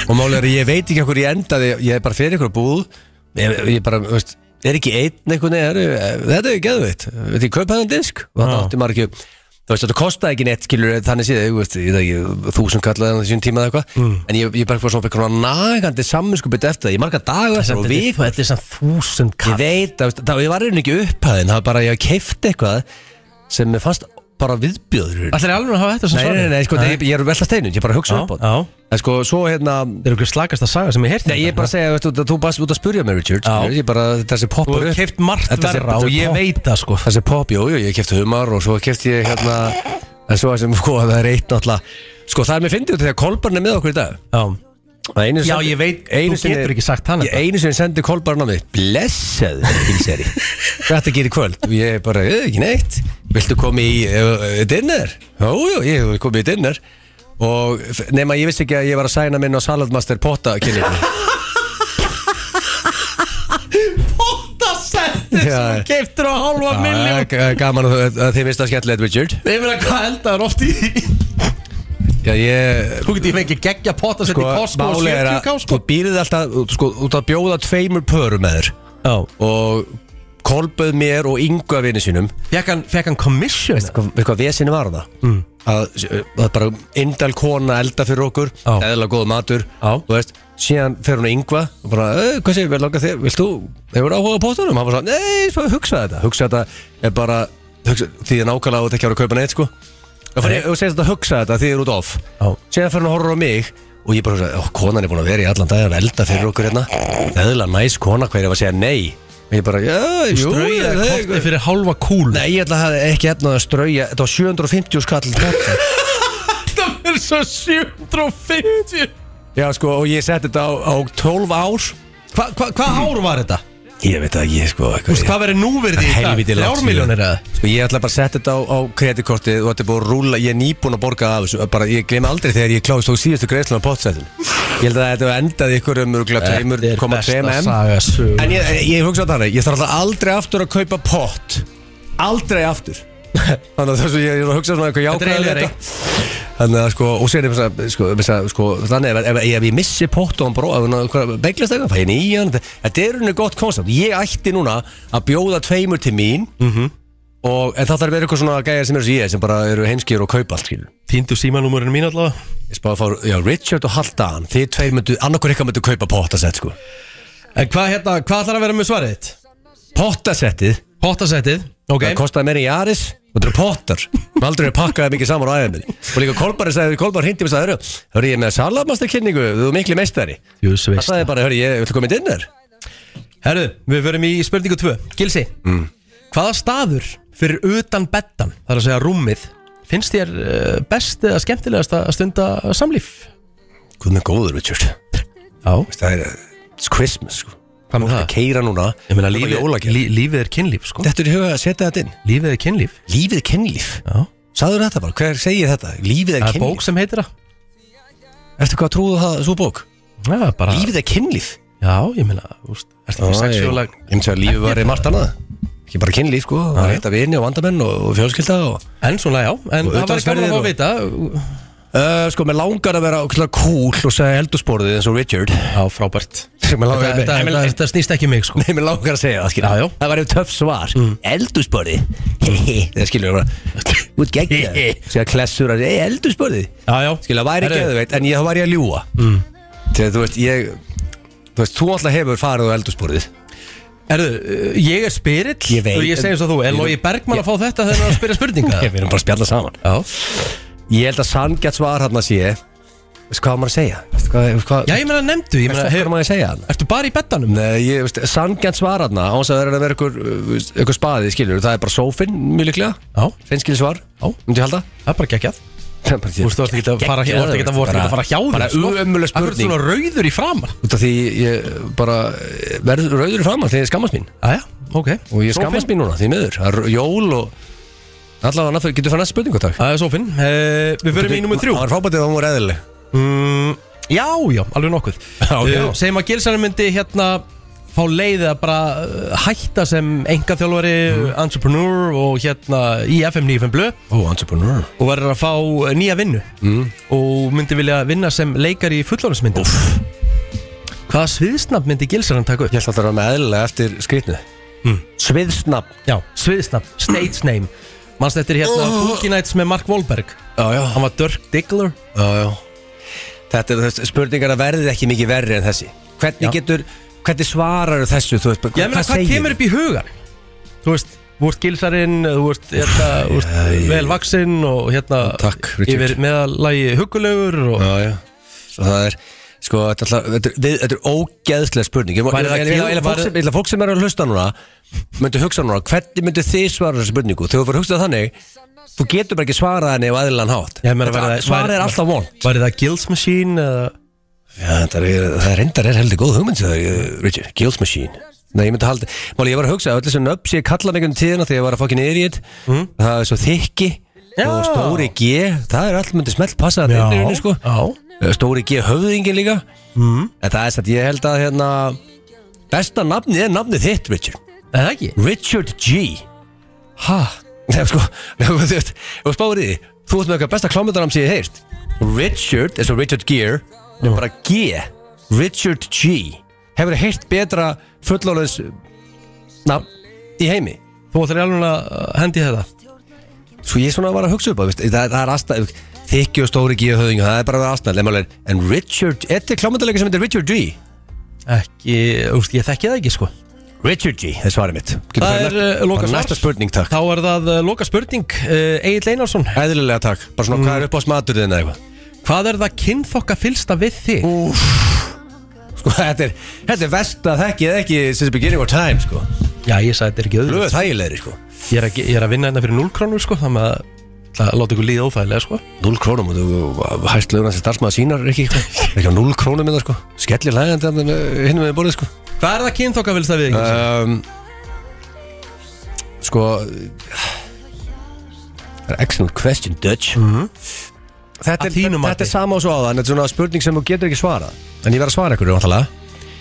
Speaker 2: og málega er að ég veit ekki okkur ég endaði ég er bara fyrir ykkur búð ég, ég bara, þú veist, er ekki einn einhvern veginn er- þetta er geðveitt, þetta er kaupaðan disk og það átti maður ekki Þú veist, þetta kostaði ekki neitt, skilur, þannig séð, þú veist, ég veit ekki, þúsund kallaði á þessum tíma eða eitthvað, en ég, ég bara fór svona eitthvað nagandi samminskupið eftir það, ég marga daga eftir og vik
Speaker 1: Þetta er samt þúsund
Speaker 2: Ég
Speaker 1: kall
Speaker 2: veit, það, það, ég var einhvern ekki upphæðin Það var bara að ég keifti eitthvað sem mér fannst bara viðbjöður Nei,
Speaker 1: Allir er alveg að hafa þetta sem
Speaker 2: nei, nei, nei, sko, nei. Ég, ég er velta steinum, ég er bara að
Speaker 1: Já,
Speaker 2: hugsa upp á
Speaker 1: já.
Speaker 2: það En sko, svo hérna
Speaker 1: Það er okkur slagasta saga sem ég hérna. heyrti
Speaker 2: Nei, ég er bara að segja, veistu, þú, þú bast út að spurja mig, Richard
Speaker 1: Já.
Speaker 2: Ég er bara, þessi
Speaker 1: Þú
Speaker 2: poppar
Speaker 1: hefur
Speaker 2: upp
Speaker 1: keift margt
Speaker 2: Þetta sé-
Speaker 1: verra
Speaker 2: þetta
Speaker 1: og
Speaker 2: er
Speaker 1: ég
Speaker 2: popp.
Speaker 1: veit það sko
Speaker 2: Þessi pop, jú, jú, ég keifti humar og svo keifti ég hérna En svo sem, sko, það er eitt náttúrulega Sko, það er mér fyndið út þegar Kolbarn er með okkur í dag
Speaker 1: Já,
Speaker 2: Það er einu sem
Speaker 1: Já,
Speaker 2: sendi-
Speaker 1: ég veit,
Speaker 2: einu
Speaker 1: þú getur ekki sagt hann
Speaker 2: Ég einu sem sendi Kolbarn á mig Blessað, Hilseri Þetta gerir kvöld Og ég bara, "Eh, ekki neitt Viltu koma í uh, dinner? Jú, jú, ég hef komið í dinner Og f- nema ég vissi ekki að ég var að sæna minn á Saladmaster potta kynningu
Speaker 1: Það setti
Speaker 2: Já.
Speaker 1: sem keiftur á halva
Speaker 2: Já,
Speaker 1: miljón
Speaker 2: g- Gaman að, þú- að þið finnst það skemmtilegt, Richard
Speaker 1: Ég meina hvað eldaður oft í
Speaker 2: Já, ég
Speaker 1: Þú getur fengið geggja potta sett í Costco og
Speaker 2: málið er
Speaker 1: 70
Speaker 2: að
Speaker 1: ká
Speaker 2: Þú
Speaker 1: sko
Speaker 2: býrið alltaf, sko, út að bjóða tveimur pörum með þér
Speaker 1: Já
Speaker 2: Og kolböð mér og yngu af vinnu sínum
Speaker 1: Fekk hann, fekk hann commission
Speaker 2: Veistu hvað, veist hvað vesinni var það? Mm. Að, að bara indal kona elda fyrir okkur,
Speaker 1: Já.
Speaker 2: eðla góð matur
Speaker 1: Já.
Speaker 2: þú veist, síðan fer hún að yngva og bara, "Eh, hvað segir, vel langar þér, vilt þú hefur áhuga á pótunum? Hann bara svo, nei, svo hugsa þetta hugsa þetta er bara hugsa, því að nákvæmlega þú ert ekki að vera að kaupa neitt sko og
Speaker 1: Nei.
Speaker 2: fyrir, þú segir þetta, hugsa þetta, því þið eru út off
Speaker 1: Já.
Speaker 2: síðan fer hún að horfa á mig og ég bara, ó, konan er búin að vera í allan dag að elda fyrir okkur hérna eðla næs kona, hver er að segja nei Ég bara, já, jú
Speaker 1: Strauja
Speaker 2: það er
Speaker 1: korti
Speaker 2: eitthvað.
Speaker 1: fyrir hálfa kúl
Speaker 2: Nei, ég ætla að hafa ekki efnað að strauja Þetta var 750 skall kall.
Speaker 1: Þetta verður svo 750
Speaker 2: Já, sko, og ég setti þetta á, á 12 ár
Speaker 1: Hvað hva, hva ár var þetta?
Speaker 2: Ég veit það ekki, sko
Speaker 1: Þú veist, hvað verður núverði í dag?
Speaker 2: Helviti langt síðan.
Speaker 1: miljónir eða?
Speaker 2: Sko ég ætla bara að setja þetta á, á kreditkortið og þetta er búið að rúla, ég er nýbúin að borga af þessu bara ég glem aldrei þegar ég kláðist á síðustu greiðslun á pottsættin ég held að þetta hafi endað ykkur um örgulega 2,2 m
Speaker 1: saga sög
Speaker 2: en ég, eh, ég hugsa þetta þannig, ég þarf alltaf aldrei aftur að kaupa pott aldrei aftur þannig að þessu ég er að hugsa svona eitthvað
Speaker 1: Þetta er
Speaker 2: jákvæða
Speaker 1: eiginlega
Speaker 2: þannig að sko og sér ég bara sko, sko, sko, þannig ef, ef, ef ég missi pott og hann bróð beiglast eitthvað, fæ ég nýjan þetta er unni gott koncept, ég ætti núna að bjóða tveimur til mín
Speaker 1: Mhm.
Speaker 2: og en það þarf að vera eitthvað svona gæjar sem eru sem ég sem bara eru heimskýr og kaupa allt skilur
Speaker 1: Týndu símanúmurinn mín allavega
Speaker 2: ég spáði að fá, já Richard og Haldan þið tveir myndu, annarkur ykkar myndu kaupa pottasett sko
Speaker 1: En hvað hérna, hvað ætlar að vera með svarið þitt?
Speaker 2: pottasettið
Speaker 1: Pottasettið Ok
Speaker 2: Það kostaði meira í Aris og þetta eru pottar Við aldrei pakkaði mikið saman á æðinni Og líka Kolbari sagði, Kolbari hindi mig sagði "Hörru, Hörru, ég er með salamastarkynningu, þú er mikli meistari
Speaker 1: Jú,
Speaker 2: Það
Speaker 1: sveist
Speaker 2: sagði bara, hörru, ég vil koma inn inn þér
Speaker 1: Herru, við verum í spurningu 2 Gilsi mm. Hvaða staður fyrir utan bettan Það er að segja rúmið Finnst þér eh, best eða skemmtilegast að stunda samlíf?
Speaker 2: Hvað með góður, Richard
Speaker 1: Já
Speaker 2: Það er, it's Christmas, sko
Speaker 1: Hvað með
Speaker 2: Það
Speaker 1: það?
Speaker 2: keira núna
Speaker 1: Ég meina
Speaker 2: það er bara
Speaker 1: lífið,
Speaker 2: jólagjafir.
Speaker 1: lí, lífið er kynlíf sko
Speaker 2: Þetta er í huga að setja þetta inn
Speaker 1: Lífið er kynlíf
Speaker 2: Lífið er kynlíf
Speaker 1: Já
Speaker 2: Sagður þetta bara, hver segir þetta? Lífið er
Speaker 1: Það er bók sko.
Speaker 2: kynlíf
Speaker 1: sem heitir það
Speaker 2: Ertu hvað trúðu það, svo bók?
Speaker 1: Já, bara
Speaker 2: Lífið er kynlíf
Speaker 1: Já, ég meina, úst Ertu ekki
Speaker 2: Já, ég-
Speaker 1: sexuálag
Speaker 2: Ég myndi að lífið var í margt annað Ekki bara kynlíf, sko Það var hitta vini og vandamenn og, og fjölskylda og
Speaker 1: En svona, já En
Speaker 2: Og
Speaker 1: það var gaman að fá að vita
Speaker 2: Uh, sko, mér langar að vera ógeðslega cool og segja eldursporðið eins og Richard
Speaker 1: Já, frábært
Speaker 2: Mér
Speaker 1: Þetta-
Speaker 2: langar,
Speaker 1: Þetta
Speaker 2: mér,
Speaker 1: þetta- þetta snýst ekki um mig sko
Speaker 2: nei, mér langar að segja það, skilja
Speaker 1: Já, já.
Speaker 2: Það var einn töff svar mm. Eldursporðið, hehe Það skilja bara, út geggja Segja klessur að, hey, eldursporðið
Speaker 1: Já, já
Speaker 2: Skilja, væri
Speaker 1: Herru.
Speaker 2: ekki eða veit, en ég, þá var ég að ljúa mm. Þegar þú veist, ég Þú veist, þú alltaf hefur farið á eldursporðið
Speaker 1: Erðu, uh, ég er spyrill
Speaker 2: Ég veit.
Speaker 1: Og ég segi eins og þú, er Lógi Bergman að fá þetta þegar hann er að spyrja spurninga?
Speaker 2: Við erum bara að spjalla saman
Speaker 1: Já
Speaker 2: Ég held að sangjart svar hann að sé Veist hvað á maður að segja? Veist hvað, veist hvað,
Speaker 1: Já, ég meina nefndu, ég meina,
Speaker 2: veist hvað
Speaker 1: hefur
Speaker 2: maður að segja hann?
Speaker 1: Ertu bara í bettanum?
Speaker 2: Nei, ég veist, sangjant svararna án þess að það er að vera ykkur, uh, veist, ykkur spaði, skilur það er bara sófinn, mjög líklega,
Speaker 1: Já,
Speaker 2: hreinskili svar
Speaker 1: Já.
Speaker 2: myndi ég halda
Speaker 1: það er bara geggjað
Speaker 2: Það er bara-
Speaker 1: Þú veist, þú varst ekki að fara hjá Þú varst ekki að vorst ekki að fara hjá þér sko.
Speaker 2: Bara ömurleg
Speaker 1: Akkur er
Speaker 2: spurning.
Speaker 1: svona rauður í framar
Speaker 2: Út af því ég bara eh, verð rauður í framann þegar ég skammast mín
Speaker 1: Jæja, ok
Speaker 2: og ég skammast mín núna, því miður Það er jól og allavega annað, getur fann að spurningu takk
Speaker 1: Það er sófinn Eh, Við förum í nummer þrjú
Speaker 2: Það var frábært eða hún voru eðlileg
Speaker 1: Mm, Já, já, alveg nokkuð
Speaker 2: Já,
Speaker 1: Eh,
Speaker 2: já.
Speaker 1: Segjum að Gilsarinn myndi hérna fá leiðið að bara eh, hætta sem engaþjálfari, entrepreneur og hérna í FM 95 blöð
Speaker 2: Ó, entrepreneur
Speaker 1: og verður að fá eh, nýja vinnu og myndi vilja vinna sem leikari í fullorðinsmyndum Hvaða sviðsnafn myndi Gilsarinn taka upp?
Speaker 2: Ég ætla að það var með eðlilega eftir skrýtnu Hmm. Sviðsnafn
Speaker 1: Já, sviðsnafn, stage name Manst þetta er hérna Boogie Nights með Mark Wahlberg
Speaker 2: Já, já,
Speaker 1: Hann var Dirk Diggler
Speaker 2: Já, já Þetta er þess, spurningar að verðið ekki mikið verri en þessi Hvernig
Speaker 1: Já.
Speaker 2: getur, hvernig svarar þessu, þú veist,
Speaker 1: Ég meina hvað kemur upp í hugan? Þú veist, þú ert gilsarinn, þú ert, hérna, þú ert vel vaksinn og hérna
Speaker 2: Takk, Richard.
Speaker 1: Yfir meðalagi hugulegur og
Speaker 2: Já, já Svo það er, sko, þetta er, alltaf- þetta er, við- þetta er ógeðslega spurning Ég
Speaker 1: Var það kemur- var-
Speaker 2: ætla fólk sem er að hlusta núna myndu hugsa núna, hvernig myndu þið svara þessu spurningu Þegar þú fyrir að hugsa það þannig Þú getur bara ekki svarað henni á aðilan hátt
Speaker 1: Ég meina,
Speaker 2: Þetta-
Speaker 1: væri það-
Speaker 2: Svarið
Speaker 1: væri-
Speaker 2: er alltaf von
Speaker 1: Var það Gills Machine eða
Speaker 2: Já, það er, það er reyndar er heldur góð hugmynd það, Richard, Guild Machine Nei, ég myndi halda, máli ég var að hugsa að öll þessu nöfn sem ég kalla mig um tíðina þegar ég var að fokkin er í það er svo þykki
Speaker 1: Já.
Speaker 2: og stóri G, það er allt myndi smelt passa þetta inn í henni, sko.
Speaker 1: já
Speaker 2: stóri G höfðingin líka mm. en það er satt, ég held að hérna besta nafni er nafnið þitt, Richard
Speaker 1: Er það ekki?
Speaker 2: Richard G
Speaker 1: Ha?
Speaker 2: Nei, sko, nei, þú veist, ef þú spáir í því Þú ert með eitthvað besta klámyndaram sem ég hef heyrt Richard, eins og Richard Gere er bara G, Richard G Hefur heyrt betra fullóðins nafn í heimi
Speaker 1: Þú ætlar í alveg að uh, hendi í þetta
Speaker 2: Svo Sko, ég svona var að hugsa upp á, veist, það, það er aðstæð Þykki og stóri G höfðingu, það er bara að vera aðstæð En, málega, en Richard, þetta er klámyndarleika sem heitir Richard G
Speaker 1: Ekki, úst, ég þekki það ekki sko
Speaker 2: Richard G, það er svarið mitt Getur
Speaker 1: Það
Speaker 2: farið
Speaker 1: er,
Speaker 2: næst-
Speaker 1: uh, loka
Speaker 2: bara
Speaker 1: svar.
Speaker 2: Næsta spurning, takk
Speaker 1: Þá er það uh, loka spurning uh, Egil Einarsson
Speaker 2: Æðlilega takk, bara svona hvað er upp á smaturðin eða eitthvað
Speaker 1: Hvað er það kynþokka fylsta við þig?
Speaker 2: Sko, sko, þetta er, þetta er vest að þekki eða ekki since the beginning of time sko
Speaker 1: Já, ég sagði þetta er ekki
Speaker 2: Blöð
Speaker 1: auðvitað
Speaker 2: er þægilegri sko
Speaker 1: ég, er að ge- ég er að vinna hérna fyrir 0 krónur sko Þannig að ætla að láta ykkur líða óþægilega sko
Speaker 2: 0 krónum og þú hæst löguna sem starfsmaður sínar ekki sko ekki á 0 krónum með það sko skellir lægandi þarna með- hinum með borðið sko
Speaker 1: Hvað er það kynþokka vilst það við ekki?
Speaker 2: um, Sko Það er excellent question, Dutch Þetta,
Speaker 1: Mhm.
Speaker 2: er,
Speaker 1: Að þínu
Speaker 2: þetta
Speaker 1: mati.
Speaker 2: er sama og svo aðan Þetta er svona spurning sem þú getur ekki svarað En ég verð að svara ykkur, vantalega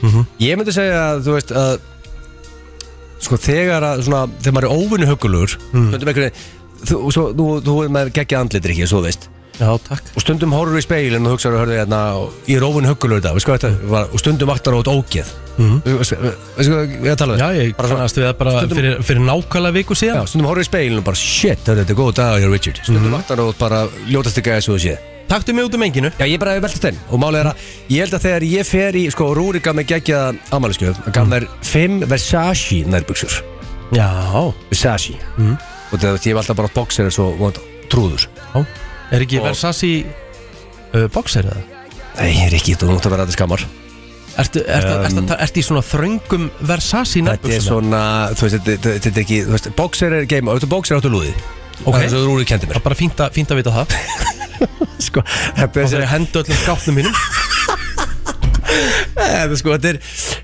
Speaker 1: Mhm.
Speaker 2: Ég myndi segja að, þú veist að, Sko þegar að svona, Þegar maður er óvinni hugulugur mm. Þú, svo, þú, þú er með geggja andlitir ekki, svo þú veist
Speaker 1: Já, takk
Speaker 2: og stundum horfur í speilin og hugsaður hörðu hérna og ég er óvinn huggulur þetta, veistu hvað þetta var og stundum vaktar á þetta ógeð veistu veistu hvað ég er að tala um?
Speaker 1: Mhm. Já, ég
Speaker 2: bara svona,
Speaker 1: kannast við það bara
Speaker 2: Stundum-
Speaker 1: fyrir, fyrir nákvæmlega viku
Speaker 2: já,
Speaker 1: síðan
Speaker 2: stundum horfur í speilin og bara shit, hörðu, þetta er góð dag hjá Richard stundum
Speaker 1: Mhm.
Speaker 2: vaktar á þetta bara ljótast ekki að þessu sé
Speaker 1: Taktu mig út um enginu
Speaker 2: já, ég bara veltast þenn og málið er að ég held að þegar ég fer í sko, rúrika með geggja ammæliskjöf að
Speaker 1: Mhm.
Speaker 2: gaf þær 5 Versace nærbuksur
Speaker 1: Já,
Speaker 2: Versace
Speaker 1: Mhm.
Speaker 2: og þetta ég var alltaf bara boxer svo vond trúður
Speaker 1: já Er ekki Versace uh, boxer eða?
Speaker 2: nei, Rikki, þú mútt að vera að þetta skammar
Speaker 1: Ertu, ertu, ertu, ertu, ertu í svona þröngum Versace
Speaker 2: Þetta er
Speaker 1: nærbuxum?
Speaker 2: svona, þú veist, þetta- þetta þetta er ekki, þú veist, boxer er game, auðvitað boxer áttu lúði
Speaker 1: Ok.
Speaker 2: Það er svo þú rúri kendi mér
Speaker 1: Það er bara fínt að, fínt að vita það
Speaker 2: Sko, þetta er,
Speaker 1: Það er að henda öllum skápnum mínum
Speaker 2: þetta, sko, þetta er,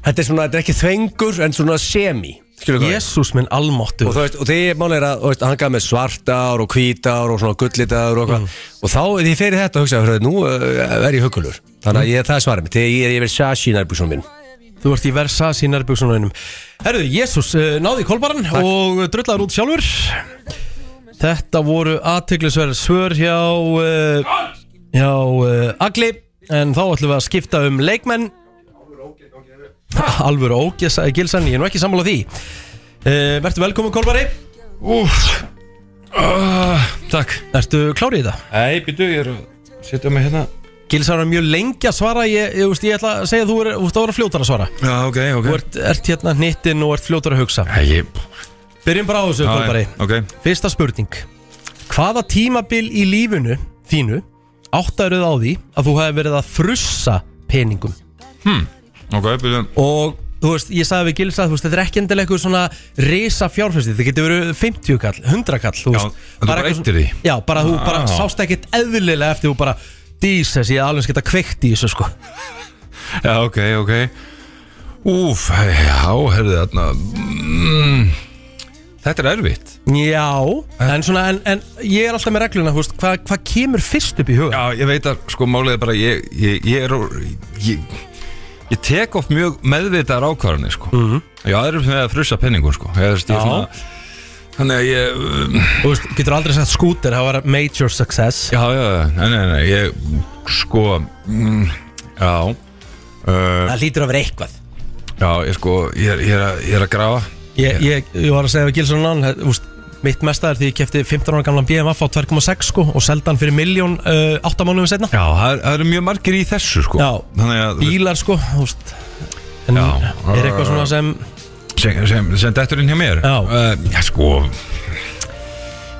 Speaker 2: þetta er svona, þetta er ekki þvengur en svona semi Skilur hvað? Yes.
Speaker 1: Jésús minn almáttu
Speaker 2: Og þú veist, og því málið er að, þú veist, hann gaf með svartár og hvítar og svona gullitaður og eitthvað Og þá, því ég fer í þetta að hugsa, hörðu, nú uh, er ég hugulur Þannig að ég, það er svarið mitt, þegar ég er yfir Sashi nærbúsum minn
Speaker 1: Þú ert í Versace nærbjöksunarunum Herðu, Jésús, náði í kolbaran og drullar út sjálfur Þetta voru aðteglisverð svör hjá uh, hjá uh, Agli en þá ætlum við að skipta um leikmenn Alvöru ógeð, sagði Gilsan, ég er nú ekki sammála því uh, Vertu velkomin kolbari Ah,
Speaker 3: Takk
Speaker 1: Ertu klárið í þetta?
Speaker 3: Æ, býtu, ég er að setja mig hérna
Speaker 1: Gilsan er mjög lengi að svara ég, ég, ég, ég ætla að segja að þú er, þú ert að vera fljótar að svara
Speaker 3: Já, ok, ok
Speaker 1: Þú ert, ert hérna hnittinn og ert fljótar að hugsa
Speaker 3: Æ, ég
Speaker 1: Byrjum bara á þessu, Kolbari
Speaker 3: Ok
Speaker 1: Fyrsta spurning Hvaða tímabil í lífinu þínu áttaruð á því að þú hefði verið að frussa peningum
Speaker 3: Ok, býtu
Speaker 1: og þú veist, ég sagði við Gils að þú veist, þetta er ekki endilega eitthvað svona risa fjárfæsti, þetta getur verið 50 kall, 100 kall þú
Speaker 3: Já,
Speaker 1: veist,
Speaker 3: en þú bara
Speaker 1: eitthvað
Speaker 3: eyddir því.
Speaker 1: svona- Já, bara þú bara
Speaker 3: Ah.
Speaker 1: sást ekkert eðlilega eftir þú bara dís þessi, ég hef alveg geta kveikt í þessu sko
Speaker 3: Já, ok, ok Úf, já, herðu þarna mm, Þetta er erfitt
Speaker 1: Já, en svona, en, en ég er alltaf með regluna, þú veist, hvað hva kemur fyrst upp í huga?
Speaker 3: Já, ég veit að sko málið er bara ég, ég, ég er úr- ég, ég tek of mjög meðvitaðar ákvarðanir sko mm -hmm. Já, aðrir með að frussa penningur sko ég, veist, ég
Speaker 1: Já.
Speaker 3: svona, Þannig að ég um,
Speaker 1: Þú veist, getur aldrei sagt skúter, það var major success
Speaker 3: Já, já, já, nei, nei, nei Ég sko mm, Já uh,
Speaker 1: Það hlýtur að vera eitthvað
Speaker 3: Já, ég sko Ég, er- ég, er, að, ég er að grafa
Speaker 1: Ég, ég, ég var að segja við Gilsson Lán úst, Mitt mesta er því ég kefti 15 ára gamlan BMF á 2,6 sko og seldi hann fyrir miljón uh, 8 mánuðum setna
Speaker 3: Já, það er- það eru mjög margir í þessu sko
Speaker 1: Já.
Speaker 3: Þannig að þú
Speaker 1: Bílar sko úst, En
Speaker 3: Já.
Speaker 1: er eitthvað svona sem
Speaker 3: sem, sem, sem dettur inn hjá mér
Speaker 1: Já.
Speaker 3: Eh, já sko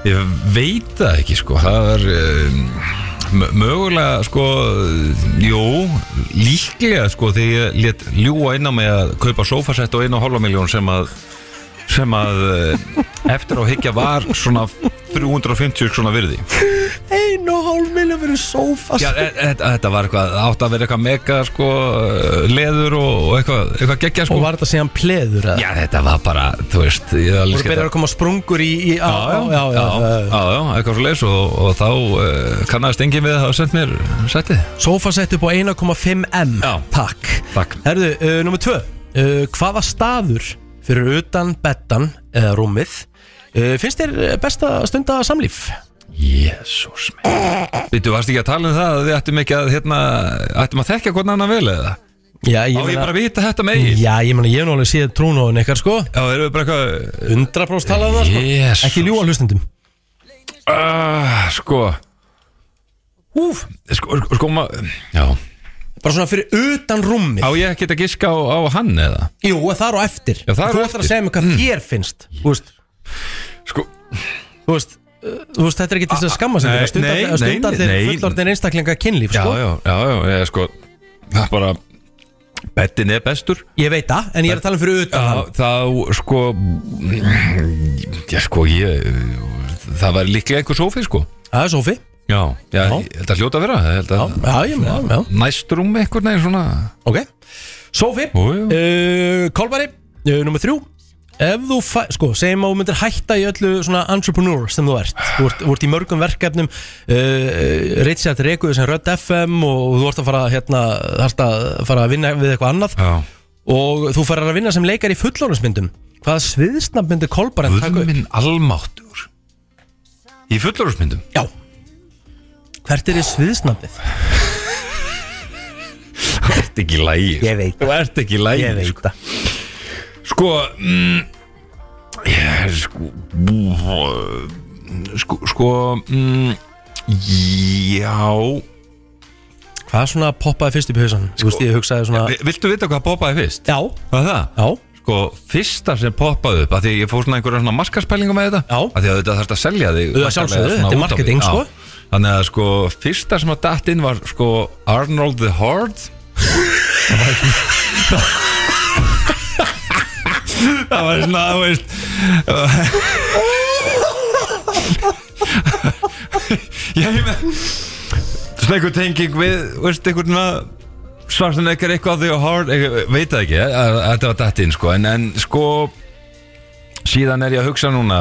Speaker 3: ég veit það ekki sko það er uh, mögulega sko eh, jú, líklega sko þegar ég let ljúa inn á mig að kaupa sofasett og einu og hálfa miljón sem að sem að eh, eftir á higgja var svona 350 svona virði
Speaker 1: 1,5 miljón verið sófa
Speaker 3: Já, e, e, þetta var eitthvað, átt að vera eitthvað mega sko, eh, leður og, og eitthvað, eitthvað geggja sko
Speaker 1: Og var þetta síðan pleður eða?
Speaker 3: Já, þetta var bara, þú veist ég er alveg
Speaker 1: Voru
Speaker 3: skil-
Speaker 1: byrjar að koma sprungur í, í á,
Speaker 3: já,
Speaker 1: á, já, já, já, já.
Speaker 3: já, já, eitthvað svo leis og, og þá uh, kannast enginn við að hafa sendt mér settið.
Speaker 1: Sófa sett upp á 1,5M
Speaker 3: Já.
Speaker 1: Takk
Speaker 3: Takk.
Speaker 1: Herðu, uh, nummer 2 uh, Hvaða staður fyrir utan bettan eða rúmið uh, finnst þér eh, best að stunda samlíf?
Speaker 3: Jésús mig. Vittu, varst ekki að tala um það að við ættum ekki að, hérna, ættum að þekka hvernig annan vel eða?
Speaker 1: Já, ég
Speaker 3: Á ég
Speaker 1: meina-
Speaker 3: bara að vita þetta með eigin?
Speaker 1: Já, ég meina, ég hef nú alveg séð trúnóðun ykkar, sko
Speaker 3: Já, erum við bara eitthvað,
Speaker 1: 100% talað um það, sko
Speaker 3: Jesús.
Speaker 1: Ekki ljúa hlustendum
Speaker 3: uh, sko, úf, sko, sko, sko, ma- já.
Speaker 1: Bara svona fyrir utan rúmið
Speaker 3: Á ég ekki að giska á, á hann eða?
Speaker 1: Jú, og þar og eftir Mm.
Speaker 3: Já, þar
Speaker 1: Þú
Speaker 3: og
Speaker 1: ætlar
Speaker 3: eftir.
Speaker 1: að segja mér hvað þér finnst Þú veist,
Speaker 3: Sko,
Speaker 1: þú veist uh, Þú veist, þetta er ekki til þess að skamma sig
Speaker 3: nei,
Speaker 1: fyrir að stunda
Speaker 3: nei,
Speaker 1: allir- að
Speaker 3: nei,
Speaker 1: Stunda allir
Speaker 3: nei.
Speaker 1: sko. fullorðin einstaklinga kynlíf,
Speaker 3: já,
Speaker 1: sko
Speaker 3: já, já, já, ég, sko, það er bara, Bettin er bestur
Speaker 1: Ég veit það, en ég er að tala um fyrir utan
Speaker 3: Já,
Speaker 1: hann
Speaker 3: þá sko Já sko ég Það var líklega einhver sófi sko
Speaker 1: Það er Sofi
Speaker 3: Já, já, ég held að hljóta að vera ég held að,
Speaker 1: Já, já, já, já,
Speaker 3: Næstrum einhvern veginn svona
Speaker 1: ok Sofi,
Speaker 3: Jú,
Speaker 1: uh,
Speaker 3: jú.
Speaker 1: Kolbari, uh, nummer þrjú Ef þú, fæ, sko, segjum að þú myndir hætta í öllu svona entrepreneur sem þú ert Þú ert, þú ert í mörgum verkefnum uh, Richard Rekuðu sem Rödd FM og, þú ert að fara, hérna, þarst að fara að vinna við eitthvað annað
Speaker 3: Já,
Speaker 1: og þú farir að vinna sem leikar í fullorðinsmyndum Hvaða sviðsnafn myndir Kolbari taka upp?
Speaker 3: Guðminn almáttur Í fullorðsmyndum
Speaker 1: Já Hvert er í sviðsnafnið?
Speaker 3: Þú ert ekki lægi
Speaker 1: Ég veit
Speaker 3: Þú ert ekki lægi
Speaker 1: það
Speaker 3: sko. sko mm, ég, Sko bú- Sko, sko mm, Já
Speaker 1: Hvað svona poppaði fyrst upp í hausan? Þú veist, ég hugsaði svona
Speaker 3: Vi- Viltu vita hvað poppaði fyrst?
Speaker 1: Já,
Speaker 3: Hvað er það?
Speaker 1: já,
Speaker 3: Sko, fyrsta sem poppaði upp að Því að ég fór svona einhverja svona markaspælingu með þetta
Speaker 1: Já.
Speaker 3: Af Því að þetta þarfst að selja þig
Speaker 1: Auðvitað
Speaker 3: væntanlega
Speaker 1: sjálfsögðu,
Speaker 3: svona
Speaker 1: þetta er
Speaker 3: út á
Speaker 1: marketing,
Speaker 3: við.
Speaker 1: sko.
Speaker 3: Já. Þannig að sko, fyrsta sem að datt inn var sko Arnold the Horde Það var svona, þú veist Ég hef með Svona einhver tenging við, þú veist, einhvern veginn Svartan ekkert eitthvað því að hard ég Veit það ekki, að- að þetta var datt inn, sko En, en sko Síðan er ég að hugsa núna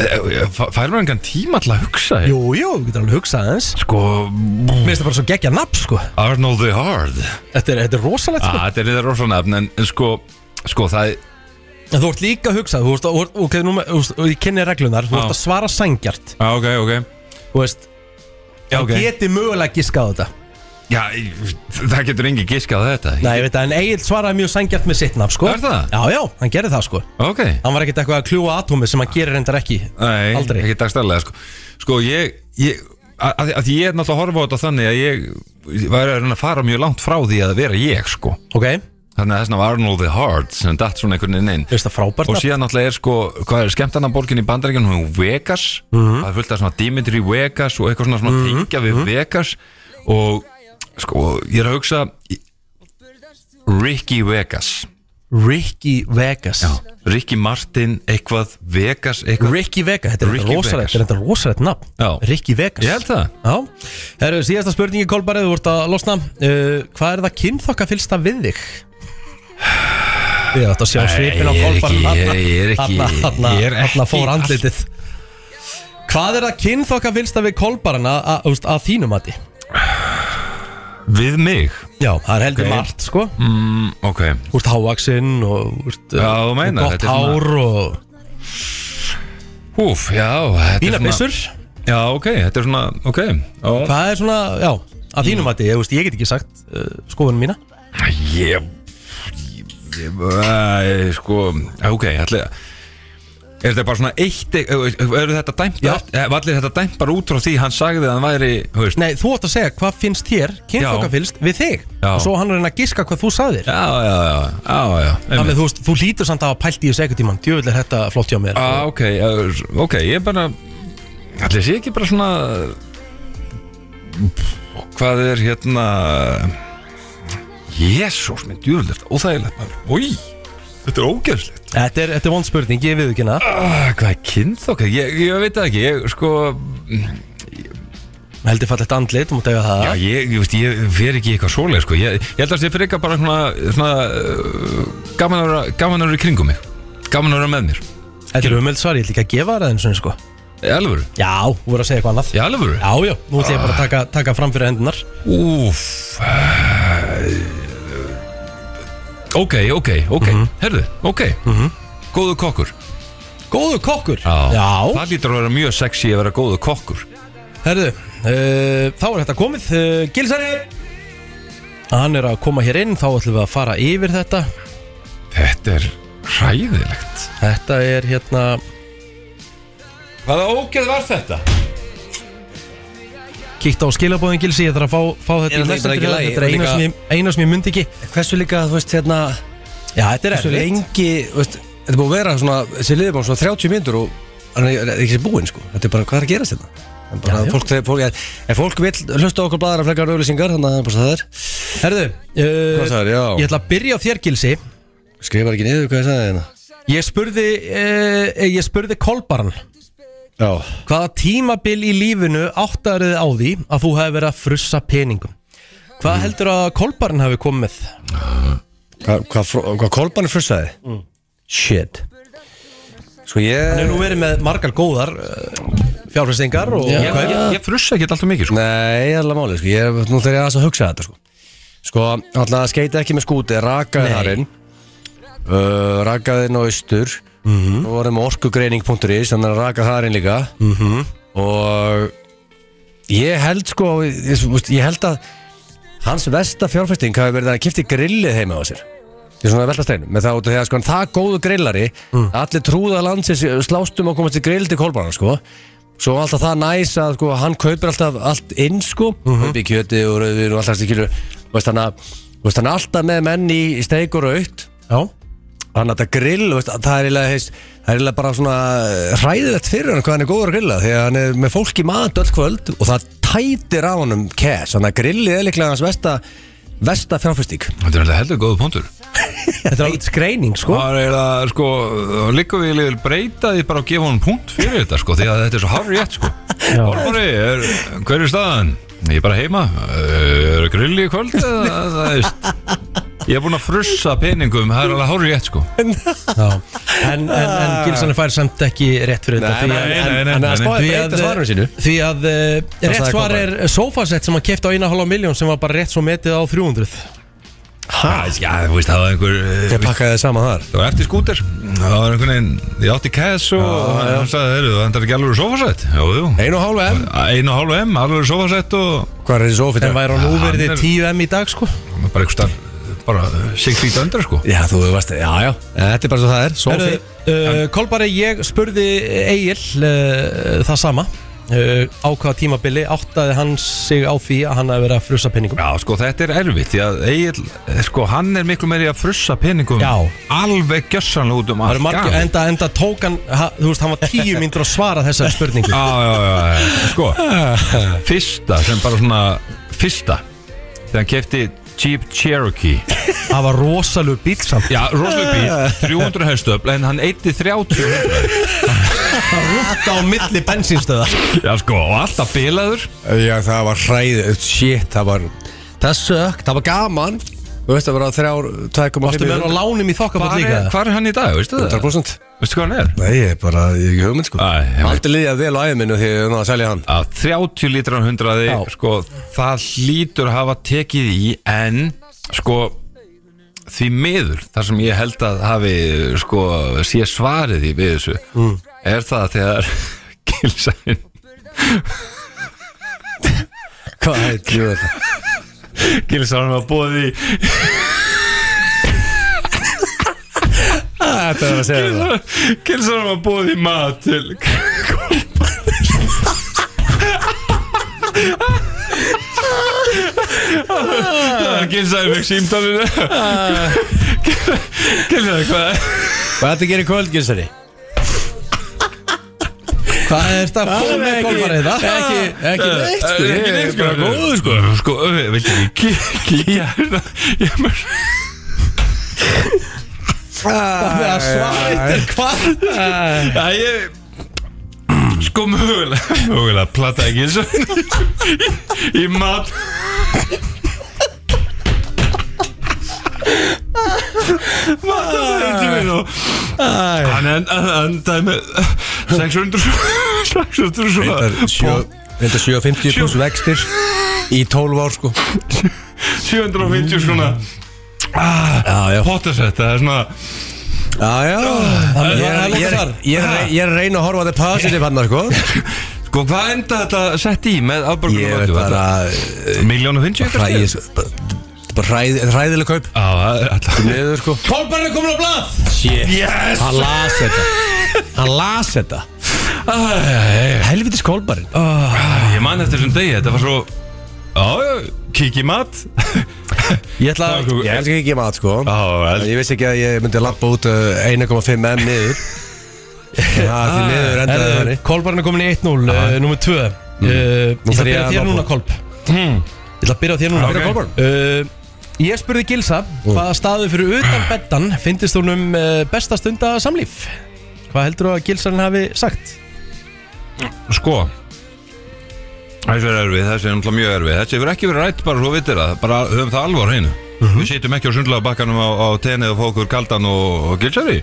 Speaker 3: eh, fæ- Fær maður engan tíma til að hugsa hér?
Speaker 1: jú, jú, við getum alveg hugsað eins
Speaker 3: Sko,
Speaker 1: Mér finnst það bara svo geggja nafn, sko
Speaker 3: Arnold the Hard
Speaker 1: Þetta er, þetta er rosalegt,
Speaker 3: ah,
Speaker 1: sko
Speaker 3: Þetta er þetta rosanafn, en, en sko Sko, það,
Speaker 1: En þú ert líka að hugsa, þú ert, þú ert ok, nú, með- þú veist, og ég kenni reglunar Þú
Speaker 3: Já.
Speaker 1: ert að svara sangjart,
Speaker 3: ah, ok, ok
Speaker 1: þú veist
Speaker 3: Já, ok
Speaker 1: Geti mögulega giskað á þetta
Speaker 3: Já, ég- það getur engin giskað á þetta
Speaker 1: Nei, ég veit að, en Egil svaraði mjög sangjart með sitt nafn, sko
Speaker 3: Er það?
Speaker 1: Já, já, hann gerði það, sko
Speaker 3: Ok
Speaker 1: Hann var ekkert eitthvað að kljúa atómi sem hann gerir reyndar ekki
Speaker 3: Nei,
Speaker 1: Aldrei.
Speaker 3: ekki dagstæðlega sko. sko, ég, ég að, að- að ég er náttúrulega að horfa á þetta þannig að ég ég var að reyna að fara mjög langt frá því að vera ég sko.
Speaker 1: Ok,
Speaker 3: Þannig að þessna var Arnold the Hard sem datt svona einhvern veginn inn
Speaker 1: þú veist það frábært
Speaker 3: Og
Speaker 1: nafn?
Speaker 3: síðan náttúrulega er sko, hvað er skemmtarnaborgin í bandaríkjunum, hún er Vegas Það er fullt af svona Dimitri Vegas og eitthvað svona, svona tengja við Vegas Og sko, ég er að hugsa Ricky Vegas
Speaker 1: Ricky Vegas
Speaker 3: Ricky Martin, eitthvað, Vegas, eitthvað
Speaker 1: Ricky Vegas, þetta er
Speaker 3: Ricky
Speaker 1: þetta rosalegt,
Speaker 3: Vegas.
Speaker 1: þetta er þetta rosalegt nafn
Speaker 3: Já.
Speaker 1: Ricky Vegas
Speaker 3: Ég held það
Speaker 1: Já, það eru síðasta spurningi Kolbarið, þú ert að losna uh, Hvað er það kynþokka fylsta við þig? Við ættum að sjá svipin á
Speaker 3: ég er
Speaker 1: Kolbarið þarna.
Speaker 3: ekki- ég er ekki-
Speaker 1: Þarna- þarna-
Speaker 3: ég er ekki
Speaker 1: Þarna fór andlitið Hvað er það kynþokka fylsta við Kolbarið að, að, þú veist, að þínum mati?
Speaker 3: Við mig
Speaker 1: Já, það er heldur
Speaker 3: Ok.
Speaker 1: margt sko
Speaker 3: mm, Ok
Speaker 1: Þú ert hávaksinn og úrst,
Speaker 3: Já, þú meinar,
Speaker 1: gott
Speaker 3: þetta er
Speaker 1: hár
Speaker 3: svona-
Speaker 1: og
Speaker 3: Úf, já þetta er
Speaker 1: fína
Speaker 3: svona-
Speaker 1: byssur
Speaker 3: Já, ok, þetta er svona, ok já.
Speaker 1: Hvað er svona, já, að þínum mati ég, veist, ég get ekki sagt uh, skoðunum mína
Speaker 3: Ég Ég, ég sko Ok, ætli Er þetta bara svona eitt e- Eru þetta dæmt
Speaker 1: Já.
Speaker 3: eftir- eh, Var allir þetta dæmt bara út frá því Hann sagði að hann væri þú veist,
Speaker 1: Nei, þú átt að segja hvað finnst þér kynþokka fylst við þig
Speaker 3: Já.
Speaker 1: og svo hann er að reyna að giska hvað þú sagðir
Speaker 3: Já, já, já, já, já
Speaker 1: Þannig
Speaker 3: einmitt.
Speaker 1: að þú, veist, þú lítur samt að hafa pælt í þessu ekkert tímann djöfull er þetta flott hjá mér
Speaker 3: Já, ok, eh, ok, ég er bara Ætli sé ekki bara svona Hvað er hérna Jésús minn, djúrlegt, óþægilegt maður. Új, þetta er ógjörslegt
Speaker 1: Þetta er, þetta er vond spurning, ég við ekki hana
Speaker 3: ah, Hvað er kynþokka? Ég, ég veit það ekki, ég sko
Speaker 1: Heldur fallegt andlit, þú mátt eiga það
Speaker 3: Já, ég, ég veist, ég fer ekki í eitthvað svoleið sko. ég, ég held að það sé frekar bara svona, svona uh, gaman, að vera, gaman að vera í kringum mig Gaman að vera með mér
Speaker 1: Þetta er umöld svar, ég ætla ekki að gefa það eins og sko
Speaker 3: Í alvöru,
Speaker 1: Já, þú voru að segja eitthvað annað
Speaker 3: í alvöru
Speaker 1: Já, já, nú ætla ég bara að taka, taka fram fyrir hendunar
Speaker 3: Úf Ok, ok, ok Herðu, ok Góðu kokkur
Speaker 1: Góðu kokkur
Speaker 3: Það lítur að vera mjög sexy að vera góðu kokkur
Speaker 1: Herðu, uh, þá er þetta komið uh, Gilsari Hann er að koma hér inn, þá ætlum við að fara yfir þetta
Speaker 3: Þetta er ræðilegt
Speaker 1: Þetta er hérna
Speaker 3: Hvaða ógeð var þetta?
Speaker 1: Kíkt á skilabóðin Gilsi, ég þarf að fá, fá þetta
Speaker 2: Er
Speaker 1: í
Speaker 2: þetta
Speaker 1: lesendurinn.
Speaker 2: bara ekki í lagi?
Speaker 1: Þetta er eina
Speaker 2: Líka-
Speaker 1: sem, ég, eina sem ég myndi ekki
Speaker 2: Hversu líka, þú veist, hérna
Speaker 1: Já, þetta er
Speaker 2: Hversu
Speaker 1: erfitt
Speaker 2: lengi, þú veist Þetta er búið að vera svona, þessi liðið bara svona 30 myndur og hann er er ekki búinn, sko Þetta er bara, hvað er að gerast þetta? En bara,
Speaker 1: Já, já.
Speaker 2: fólk, þegar fólk, ef fólk vil hlusta á okkur bladara flekkar auðlýsingar, þannig að það er bara svo það er
Speaker 1: Herðu, uh,
Speaker 2: Hvað sagðir, já.
Speaker 1: ég ætla að byrja á þér gilsi
Speaker 2: Skrifar ekki niður hvað ég sagði hérna
Speaker 1: Ég spurði, uh, ég spurði Kolbaran
Speaker 2: Já,
Speaker 1: Hvaða tímabil í lífinu áttariði á því að þú hefði verið að frussa peningum? Hvað heldur að Kolbaran hafi komið með?
Speaker 2: hvað hva, hva, hva kolbanir frussaði? Shit Sko
Speaker 1: Hann
Speaker 2: ég
Speaker 1: hefur nú verið með margar góðar uh, fjárfæstingar og yeah.
Speaker 3: Ég, ég, ég frussa ekki alltaf mikið sko.
Speaker 2: Nei, ég er alveg málið, sko ég, Nú þegar ég aðeins að hugsa þetta, sko Sko, alltaf að skeita ekki með skúti Rakaði
Speaker 1: Nei.
Speaker 2: þarinn uh, Rakaði inn á austur mm
Speaker 3: Mhm.
Speaker 2: -hmm. Og varum orkugreining.is Þannig að rakaði þarinn líka mm
Speaker 3: Mhm.
Speaker 2: -hmm. Og Ég held sko ég, þú veist, ég held að hans versta fjárfæsting hafi verið að hann kipti grillið heima á sér Ég er svona veltasteinu með það út af því að sko, hann það góðu grillari allir trúða landsins slástum að komast í grill til kolbana sko svo alltaf það næs að sko, hann kaupir alltaf allt inn sko upp í kjöti og rauðin og alltaf stíkilu veist hann að þú veist, hann er alltaf með menn í, í steik og raut
Speaker 1: Já,
Speaker 2: hann að þetta grill veist, það er eiginlega heist, það er eiginlega bara svona eh, hræðilegt fyrir hann hvað hann er góður að grilla því að hann er með fólk í mat öll kvöld og það tætir á hann um kæs þannig að grillið er líklega hans versta versta fjárfæstík
Speaker 3: Þetta er alltaf heldur góðu punktur
Speaker 1: þetta er alveg skreining sko
Speaker 3: Það er að sko Liggur við liður breyta því bara að gefa hún punkt fyrir þetta sko Því að þetta er svo harri rétt sko Ormari, er, hver er staðan? Ég er bara heima Eh, Er grilli í kvöld? eða, Það veist Ég er búin að frussa peningum Það er alveg harri rétt sko
Speaker 1: Já. En, en, en Gilsson fær samt ekki rétt fyrir þetta
Speaker 2: Ah. Nei,
Speaker 1: því
Speaker 2: nei,
Speaker 1: að-
Speaker 2: nei,
Speaker 1: en-
Speaker 2: nei, nei,
Speaker 1: en að
Speaker 2: nei,
Speaker 1: spá-
Speaker 2: nei.
Speaker 1: því
Speaker 2: Breyta
Speaker 1: að- eh,
Speaker 2: svarinu sínu.
Speaker 1: Því að eh, rétt
Speaker 2: sagði
Speaker 1: svar er sofasett sem hann kefti á 1,5 miljón sem var bara rétt svo metið á 300
Speaker 3: Ha, Ah, já, þú veist, það var einhver eh,
Speaker 2: Ég pakkaði það saman þar
Speaker 3: Það var eftir skúter Það var einhvern veginn Ég átti kæs og hann sagði, heyrðu, það er ekki alveg sofasætt Jú, jú
Speaker 2: Einu og hálfu M
Speaker 3: Einu og hálfu M, alveg sofasætt og
Speaker 2: Hvað er þessi sofið
Speaker 1: En væri hann
Speaker 3: hann
Speaker 1: úverði
Speaker 3: er-
Speaker 1: 10M í dag sko
Speaker 3: Bara einhver starf Bara sig því döndra sko
Speaker 2: Já, þú veist, já, já Eh, Þetta er bara svo það er, sofi
Speaker 1: Herðu, uh, Kolbari, ég spurði Egil uh, það sama uh, á hvaða tímabili áttaði hann sig á því að hann hafi verið að frussa penningum
Speaker 3: Já, sko, þetta er erfitt Því að Egil, sko, hann er miklu meiri að frussa peningum
Speaker 1: Já.
Speaker 3: Alveg gjössanlega út um
Speaker 1: Það eru
Speaker 3: allt
Speaker 1: margir,
Speaker 3: gaf.
Speaker 1: enda, enda tók hann, ha, þú veist, hann var tíu myndur að svara þessari spurningu
Speaker 3: Já, já, já, já, sko Fyrsta, sem bara svona Fyrsta Þegar hann kefti Jeep Cherokee
Speaker 1: Það var rosalur bíl samt
Speaker 3: Já, rosalega bíl, 300 höstöfl En hann eitti 30 höfnum.
Speaker 1: Það rútt á milli bensinstöða
Speaker 3: Já, sko, og alltaf bilaður
Speaker 2: Já, það var hræðið, shit, það var Það sökk, það var gaman Þú veist að vera þrjár, 2,5
Speaker 1: Varstu með hann á lánum í þokkabótt
Speaker 3: Hvar
Speaker 1: líka
Speaker 3: er, hvar er hann í dag, veistu það?
Speaker 2: 100%
Speaker 3: Veistu hvað hann er?
Speaker 2: Nei, ég er bara, ég er ekki hugmynd sko
Speaker 3: Æ, ég veit.
Speaker 2: Aldrei liðjað vel á æðminu því ég er að selja hann
Speaker 3: að 30 lítrar á 100
Speaker 1: Já.
Speaker 3: sko, það hlýtur að hafa tekið í en sko því miður, þar sem ég held að hafi sko, sé svarið í við þessu, er það þegar Gilsæn
Speaker 2: Hvað heitir ég þetta?
Speaker 3: Gilsæn var búið í
Speaker 2: Þetta er að segja það
Speaker 3: Gilsæn var búið í mat til Gilsæn fekk símtalinu Gilsæn, hvað er
Speaker 2: Hvað þetta gerir kvöld, Gilsari?
Speaker 1: Hvað er þetta að fóða með Kolbarið það?
Speaker 2: Ekki, ekki neitt sko Ég er bara góð
Speaker 3: góð sko Sko, veit ekki, kí- kíkja hérna Ég er með
Speaker 1: Það svarið er hvað?
Speaker 3: Æ, ég Sko mögulega Mögulega, platta ekki eins og Í mat Mat að þetta minn og Hann en- en- endaði með 600 600 svo
Speaker 2: Þetta 750 pluss vextir Í 12 ár sko
Speaker 3: 750 svona
Speaker 2: Já, já
Speaker 3: Pottasett, það er svona
Speaker 2: Já, já
Speaker 1: er-
Speaker 2: Ég er- ég er- ég er ég er að reyna að horfa á þetta positive hann sko
Speaker 3: Sko, hvað enda þetta sett í með afbörgunum
Speaker 2: Ég veit bara
Speaker 3: Miljónu 50
Speaker 2: Hræ- ég- bara- Þetta er bara hræð- þetta er hræðileg kaup
Speaker 3: Já, það er alltaf
Speaker 2: Niður sko
Speaker 1: Kolbarið er komin á blað
Speaker 3: Yes
Speaker 2: Hann las þetta Hann las þetta Helvitis kolbarinn
Speaker 3: Ah, Ég man eftir þessum degi, þetta var svo Já, já, kík í mat
Speaker 1: Ég ætla að
Speaker 2: Ég elska ekki ekki mat sko
Speaker 3: Já, vel.
Speaker 2: Ég vissi ekki að ég myndi lappa út uh, 1,5 m niður Það því niður endaði það
Speaker 1: Herðu,
Speaker 2: þannig
Speaker 1: Kolbarinn er komin í 1-0, uh, nummer 2 uh, Ég ætla að
Speaker 2: þarf
Speaker 1: byrja
Speaker 2: ég
Speaker 1: á
Speaker 2: að
Speaker 1: þér
Speaker 2: ná
Speaker 1: núna,
Speaker 2: punkt.
Speaker 1: Kolb Ég ætla að byrja á þér núna
Speaker 3: Ok.
Speaker 1: Kolbarinn. Uh, Ég spurði Gilsa
Speaker 2: Hmm.
Speaker 1: hvaða staðu fyrir utan bettan finnist hún um besta stund að samlíf Hvað heldur þú að Gilsan hafi sagt?
Speaker 3: Sko Þessi er erfið, þessi er náttúrulega mjög erfið Þessi hefur ekki verið rætt bara svo vitir það Bara höfum það alvar hreinu
Speaker 2: Mhm.
Speaker 3: Við sitjum ekki á sundlega bakkanum á, á tenið og fá okkur kaldan og, og gilsari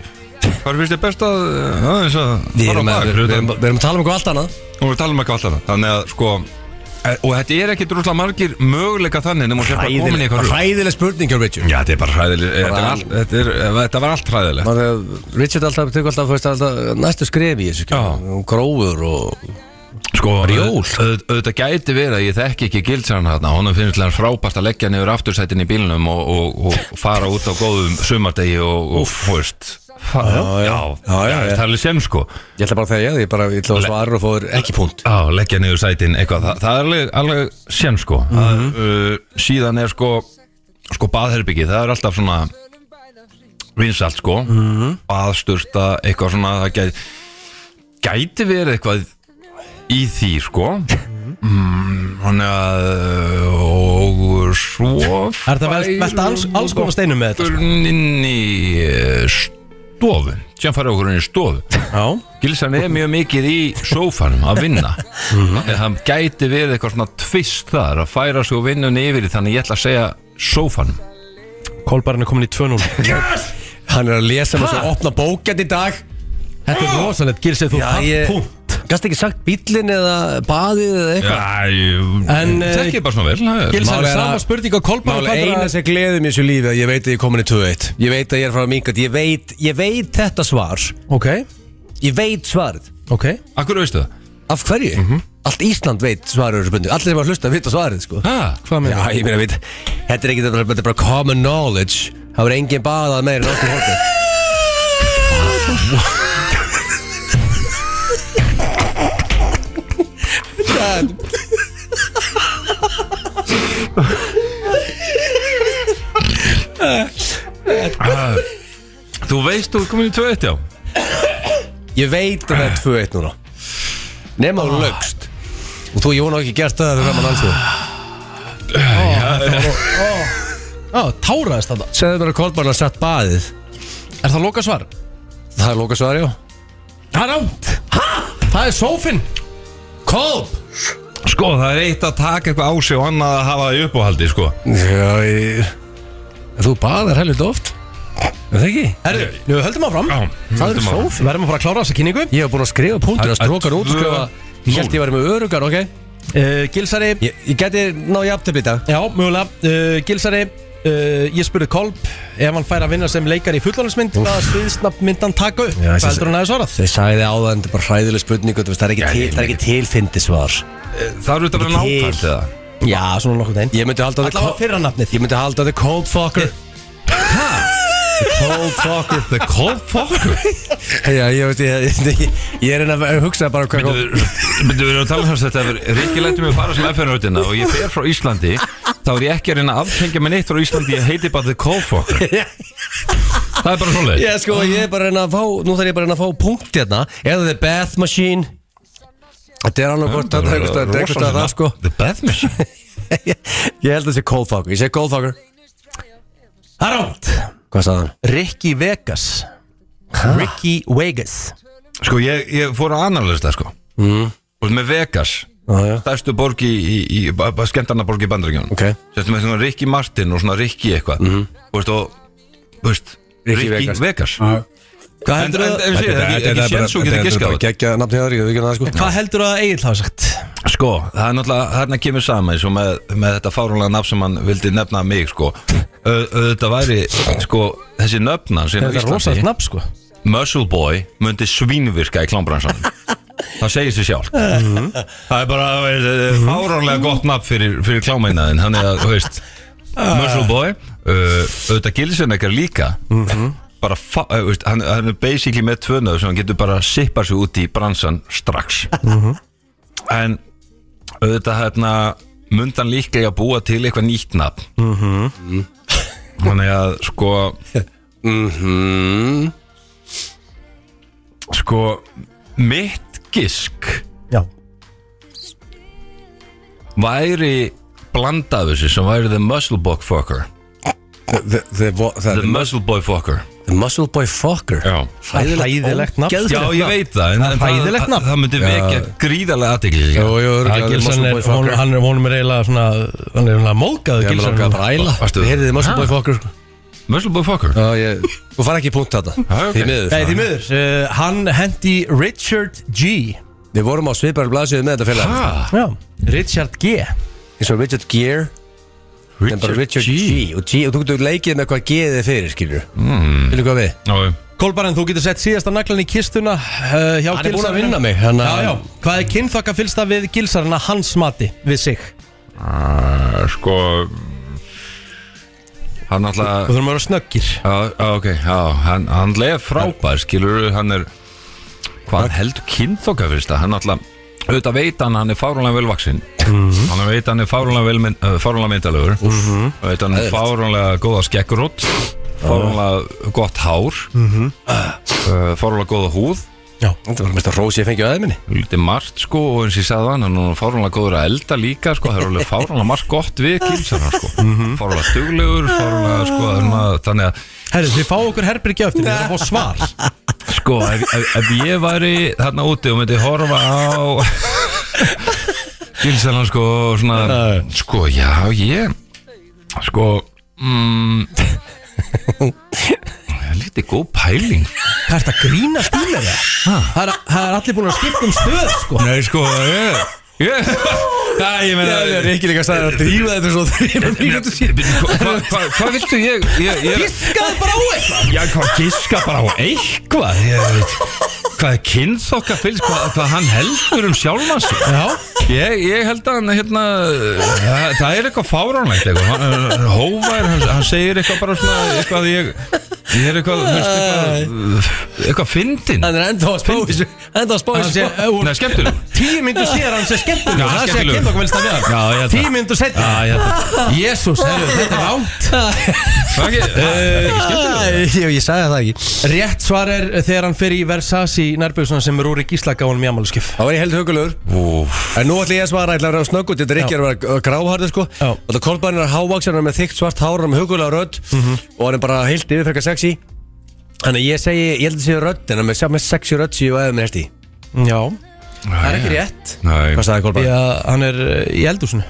Speaker 3: Hvað finnst þér best að eh, aðeins að
Speaker 2: Við
Speaker 3: fara á
Speaker 2: erum,
Speaker 3: bak,
Speaker 2: að, við,
Speaker 3: fyrir
Speaker 2: við,
Speaker 3: utan-
Speaker 2: erum, við erum að tala um eitthvað allt annað
Speaker 3: og við talum ekki alltaf þannig að sko e- og þetta er ekki droslega margir möguleika þannig nema að sé bara komin í eitthvað rugl.
Speaker 2: hræðileg spurning hjá Richard
Speaker 3: Já, þetta er bara hræðileg þetta, er
Speaker 2: Bara-
Speaker 3: allt- þetta, er, e, þetta var allt hræðilegt
Speaker 2: Man, eh, Richard alltaf tekur alltaf, þú veist, alltaf næstu skref í þessu
Speaker 3: Já.
Speaker 2: og gróður og
Speaker 3: Sko,
Speaker 2: Jól.
Speaker 3: auð- auðvitað gæti verið að ég þekki ekki gildsaran hérna honum finnst hann frábært að leggja niður aftursætin í bílnum og, og, og fara út á góðum sumardegi og, og fórst Já, já,
Speaker 2: Já, já, já.
Speaker 3: það er alveg sem sko
Speaker 2: ég ætla bara að þegja því, ég bara ég ætla að svara og fóður ekki punkt
Speaker 3: Já, leggja niður sætin eitthvað, það, það er alveg, alveg sem sko það,
Speaker 1: Mhm.
Speaker 3: uh, síðan er sko sko baðherbyggi, það er alltaf svona vinsalt sko mm
Speaker 1: Mhm.
Speaker 3: -hmm. baðsturta, eitthvað svona það gæti, gæti verið eitthvað í því sko
Speaker 1: Mhm.
Speaker 3: mm, þannig að og svo
Speaker 1: Er þetta vel- velta alls- alls konar steinum með þetta, sko?
Speaker 3: inn í eh, stofu, sem farið okkur inn í stofu
Speaker 1: Já
Speaker 3: Gilsan er mjög mikið í sófanum að vinna en það gæti verið eitthvað svona tvist þar að færa sig og vinnunni yfir í þannig ég ætla að segja sófanum
Speaker 1: Kolbarinn er komin í 2-0
Speaker 2: Hann er að lesa með svo opna bókjart í dag
Speaker 1: Þetta er rosalegt, Gilsi, þú fann punkt
Speaker 2: Gast ekki sagt bíllinn eða baðið eða eitthvað
Speaker 3: Já, ég
Speaker 1: En, eh,
Speaker 3: þekki ég bara svona vel það er-
Speaker 1: Gilsi, er
Speaker 2: Málið er
Speaker 1: sama
Speaker 2: að-
Speaker 1: spurning á Kolbarinn
Speaker 2: Máli eina sem gleðum í þessu lífi að ég veit að ég er komin í 2-1 Ég veit að ég er frá að mingat ég veit, ég veit þetta svar
Speaker 1: Ok,
Speaker 2: Ég veit svarið
Speaker 1: ok
Speaker 3: Af hverju veistu það?
Speaker 2: Af hverju? Allt Ísland veit svarið á þessu bundu Allir sem að hlusta vita svarið sko
Speaker 3: Ha?
Speaker 1: Hvað með
Speaker 2: Já, ég meina veit Þetta er ekki þetta er bara- þetta er bara common knowledge Það verður engin baðað meira en okkur hóttir
Speaker 3: Ah, Þú veist þú er komin í 2-1 já
Speaker 2: Ég veit um að það er 2-1 núna Nefn að þú lögst Og þú Jón á ekki gert það þegar mann alls Ah,
Speaker 1: Já, táraðist þetta
Speaker 2: Segðu mér að Kolbarn að sett baðið
Speaker 1: Er það loka svar?
Speaker 2: Það er lóka svar, já
Speaker 1: Það er ánd Það er sófinn
Speaker 2: Kolb!
Speaker 3: Sko það er eitt að taka eitthvað á sig og annað að hafa það í uppáhaldi sko
Speaker 2: Já, ég... En Þú baðar helvita oft Er það ekki?
Speaker 1: Herru, nú höldum áfram
Speaker 3: Já,
Speaker 1: Það er
Speaker 3: höldum áfram.
Speaker 1: sófinn Verðum að fara að klára þessa kynningu
Speaker 2: Ég hef búin að skrifa
Speaker 3: Það
Speaker 2: punktur
Speaker 3: er
Speaker 2: að stróka hann út og
Speaker 3: tvö-
Speaker 2: skrifa Ég held ég væri með örugan, ok?
Speaker 1: uh, Gilsari
Speaker 2: Ég, ég geti ná jafntöfli í dag
Speaker 1: Já, mögulega uh, Gilsari uh, Ég spurði Kolb Ef hann fær að vinna sem leikar í fullorðinsmynd Hvaða sviðsnafn myndi hann taka upp?
Speaker 2: Já,
Speaker 1: Hvað
Speaker 2: þessi-
Speaker 1: heldur hann aðeins svarað?
Speaker 2: Þeir sagði áðan, þetta er bara hræðileg spurning og þú veist, Það er ekki,
Speaker 3: Já,
Speaker 2: til,
Speaker 3: ég-
Speaker 2: það er ekki tilfindi svar
Speaker 3: Það eru þetta bara
Speaker 2: Til.
Speaker 3: nákvæmt eða
Speaker 1: Já, svona nokkuð einn
Speaker 2: Ég myndi halda að
Speaker 1: Alla var
Speaker 2: þetta
Speaker 1: fyrra nafnið
Speaker 2: Ég myndi halda þetta cold fucker Cold fucker
Speaker 3: The cold fucker
Speaker 2: Já, ég veist, ég, ég, ég er enn að hugsa bara hvað kom
Speaker 3: Myndum við að tala um þess að þetta er Rikki lætti mig að fara sem FN-rautina og ég fer frá Íslandi þá er ég ekki að reyna að aftengja mig neitt frá Íslandi ég heiti bara The Coldfucker Það er bara svoleið
Speaker 2: Já, sko, ég er bara enn að fá, nú þarf ég bara enn að fá punkt hérna Eða The Bath Machine Þetta er alveg hvort, þetta er eitthvað, þetta er eitthvað að það, sko
Speaker 3: The Bath Machine
Speaker 2: Ég held að það sé cold fucker, ég segi cold fucker
Speaker 1: Það er ánd
Speaker 2: Hvað sagði hann?
Speaker 1: Ricky Vegas Ricky Vegas
Speaker 3: Sko, ég, ég fór að analysa það, sko mm. og með Vegas
Speaker 2: Já, já,
Speaker 3: stærstu borg í, í, í bara skemmtarna borg í Bandaríkjónum
Speaker 2: Ok. Mhm.
Speaker 3: Sérstu með svona Rikki Martin og svona Rikki eitthvað mm. veist, og, veist
Speaker 2: Ricky
Speaker 3: Rikki Vegas,
Speaker 2: Vegas. Ah.
Speaker 1: Hvað
Speaker 3: En, en,
Speaker 1: heldur
Speaker 3: en,
Speaker 1: að
Speaker 3: en, en, en, en, en, en, en, en, en,
Speaker 2: geggja nafn hjá þér, ég veit ekki að það, sko
Speaker 1: Hvað heldur að Egil hafa sagt?
Speaker 3: Sko, það er náttúrulega, þarna kemur saman eins og með, með þetta fárúlega nafn sem hann vildi nefna mig, sko Ö, Þetta væri, sko, þessi hérna nöfna sem
Speaker 1: Þetta er rosalegt nafn sko
Speaker 3: Muscle Boy myndi svínvirka í klámbransanum Það segir sér sjálf Það er bara eh, fáránlega gott nafn fyrir, fyrir klámainaðin Þannig að, þú veist, Muscle Boy uh, Auðvitað gilsin ekkert líka Bara, fa- eh, veist, hann, hann er basically með tvönaðu sem hann getur bara sippar sig út í bransan strax En auðvitað hérna mundan líklega að búa til eitthvað nýtt nafn Þannig að, sko Sko, mitt gisk
Speaker 1: Já
Speaker 3: væri blandað þessu sem væri the muscle book fucker
Speaker 2: The, the, the,
Speaker 3: The
Speaker 2: the,
Speaker 3: Muscle Boy Fucker
Speaker 2: the Muscle Boy Fucker
Speaker 3: Já.
Speaker 1: Hræðilegt nafn sko.
Speaker 3: Já, ég veit það En það,
Speaker 1: Hræðilegt
Speaker 3: það,
Speaker 1: nafn.
Speaker 3: það myndi vekja gríðarlega aðtekli
Speaker 2: Jú, jú, örugglega, The
Speaker 1: Gilsan
Speaker 2: Muscle
Speaker 1: er,
Speaker 2: Boy
Speaker 1: hún,
Speaker 2: Fucker
Speaker 1: hann er, honum er eiginlega svona, hann er eiginlega móðgæður
Speaker 2: Ég er
Speaker 1: Gilsan.
Speaker 2: langar að bara æla
Speaker 3: Varstu-
Speaker 2: Heyrðu þið Muscle Boy Fucker sko.
Speaker 3: Muscle Boy Fucker
Speaker 2: Já, ég Þú fara ekki í punkt þetta
Speaker 3: Já, ok.
Speaker 2: Því miður
Speaker 1: Nei, því miður, uh, hann hendi Richard G.
Speaker 2: Við vorum á sviparum blaðsöðu með þetta félag
Speaker 3: Ha?
Speaker 1: Já, Richard G.
Speaker 2: Eins og Richard Gere En bara Richard G, Og, G og þú getur leikið með hvað G þið fyrir skilur mm. Vilju hvað við?
Speaker 3: Já, já.
Speaker 1: Kolbarinn, þú getur sett síðasta naglan í kistuna uh, hjá
Speaker 2: Hann er búinn að
Speaker 1: Gilsaranum.
Speaker 2: vinna mig, hann að-
Speaker 1: Já, já, hvað er kynþakka fylsta við gilsarinn að hans mati við sig?
Speaker 3: Eh, Sko Hann alltaf
Speaker 1: Þú þurfum að vera snöggir
Speaker 3: Já, já, ok, já, hann, hann leið frábær, skilur, hann er, hvað heldur kynþokka fyrst að hann alltaf, auðvitað veit hann að hann er fárúnlega velvaksinn, hann veit hann er fárúnlega velmynd, uh, fárúnlega myndalögur, veit hann er fárúnlega góða skekkurútt, fárúnlega gott hár, uh, fárúnlega góða húð,
Speaker 2: Þetta var mest að rósi ég fengi á aðminni
Speaker 3: lítið margt sko og eins og ég sagði hann, hann er fárúnlega góður að elda líka sko, það er alveg fárúnlega margt gott við kynþokka sko, fárúnlega duglegur, fárúnlega sko, svona- þannig að
Speaker 1: Herri, þið fá okkur herbyggja eftir, þið erum að fá svar
Speaker 3: Sko, ef, ef, ef ég væri þarna úti og myndi horfa á Gilsalan sko og svona, sko, já, ég sko mm, lítið góð pæling
Speaker 1: Hvað er þetta grína stílega það? Það er- Það er allir búin að skipta um stöð, sko
Speaker 3: Nei, sko, ég ég, það, ég meina
Speaker 2: Það er ekki líka staðið að drífa þetta svo þrjum mínútu síðan
Speaker 3: Hvað hva, hva, hva viltu ég, ég, ég
Speaker 1: Giskaðu bara á eitthvað
Speaker 3: Já, hvað giska bara á eitthvað ég, veit, Hvað er kynþokka fylgst hvað, hvað hann heldur um sjálfan sig
Speaker 1: Já,
Speaker 3: Ég, ég held að hann hérna, það, það er eitthvað fáránlegt eitthvað. Hann- hann- Hóvær, hann, hann segir eitthvað bara svona eitthvað ég, ég er eitthvað, þú veist, eitthvað eitthvað fyndin
Speaker 2: Hann er enda að spá í þessu Enda að spá í
Speaker 1: hann sé
Speaker 2: þessu
Speaker 1: uh, hún-
Speaker 3: Nei, skemmtileg
Speaker 1: Tíu myndu síðar hann sé skemmtilegur
Speaker 3: Já,
Speaker 1: Það sé að
Speaker 3: skemmtilegur.
Speaker 1: kynna okkur velst að við
Speaker 3: Já, ég
Speaker 1: hann
Speaker 3: held það.
Speaker 1: Tíu myndu setja
Speaker 3: Já, ég held
Speaker 1: Jésús, þetta er ránt
Speaker 3: Það er ekki- það er ekki skemmtileg
Speaker 2: Æ, Ég sagði það ekki
Speaker 1: Rétt svar er þegar hann fyrir í Versace í nærbjöðsuna sem er úr í gíslaka honum í ammálskjöf
Speaker 2: Það var ég held hugulur
Speaker 3: Úf,
Speaker 2: En nú ætlum ég að svara, ég ætla að vera snöggut, þetta er ekki að vera gráharður sko
Speaker 1: Já.
Speaker 2: Og það kolbarnir er hávaksin, hann er með þykkt svart hár, hann er með hugulega rödd Og hann er bara heilt yfir frekar sexy Þannig að ég segi, ég held að segja rödd, en hann er með sjá mest sexy rödd sem ég og eða með hérti
Speaker 1: Já, það er ekki rétt
Speaker 3: Nei,
Speaker 2: Hvað sagði
Speaker 1: Því
Speaker 2: kolbarnir?
Speaker 1: að hann er uh, í eldúsinu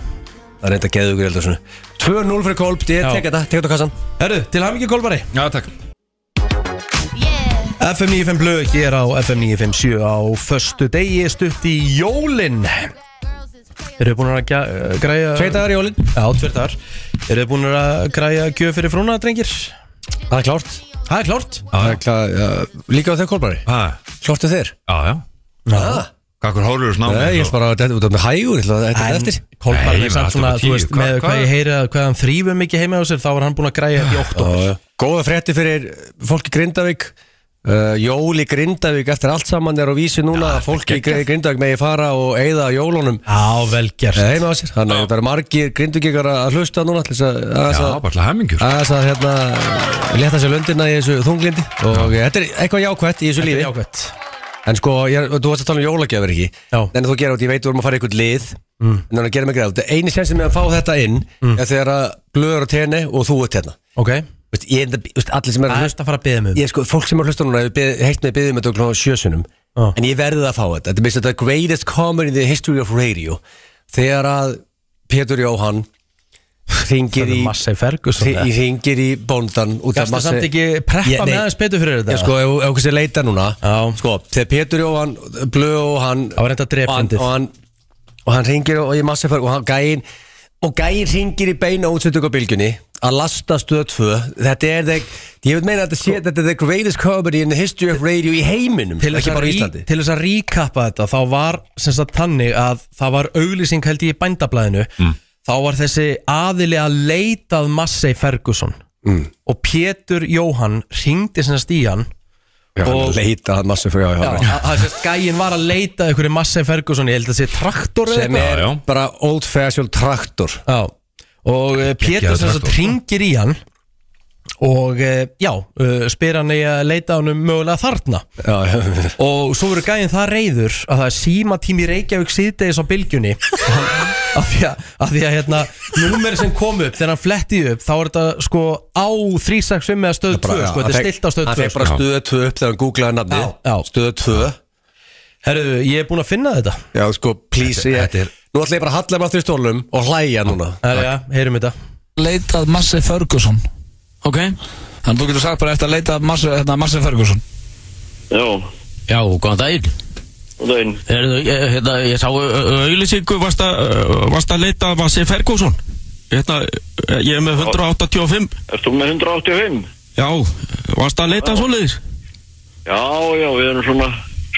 Speaker 2: Það er eitthvað geðugur, ég held að svona 2-0 fyrir kolb, ég
Speaker 1: Já.
Speaker 2: tek þetta, tek þetta á kassan
Speaker 1: Herru, til hann ekki kolbari
Speaker 3: já takk
Speaker 1: FM 95 blöð hér á FM 957 á föstu degi stutt í jólin Eru þið búin að gja- uh, græja
Speaker 2: Tveit dagar í jólin,
Speaker 1: Já, tveir dagar Eru þið búin að græja gjöf fyrir frúna, drengir?
Speaker 2: það er klárt
Speaker 1: Það er klárt
Speaker 2: Það er klárt, já, Líka á þau kolbari,
Speaker 3: Ha,
Speaker 2: klárt er þeir
Speaker 3: Já, já
Speaker 1: Já,
Speaker 3: Hvað hórur þú
Speaker 2: Nei, ég
Speaker 3: snáðum
Speaker 2: held bara að þetta út af með hægur, ég ætla að þetta er eftir
Speaker 1: Kolmar
Speaker 3: Nei,
Speaker 1: er
Speaker 3: ég meina,
Speaker 1: samt svona,
Speaker 3: þetta var
Speaker 1: þú
Speaker 3: tíu.
Speaker 1: veist,
Speaker 3: Hva-
Speaker 1: með
Speaker 3: hvað-
Speaker 1: hvað ég heyri að hvað hann þrýfum mikið heima á sér þá var hann búin að græja þetta í oktober
Speaker 2: Góða frétti fyrir fólk í Grindavík uh, Jól í Grindavík eftir allt saman er á vísi núna að fólk í Gr- Grindavík megi fara og eyða jólunum
Speaker 1: Já, vel gert
Speaker 2: heima á sér þannig að það eru margir grindvíkingar að hlusta núna til þess að aðeins
Speaker 3: Já,
Speaker 2: að-
Speaker 3: bara til sko. hæmingjur
Speaker 2: aðeins að hérna leta sér löndina í þessu þunglindi og þetta er eitthvað jákvætt í þessu lífi
Speaker 1: Jákvæmt
Speaker 2: en sko, ég, er- þú varst að tala um jólagjafir ekki
Speaker 1: Já.
Speaker 2: en þú gera út, ég veit þú erum að fara í eitthvað lið mm. en þannig að gera mig greið út eini sensin með að fá þetta inn er þegar að blöður og tenni og þú ert hérna
Speaker 1: Ok
Speaker 2: Veist, ég, enda- veist, allir sem er að
Speaker 1: Það
Speaker 2: hlusta
Speaker 1: er að fara að beða mig um.
Speaker 2: ég sko, fólk sem er að hlusta núna hefur beð- heyrt mig byggðið með þetta klokkan sjösunum
Speaker 1: Já.
Speaker 2: en ég verðið að fá þetta þetta er mest þetta greatest comedy in the history of radio þegar að Pétur Jóhann ringir í
Speaker 1: Massa í Ferguson
Speaker 2: hri- í- hringir í bóndan út af
Speaker 1: Gasta
Speaker 2: Massey-
Speaker 1: samt ekki
Speaker 2: Ég-
Speaker 1: preppa
Speaker 2: nei,
Speaker 1: með aðeins betur fyrir
Speaker 2: Já,
Speaker 1: þetta
Speaker 2: sko, ef okkur sér leita núna
Speaker 1: Já.
Speaker 2: Sko, þegar Pétur Jóhann, Blöð og hann
Speaker 1: Það var enda
Speaker 2: og hann,
Speaker 1: drepfundið.
Speaker 2: og hann, og hann ringir og ég massi fyrir Og hann gæinn Og gæinn ringir í beina útsendingu á bylgjunni Að lasta stöð 2 Þetta er the, Ég vil meina að þetta sé Þetta er the greatest comedy in the history of radio í heiminum
Speaker 1: Til þess
Speaker 2: Ekki
Speaker 1: að
Speaker 2: bara í
Speaker 1: rí-
Speaker 2: Íslandi
Speaker 1: til þess að ríkappa þetta þá var sem sagt þannig að það var auglýsing held ég í bændablaðinu þá var þessi aðili að leitað Massey Ferguson mm. og Pétur Jóhann ringdi sem sagt í hann
Speaker 2: Já, hann leita hann massi fyrir já,
Speaker 1: Já,
Speaker 2: já,
Speaker 1: að- að sérst gæin var að leita að einhverju Massey Ferguson, ég held að sé traktor eða
Speaker 2: Sem
Speaker 1: eitthvað.
Speaker 2: er
Speaker 3: Já, já.
Speaker 2: bara old fashioned traktor
Speaker 1: Já, og eh, Pétur
Speaker 3: Geggjaður
Speaker 1: sem sagt
Speaker 3: traktor.
Speaker 1: ringir í hann og eh, já, eh, spyr hann í að leita hann um mögulega þarna
Speaker 2: Já, já,
Speaker 1: og svo verður gæðin það reyður að það er símatími í Reykjavík síðdegis á bylgjunni af því að, af því að hérna, númeri sem kom upp þegar hann fletti upp þá er þetta sko á 365 eða stöð 2 sko, þetta er stilt á stöð
Speaker 2: Hann
Speaker 1: 2
Speaker 2: fekk bara stöð 2 upp þegar hann googlaði nafni
Speaker 1: Já, já.
Speaker 2: Stöð 2
Speaker 1: Herru, ég er búinn að finna þetta
Speaker 2: Já, sko, please
Speaker 3: Þetta-
Speaker 2: ég,
Speaker 3: þetta er-
Speaker 2: Nú ætla ég bara að halla mér aftur í stólum og hlæja núna
Speaker 1: Herru, já, heyrum þetta
Speaker 5: leitað Massi Ferguson ok þannig þú getur sagt bara eftir að leita Massi, hérna, Massi Ferguson
Speaker 6: Já, um
Speaker 7: Já, góðan daginn
Speaker 6: það er
Speaker 7: Heyrðu, ég, hérna, ég sá auðlýsingu varst, að- varst að leita að Massi Ferguson hérna, eh, Ég er með 185
Speaker 6: Erst þú með 185?
Speaker 7: Já, varst að leita svoleiðis
Speaker 6: Já, já, við erum svona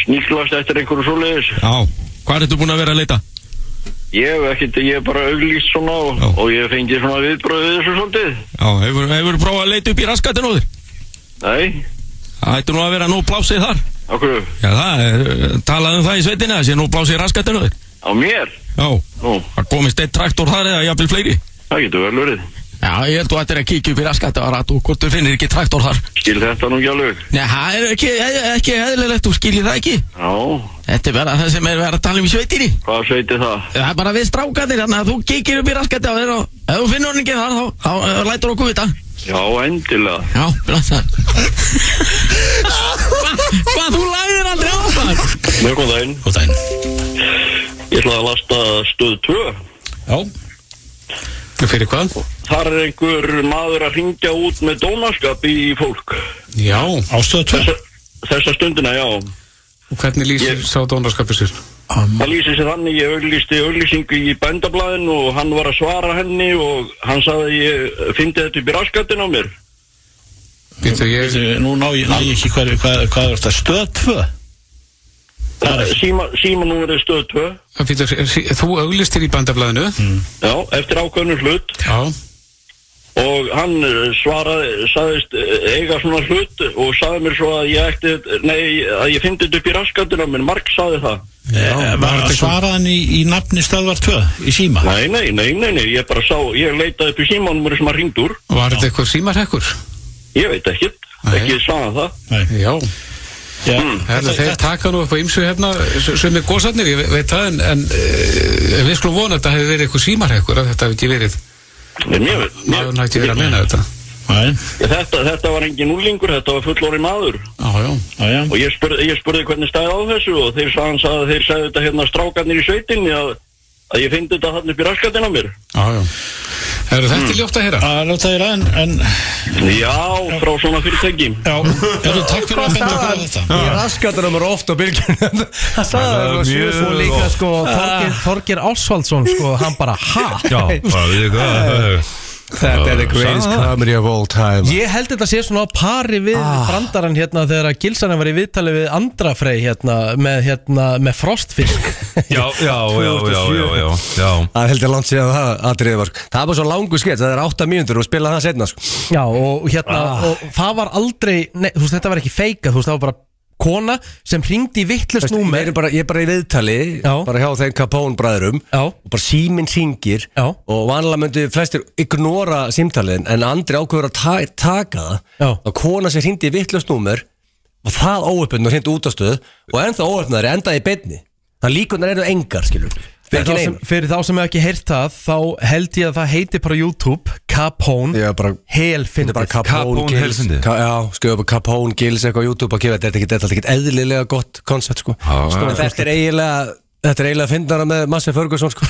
Speaker 6: sníklast eftir einhverju svoleiðis.
Speaker 7: Já, hvað er þetta búin að vera að leita?
Speaker 6: Ég hef ekkert, ég hef bara auglýst svona og,
Speaker 7: Já.
Speaker 6: og ég hef fengið svona viðbröð við þessu svolítið.
Speaker 7: Já, hefur, hefur prófað að leita upp í raskatinn á þér
Speaker 6: Nei,
Speaker 7: Það ættu nú að vera nóg plásið þar
Speaker 6: á hverju?
Speaker 7: Já, það, eh, talaðu um það í sveitinni Það sé nóg plásið í raskatinn á þér
Speaker 6: Á mér?
Speaker 7: Já,
Speaker 6: Nú,
Speaker 7: það komist eitt traktor þar eða jafnvel fleiri
Speaker 6: það getur vel verið.
Speaker 7: Já, ég held þú ættir að kíkja upp í raskatinn og rættu hvort þú finnir ekki traktor þar
Speaker 6: Skil þetta nú ekki alveg.
Speaker 7: Nei, það er ekki, e, ekki eðlilegt, þú skiljið það ekki
Speaker 6: Já,
Speaker 7: Þetta er bara það sem er verið að tala um í sveitinni
Speaker 6: hvað sveiti það?
Speaker 7: Það er bara við strákanir, þannig að þú kikir upp í raskati á þér og ef þú finnur hann ekki þar, þá, þá, þá eh, lætur okkur vita
Speaker 6: Já, endilega.
Speaker 7: Já, blant það Hva- Hvað, þú læðir aldrei á það?
Speaker 6: Mjög góð daginn.
Speaker 7: Góð daginn
Speaker 6: Ég ætla að lasta stöð 2.
Speaker 7: Já Fyrir hvað?
Speaker 6: Þar er einhver maður að ringja út með dónaskap í fólk.
Speaker 8: Já, ástöðu tvö
Speaker 6: Þessa, þessa stundina, já.
Speaker 8: Og hvernig lýsir
Speaker 6: Ég-
Speaker 8: sá dónarskapið sér?
Speaker 6: Það lýsir sér þannig, ég auglýsti auglýsingu í bændablaðin og hann var að svara henni og hann sagði að ég fyndi þetta upp í raskatinn á mér.
Speaker 8: Býttu, ég,
Speaker 9: Veitu, Nú ná ég, ná ég ekki hvað, hvað, hvað er þetta, stöð 2? Það er-
Speaker 6: Síma, síma nú verið stöð 2,
Speaker 8: býttu, þú auglistir í bandablaðinu
Speaker 9: Mm.
Speaker 6: já, eftir ákveðnum hlut
Speaker 8: Já
Speaker 6: og hann eh, svaraði, sagðist eh, eiga svona hlut og sagði mér svo að ég ekti, nei, að ég fyndi þetta upp í raskatinn á mér, Mark sagði það.
Speaker 9: Eh, var- Svaraði hann í, í nafni stöðvar 2 í síma?
Speaker 6: Nei, nei, nei, nei, nei, ég bara sá, ég leitaði upp í símanúmerið sem hann ringd úr,
Speaker 8: Var þetta eitthvað símarhekkur?
Speaker 6: ég veit ekkert,
Speaker 8: Nei.
Speaker 6: ekki sagði það. Mm.
Speaker 9: Nei.
Speaker 8: Já
Speaker 9: Já.
Speaker 8: Herðu, þeir taka nú upp á hérna, ymsu hefna sem er góðsarnir, ég ve- veit það en, en eh, við skulum vona að þetta hefur verið eitthvað símarhekkur að þetta hefur ekki verið
Speaker 6: Nei, mér, mér,
Speaker 8: maður hætti verið að meina þetta
Speaker 9: Nei,
Speaker 6: þetta, þetta var engin úlingur, þetta var fullorinn maður.
Speaker 8: Já, já
Speaker 9: já, já.
Speaker 6: Og ég spurði, ég spurði hvernig stæði á þessu og þeir sagði hans að þeir sagði þetta hérna strákarnir í sveitinni að, að ég fyndi þetta þannig upp í raskatinn á mér.
Speaker 8: Já, já Herðu, þetta er ljótt að heyra
Speaker 9: Það er alltaf þér en, en,
Speaker 6: Já, frá svona fyrirtæki.
Speaker 9: já, eru takk fyrir að benda okkur á þetta.
Speaker 2: Ég raskaði hann bara ofta á bylgjunum Það sagði
Speaker 3: Það
Speaker 2: það
Speaker 3: var
Speaker 2: var sjö
Speaker 3: mjög
Speaker 1: Svo
Speaker 2: svo
Speaker 1: líka
Speaker 3: gott.
Speaker 1: sko Þorgeir, Þorgeir Ásvaldsson sko, hann bara ha
Speaker 3: Já, bara við þið hvað
Speaker 2: Þetta er the greatest comedy of all time
Speaker 1: Ég held þetta sé svona á pari við
Speaker 2: Ah.
Speaker 1: brandarann hérna þegar að Gilsarinn var í viðtali við Andrafrey hérna með, hérna, með frostfisk
Speaker 3: Já, já, já, já, já, já, já
Speaker 2: Það heldur langt síðan það atriðið var Það er bara svo langu skets, það er 8 mínútur og spila það setna sko.
Speaker 1: Já og hérna
Speaker 2: Ah.
Speaker 1: og það var aldrei, nei, þú veist þetta var ekki feika þú veist það var bara kona sem hringdi í vittlust
Speaker 2: Veistu,
Speaker 1: númer
Speaker 2: ég er bara, ég er bara í viðtali
Speaker 1: Já.
Speaker 2: bara hjá þeim Capone bræðurum
Speaker 1: Já.
Speaker 2: og bara síminn syngir
Speaker 1: Já.
Speaker 2: og vanlega myndu flestir ignora símtaliðin en Andri ákveður að ta taka
Speaker 1: Já.
Speaker 2: það og kona sér hindi í vittlust númer og það óöfnum og hindi út á stöð og ennþá óöfnari endaði í beinni það líkunar eru engar skilur
Speaker 1: fyrir
Speaker 2: ekki
Speaker 1: þá, sem,
Speaker 2: neina
Speaker 1: fyrir þá sem hef ekki heyrt það þá held ég að það heiti bara á YouTube Capone
Speaker 2: Já, bara-
Speaker 1: Helfindið
Speaker 2: bara Capone
Speaker 3: Capone
Speaker 2: Gills
Speaker 3: Helsinki.
Speaker 2: Ka- Já, skrifa bara Capone Gills eitthvað á YouTube að gefa þetta er ekkert- þetta er ekkert eðlilega gott koncept sko
Speaker 3: Já, já.
Speaker 2: En Þetta er eiginlega Þetta er eiginlega að finna hana með Massi Ferguson sko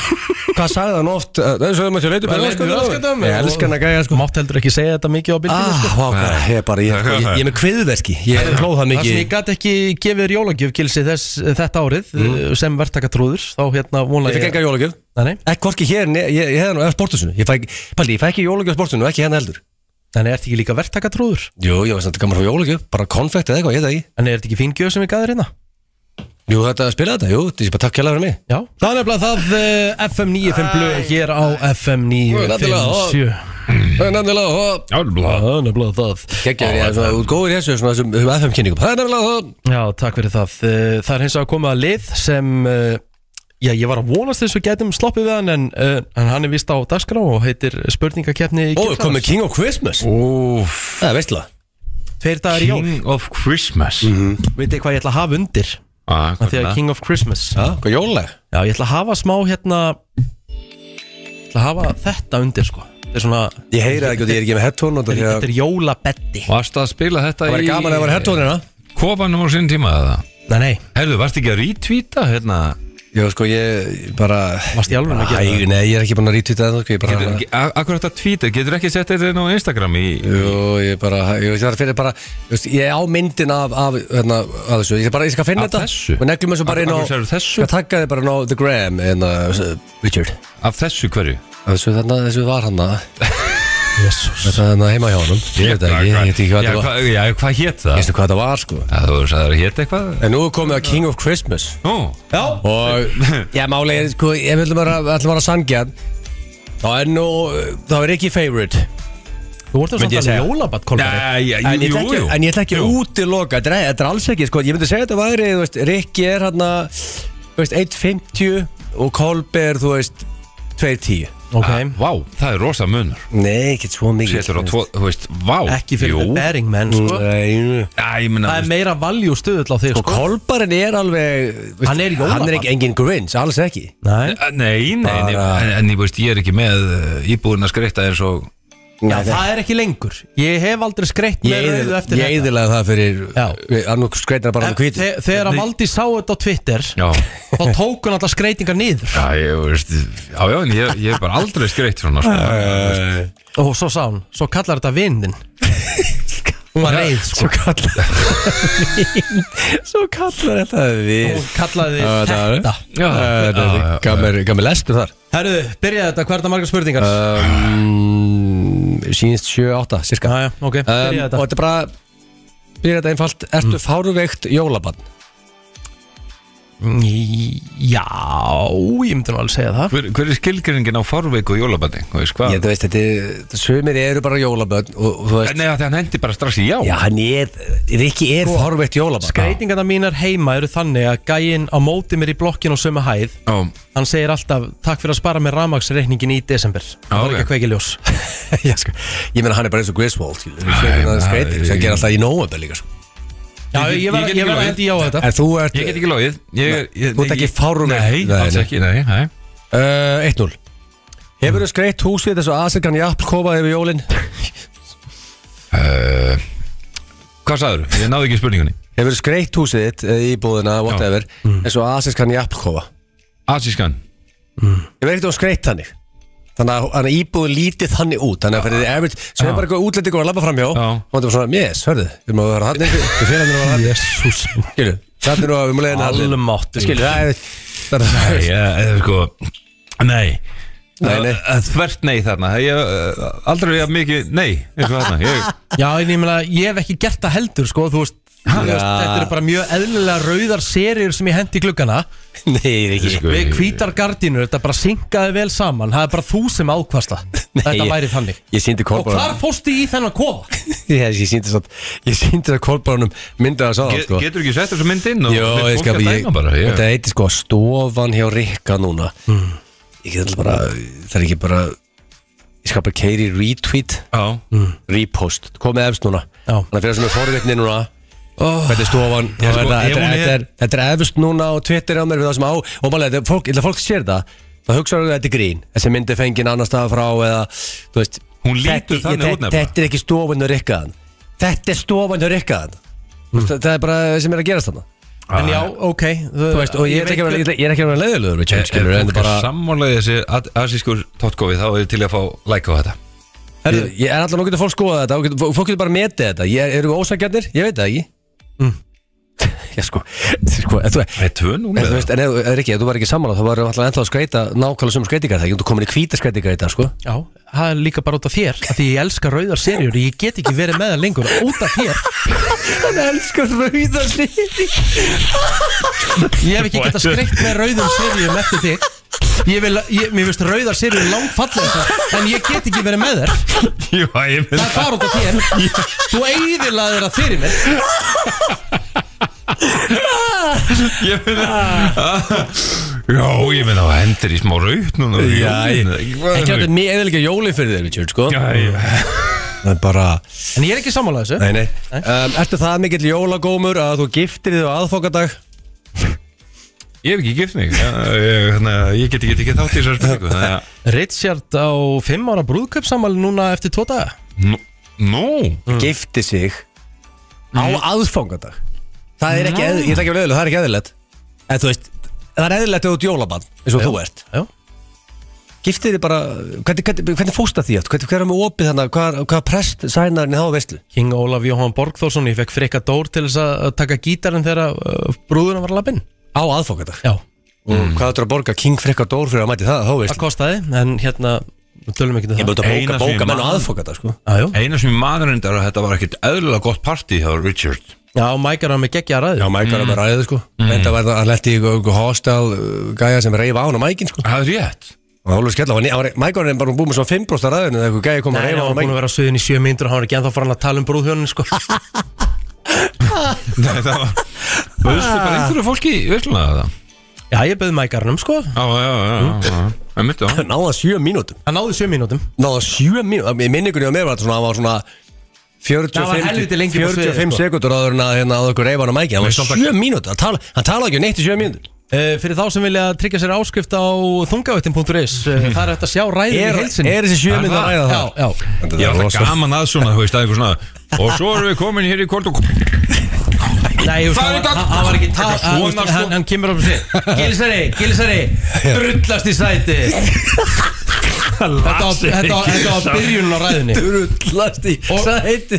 Speaker 2: Hvað sagði hann oft? Uh, Það er svo að maður sé leitur Ég elska hann að gæja sko
Speaker 1: Mátt heldur ekki segja þetta mikið á sko. byrjunni
Speaker 2: Ah, vá, hvað, ég er bara, ég, ég, ég, er með kviðverki Ég er hlóð það
Speaker 1: Það sem
Speaker 2: mikið
Speaker 1: ég gæti ekki gefið þér jólagjöf gilsi þess, eh, þetta árið mm. sem verktakatrúður þá hérna
Speaker 2: Ég
Speaker 1: vonlega
Speaker 2: fekk enga jólagjöf
Speaker 1: Nei, nei,
Speaker 2: Ekki hvorki hér, né- ég, ég hefði nú eða sportusinu Ég fæk, paldi, ég fæk ekki jólagjöf sportusinu og ekki hérna heldur
Speaker 1: þannig er þetta ekki líka verktakatrúður
Speaker 2: Jú, ég veist þetta gaman frá jólagjöf, bara konfekt eða eitthvað, ég það í
Speaker 1: En er þetta ekki fín gjöf sem ég gæði þér hérna?
Speaker 2: Jú, þetta spila þetta, jú, þetta er bara takk kjærlega fyrir mig
Speaker 1: Já Það er nefnilega það uh, FM 95 blöð hér á FM 957
Speaker 2: Það er nefnilega, ó,
Speaker 3: Jálfla
Speaker 1: Það er nefnilega það
Speaker 2: Gekkjaður, ég er svona út góður í þessu, svona þessum þessum FM kynningum Það er nefnilega það
Speaker 1: Já, takk fyrir það Eh, Það er hins vegar komið að lið sem eh, Já, ég var að vonast þess að við getum sloppið við hann en, uh, en hann er vist á dagskrá og heitir spurningakeppni
Speaker 2: Ó, komið King of Christmas
Speaker 3: Úf,
Speaker 2: Það er veistla
Speaker 1: Tveir dagar í jól
Speaker 3: King of Christmas
Speaker 2: Mhm.
Speaker 1: Veit þið hvað ég ætla að hafa undir
Speaker 3: Ah,
Speaker 1: Af Því að King of Christmas Já,
Speaker 2: Hvað jólag?
Speaker 1: ég ætla að hafa smá hérna Ég ætla að hafa þetta undir sko Þetta er svona
Speaker 2: Ég heyra ekki og ég er ekki með headphone og það
Speaker 1: Þetta er jólabetti
Speaker 3: Varst að spila þetta
Speaker 2: væri gaman að það væri headphone hérna
Speaker 3: í kofanum á sinn tíma eða?
Speaker 1: Nei, nei,
Speaker 3: Herðu, varst ekki að retweeta hérna?
Speaker 2: Já, sko, ég bara
Speaker 1: varst í alveg að gera
Speaker 2: Æ, Nei, ég er ekki búin að rítið það sko, Ég bara
Speaker 3: Getur, a- akkur þetta tweeta, getur ekki sett þetta inn á Instagram í
Speaker 2: Jú, ég bara, ég veist, það er fyrir bara ég veist, Ég á myndin af, af, hérna, af þessu Ég bara, ég skal finna
Speaker 3: Af
Speaker 2: þetta
Speaker 3: þessu?
Speaker 2: Og neglum þessu bara inn á
Speaker 3: Af- af hverju sérðu þessu?
Speaker 2: Ég takka þið bara inn á The Gram En uh, Richard
Speaker 3: af þessu hverju?
Speaker 2: Af Þessu þarna, þessu var hann Jesus Þetta er hérna heima hjá honum Ég veit það ekki, ég veit ekki hvað
Speaker 3: Já,
Speaker 2: þetta var
Speaker 3: hva- Já, hvað hét
Speaker 2: Ég
Speaker 3: það?
Speaker 2: veist hvað þetta var, sko
Speaker 3: Já, Þú sagði það hét eitthvað?
Speaker 2: En nú er komið að King of Christmas
Speaker 3: Nú,
Speaker 2: Og Já, málega, sko, ef við ætlum að vera- ætlum að vera sangja Þá er nú, þá er ekki favorite
Speaker 1: Þú voru
Speaker 2: Myndi
Speaker 1: það
Speaker 2: ég
Speaker 1: svona
Speaker 2: segja.
Speaker 1: jólabatt kolbari
Speaker 3: Nei, já,
Speaker 2: En ég
Speaker 3: jú,
Speaker 2: ætla ekki,
Speaker 3: jú
Speaker 2: en ég ætla ekki
Speaker 3: Jú.
Speaker 2: að útiloka Þetta er- þetta er alls ekki, sko Ég myndi segja þetta væri, þú veist Rikki er hérna, þú veist, 1.50 Og Kolbe er, þú veist, 2.10
Speaker 1: Ok,
Speaker 3: Ah, Vá, það er rosa munur
Speaker 2: Nei, ekkert svo mikið
Speaker 3: Sétur á tvo, þú veist, vá
Speaker 1: ekki fyrir
Speaker 3: Jú.
Speaker 1: the bearing menn sko
Speaker 2: Mm, eh. Nei,
Speaker 3: Já, ég minna
Speaker 1: Það er meira valjú stöðull á þig
Speaker 2: og
Speaker 1: sko
Speaker 2: Kolbarinn er alveg veist,
Speaker 1: Hann er í
Speaker 2: Hann er
Speaker 1: jólabarn.
Speaker 2: ekki engin grins, alls ekki
Speaker 1: Nei
Speaker 3: eh, Nei, nei, nei,
Speaker 2: Bara-
Speaker 3: en, en ég veist, ég er ekki með íbúðin að skreita eins og
Speaker 1: Já, það er ekki lengur Ég hef aldrei skreitt
Speaker 2: Ég
Speaker 1: með rauðu
Speaker 2: eyðil-
Speaker 1: eftir
Speaker 2: ég eðilaði það
Speaker 1: Já.
Speaker 2: fyrir Annú skreitina bara
Speaker 1: En
Speaker 2: hann hvítið
Speaker 1: þe- Þegar að Valdi sá þetta á Twitter
Speaker 3: Já,
Speaker 1: Þá tók hún alltaf skreitingar niður
Speaker 3: já, ég veist Já, já, en ég, ég er bara aldrei skreitt svona sko.
Speaker 1: Og svo sá hún Svo kallar þetta vindin Hún var reið sko
Speaker 2: Svo kallar Svo kallar þetta við
Speaker 1: Hún kallaði
Speaker 2: Já, þetta var-
Speaker 1: þetta
Speaker 3: Já, já, já.
Speaker 2: Gammal lestur þar
Speaker 1: Herðu, byrjaði þetta Hvað er þetta margar spurningar?
Speaker 2: um, sínist 7-8 cirka
Speaker 1: Já, já, ok
Speaker 2: um,
Speaker 1: Byrjaði
Speaker 2: og
Speaker 1: þetta
Speaker 2: þetta er bara byrja þetta einfalt, ertu mm. fáruveikt jólabann
Speaker 1: Uh, Já, ég myndi nú alveg segja það
Speaker 3: hver, hver er skilgjöringin á farveiku og jólabandi? Þú veist hvað?
Speaker 2: ég, þú veist, þetta er, þetta- sumir eru bara jólabann og, og þú veist,
Speaker 3: Nei, af því að hann hendi bara strax í já
Speaker 2: já hann er Rikki er
Speaker 1: Sko,
Speaker 2: fáruveikt jólabann
Speaker 1: Skreitingarna mínar heima eru þannig að gæinn á móti mér í blokkin og sömu hæð
Speaker 3: Já,
Speaker 1: hann segir alltaf takk fyrir að spara mér ramagsreikningin í desember það var
Speaker 3: ok.
Speaker 1: ekki að kveiki ljós
Speaker 2: já, sko, ég meina hann er bara eins og Griswold skilur,
Speaker 3: Nei,
Speaker 2: hann skreitir, hérna sem
Speaker 3: nei, ég-
Speaker 2: gerir alltaf í nóvember líka sko.
Speaker 1: já, ég
Speaker 3: Ég
Speaker 1: var, ég
Speaker 3: get ekki
Speaker 1: var að
Speaker 3: logið.
Speaker 1: hendi já á þetta
Speaker 2: en þú ert
Speaker 3: Ég get ekki logið Ég er- ég-
Speaker 2: Þú ert ekki
Speaker 3: ég-
Speaker 2: fárveikt
Speaker 3: Nei, alls ekki, nei, nei
Speaker 2: Uh, 1-0 Hefur þú skreitt húsið þessu aðsirkan jafn kofaði yfir jólin?
Speaker 3: Uh, Hvað sagður? Ég náði ekki spurningunni
Speaker 2: Hefur þú skreitt húsið þitt eh, í búðina, whatever eins og aðsirkan jafn kofa?
Speaker 3: Asískan
Speaker 2: Ég verði ekkert á skreitt þannig Þannig að- þannig að íbúðin lítið þannig út Þannig að fyrir þið average Svo er bara eitthvað útlendingur að labba framhjá
Speaker 3: Já.
Speaker 2: Og það var svona, yes, hörðu Við máum að vera hann Við fyrir hann að vera hann
Speaker 1: jésús
Speaker 2: Skilu, þannig að við máum leiðin hann
Speaker 1: almátt
Speaker 2: Skilu, það er Það er
Speaker 3: Nei, ég- eða sko Nei
Speaker 2: Nei, nei.
Speaker 3: Að- að Þvert nei þarna ég, uh, Aldrei er mikið nei eins og þarna. Ég,
Speaker 1: já, en ég meina, ég hef ekki gert það heldur sko, þú veist þú veist, Þetta eru bara mjög eðlilega rauðar serir sem ég hendi í gluggana
Speaker 2: Nei, ekki
Speaker 3: sko,
Speaker 1: Við
Speaker 3: ég-
Speaker 1: hvítar gardínur, þetta bara syngaði vel saman Það er bara þú sem ákvasta Þetta væri þannig
Speaker 2: Ég síndi
Speaker 1: Og hvar
Speaker 2: kolbáranum
Speaker 1: fóstu í þennan kofa?
Speaker 2: Ég síndi satt Ég síndi það kolbáranum Myndið að
Speaker 3: get,
Speaker 2: sáðan sko
Speaker 3: Getur ekki sett þessu mynd inn og
Speaker 2: Jó,
Speaker 3: leyft
Speaker 2: ég
Speaker 3: fólki
Speaker 2: skal
Speaker 3: að
Speaker 2: ég,
Speaker 3: dæma bara, ég,
Speaker 2: Þetta heiti sko stofan hjá Rikka núna
Speaker 1: Hmm.
Speaker 2: Ég get alltaf bara Það er ekki bara Ég skal bara keiri retweet
Speaker 3: Já,
Speaker 2: repost, komið efst núna
Speaker 1: Hmm. Já.
Speaker 2: þannig að fyrir sem er forvitni núna
Speaker 1: Oh.
Speaker 2: hvernig stofan þá
Speaker 3: sko,
Speaker 2: er það-
Speaker 3: ef
Speaker 2: þetta er-
Speaker 3: hún er-
Speaker 2: þetta er- þetta er efst núna og Twitter á mér við það sem á og málega, þegar fólk, þegar fólk sér það þá hugsaður þetta er grín þessi myndi fengið annars staðar frá eða þú veist
Speaker 3: Hún lítur
Speaker 2: þetta-
Speaker 3: þannig út
Speaker 2: þetta-
Speaker 3: nefnilega.
Speaker 2: þetta er ekki stofan og rikkaðan þetta er stofan og rikkaðan mm. það er bara það sem er að gerast þannig
Speaker 1: En já,
Speaker 2: Ah.
Speaker 1: ok
Speaker 2: þú veist og ég er ekki að vera- ég ætla- ég er ekki að vera leiðilegur við
Speaker 3: Ef
Speaker 2: tjönd skilur en
Speaker 3: Eh, fólk
Speaker 2: bara
Speaker 3: er sammálaðið þessi asískur tóttgófi þá er ég til að fá like á þetta
Speaker 2: Ég ég er alltaf, nú getur fólk skoða þetta og getur- Fólk getur bara að meti þetta ég, Eru við ósækjarnir? Ég veit það ekki Já sko, sko en þú,
Speaker 3: Það er tvö núna
Speaker 2: en þú
Speaker 3: eða?
Speaker 2: veist, en ef, ef ekki, ef þú var ekki sammála þá varum alltaf ennþá að skreita nákvæmlega sem skreitingar það ekki, þú komin í hvíta skreitingar í dag sko
Speaker 1: Já, það er líka bara út af þér af Því ég elska rauðar serjur Ég get ekki verið með það lengur Út af þér
Speaker 2: Hann elskar rauða liði
Speaker 1: Ég hef ekki geta skreitt með rauðum serjum eftir þig Ég vil, ég, mér finnst rauðar serjum langt fallegast En ég get ekki verið með þér
Speaker 3: Já, ég mynd
Speaker 1: Það er bara út af þér Þú eigðilaðir það fyrir mér
Speaker 3: Ég mynd Já, ég meina það hendur í smá raut núna
Speaker 2: Já, ég, ekki að
Speaker 3: Ekki
Speaker 2: þetta er mjög eðalega jóli fyrir þér, Richard, sko
Speaker 3: að
Speaker 2: Það er bara,
Speaker 1: En ég er ekki sammála þessu
Speaker 2: nei, nei um, Ertu það mikill jólagómur að þú giftir þig á aðfokadag?
Speaker 3: Ég hef ekki gift mig Já, ég, þannig að ég get ekki tekið þátt í þessar spurningu Þannig að
Speaker 1: Richard á 5 ára brúðköpsamali núna eftir 2 daga
Speaker 3: Nú, nú
Speaker 2: Mm. Gifti sig á aðfokadag Það er ekki, eð, ég ætla ekki að vera eðalega, það er ekki eðalegt En þú veist, það er eðalegt ef þú ert jólabann eins og þú ert
Speaker 1: já.
Speaker 2: Giftið þig bara, hvernig, hvernig, hvernig fósta því aftur? Hvernig, hvernig er með opið þannig, hvað, hvað prest sænaðurinn þá veistlu?
Speaker 1: King Ólaf Jóhann Borgþórsson, ég fekk frikka dór til þess að að taka gítarinn þegar uh, brúðuna var lappinn
Speaker 2: Á aðfokadag
Speaker 1: Já,
Speaker 2: Og hvað ætlar að borga King Frikka Dór fyrir að mæti það, þá veist
Speaker 1: það kostaði, en hérna, við tölum ekki um
Speaker 2: Ég
Speaker 1: það
Speaker 2: búið að bóka,
Speaker 3: Eina sem ég
Speaker 2: bóka menn á
Speaker 3: man-
Speaker 2: aðfokadag, sko
Speaker 1: Já, já,
Speaker 3: Eina sem ég maður reyndar að þetta var ekkit eðlilega gott partí Það var Richard
Speaker 1: já, Mækar var með geggja ræði
Speaker 2: Já, Mike var með ræðið sko mm. Enda var það að leti ykkur hostel uh, gæja sem reyfa á hann á mækin sko
Speaker 3: Það er rétt
Speaker 2: Og það var alveg skella, hann- hann var- Mike var nefnir bara búið með svona 5% af ræðinu þegar ykkur gæja kom að
Speaker 1: Nei, hann
Speaker 2: reyfa á
Speaker 1: var búin að
Speaker 2: hann á mækin
Speaker 1: vera á suðin í 7 myndur og hann var ekki ennþá farin að tala um brúðhjónin sko.
Speaker 3: Nei, það var Bauðstu bara einhverju fólki virkilega það
Speaker 1: Já, ég beði Mækarnum sko
Speaker 3: Já, já, já, já, já Það myndi á
Speaker 2: Náða 7 mínútum
Speaker 1: Hann náði 7 mínútum
Speaker 2: Náða 7 mínútum, í minningunni á mér var þetta svona, hann var svona
Speaker 1: Það var helviti
Speaker 2: 45,
Speaker 1: lengi på sviði,
Speaker 2: 45
Speaker 1: sko.
Speaker 2: sekundur áður en að hérna áður ykkur reyfa hann á mækin Það
Speaker 3: Nei,
Speaker 2: var
Speaker 3: samt að-
Speaker 2: 7 mínútur, hann tala- hann talaði ekki um neitt í 7 mínútur
Speaker 1: uh, Fyrir þá sem vilja tryggja sér áskrift á þungavöttin.is uh, Það er hægt að sjá ræðin í
Speaker 2: Er,
Speaker 1: heilsin
Speaker 2: er þessi 7
Speaker 3: Er
Speaker 2: mínútur að
Speaker 3: það?
Speaker 2: ræða
Speaker 1: Já,
Speaker 2: það?
Speaker 1: já
Speaker 2: Þetta
Speaker 3: Já,
Speaker 2: er
Speaker 3: það er
Speaker 2: rosa-
Speaker 3: gaman að svona, þú veist, að einhver svona Og svo erum við komin hér í kvöld og
Speaker 1: Nei, þú veist,
Speaker 3: Það er
Speaker 1: hann
Speaker 3: í dag.
Speaker 1: var- hann- hann var ekki tal-
Speaker 3: Þetta er
Speaker 1: hann-
Speaker 3: svona,
Speaker 1: hann-
Speaker 3: sko.
Speaker 1: Hann kemur upp og sér Gilsari, Gilsari, drullast í sæti Þetta var- þetta var þetta var byrjunum á ræðinni
Speaker 2: Drullast í
Speaker 1: Og,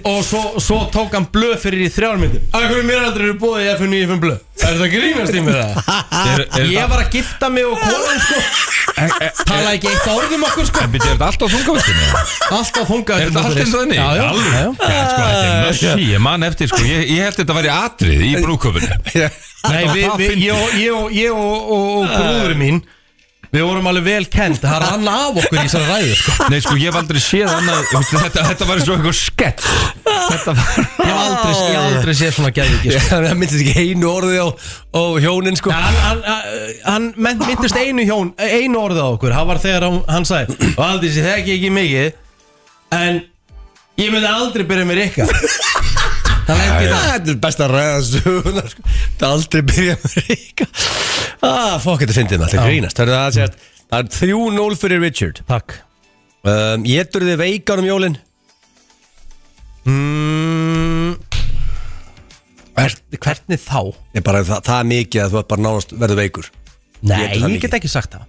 Speaker 1: og svo, svo tók hann blöð fyrir í þrjármyndum Af hverju mér aldrei eru búið í FN í FN blöð Það er það grínast í mér það
Speaker 3: Er- er
Speaker 1: Ég
Speaker 3: það-
Speaker 1: var að gifta mig og konan sko Tala ekki eitt orðum okkur sko
Speaker 3: En byrja, er þetta alltaf þungavistinu?
Speaker 1: Alltaf þungað
Speaker 3: Er þetta alltaf þannig?
Speaker 1: Já, já,
Speaker 3: Alveg?
Speaker 1: já, já.
Speaker 3: Já, sko, þetta er mössi, ég man eftir, sko Ég, ég held þetta að vera atrið í brúköpunni
Speaker 1: Nei,
Speaker 3: var
Speaker 1: við,
Speaker 3: það
Speaker 1: við,
Speaker 3: fyndið.
Speaker 1: ég, og- ég, og- ég og, og, og brúður mín Við vorum alveg vel kend Það rann af okkur í þessari ræðu sko.
Speaker 3: Nei, sko, ég hef aldrei séð annað þú veist, Þetta, þetta var eins og eitthvað skett Þetta var
Speaker 1: Ég hef aldrei, ég hef aldrei séð svona gæði ekki sko.
Speaker 2: Það myndist ekki einu orði á, á hjónin sko
Speaker 1: Hann, hann, hann- hann menn- myndist einu hjón Einu orðið á okkur Það var þegar hann, hann sagði Valdís, ég þekki ekki mikið En ég myndi aldrei byrja með Rikka Það lengi það
Speaker 2: Þetta er best að ræða söguna sko. Þetta er aldrei byrja með Ríka ah, Fokk, þetta fyndið maður, þetta er grínast Það er það að segja Það er 3-0 fyrir Richard
Speaker 1: Takk
Speaker 2: um, Getur þið veikan um jólin?
Speaker 1: mm,
Speaker 2: Er,
Speaker 1: Hvernig þá?
Speaker 2: er bara, það, það er mikið að þú ert bara náðast verður veikur Ég
Speaker 1: Nei,
Speaker 2: held það
Speaker 1: ég
Speaker 2: mikið.
Speaker 1: get ekki sagt það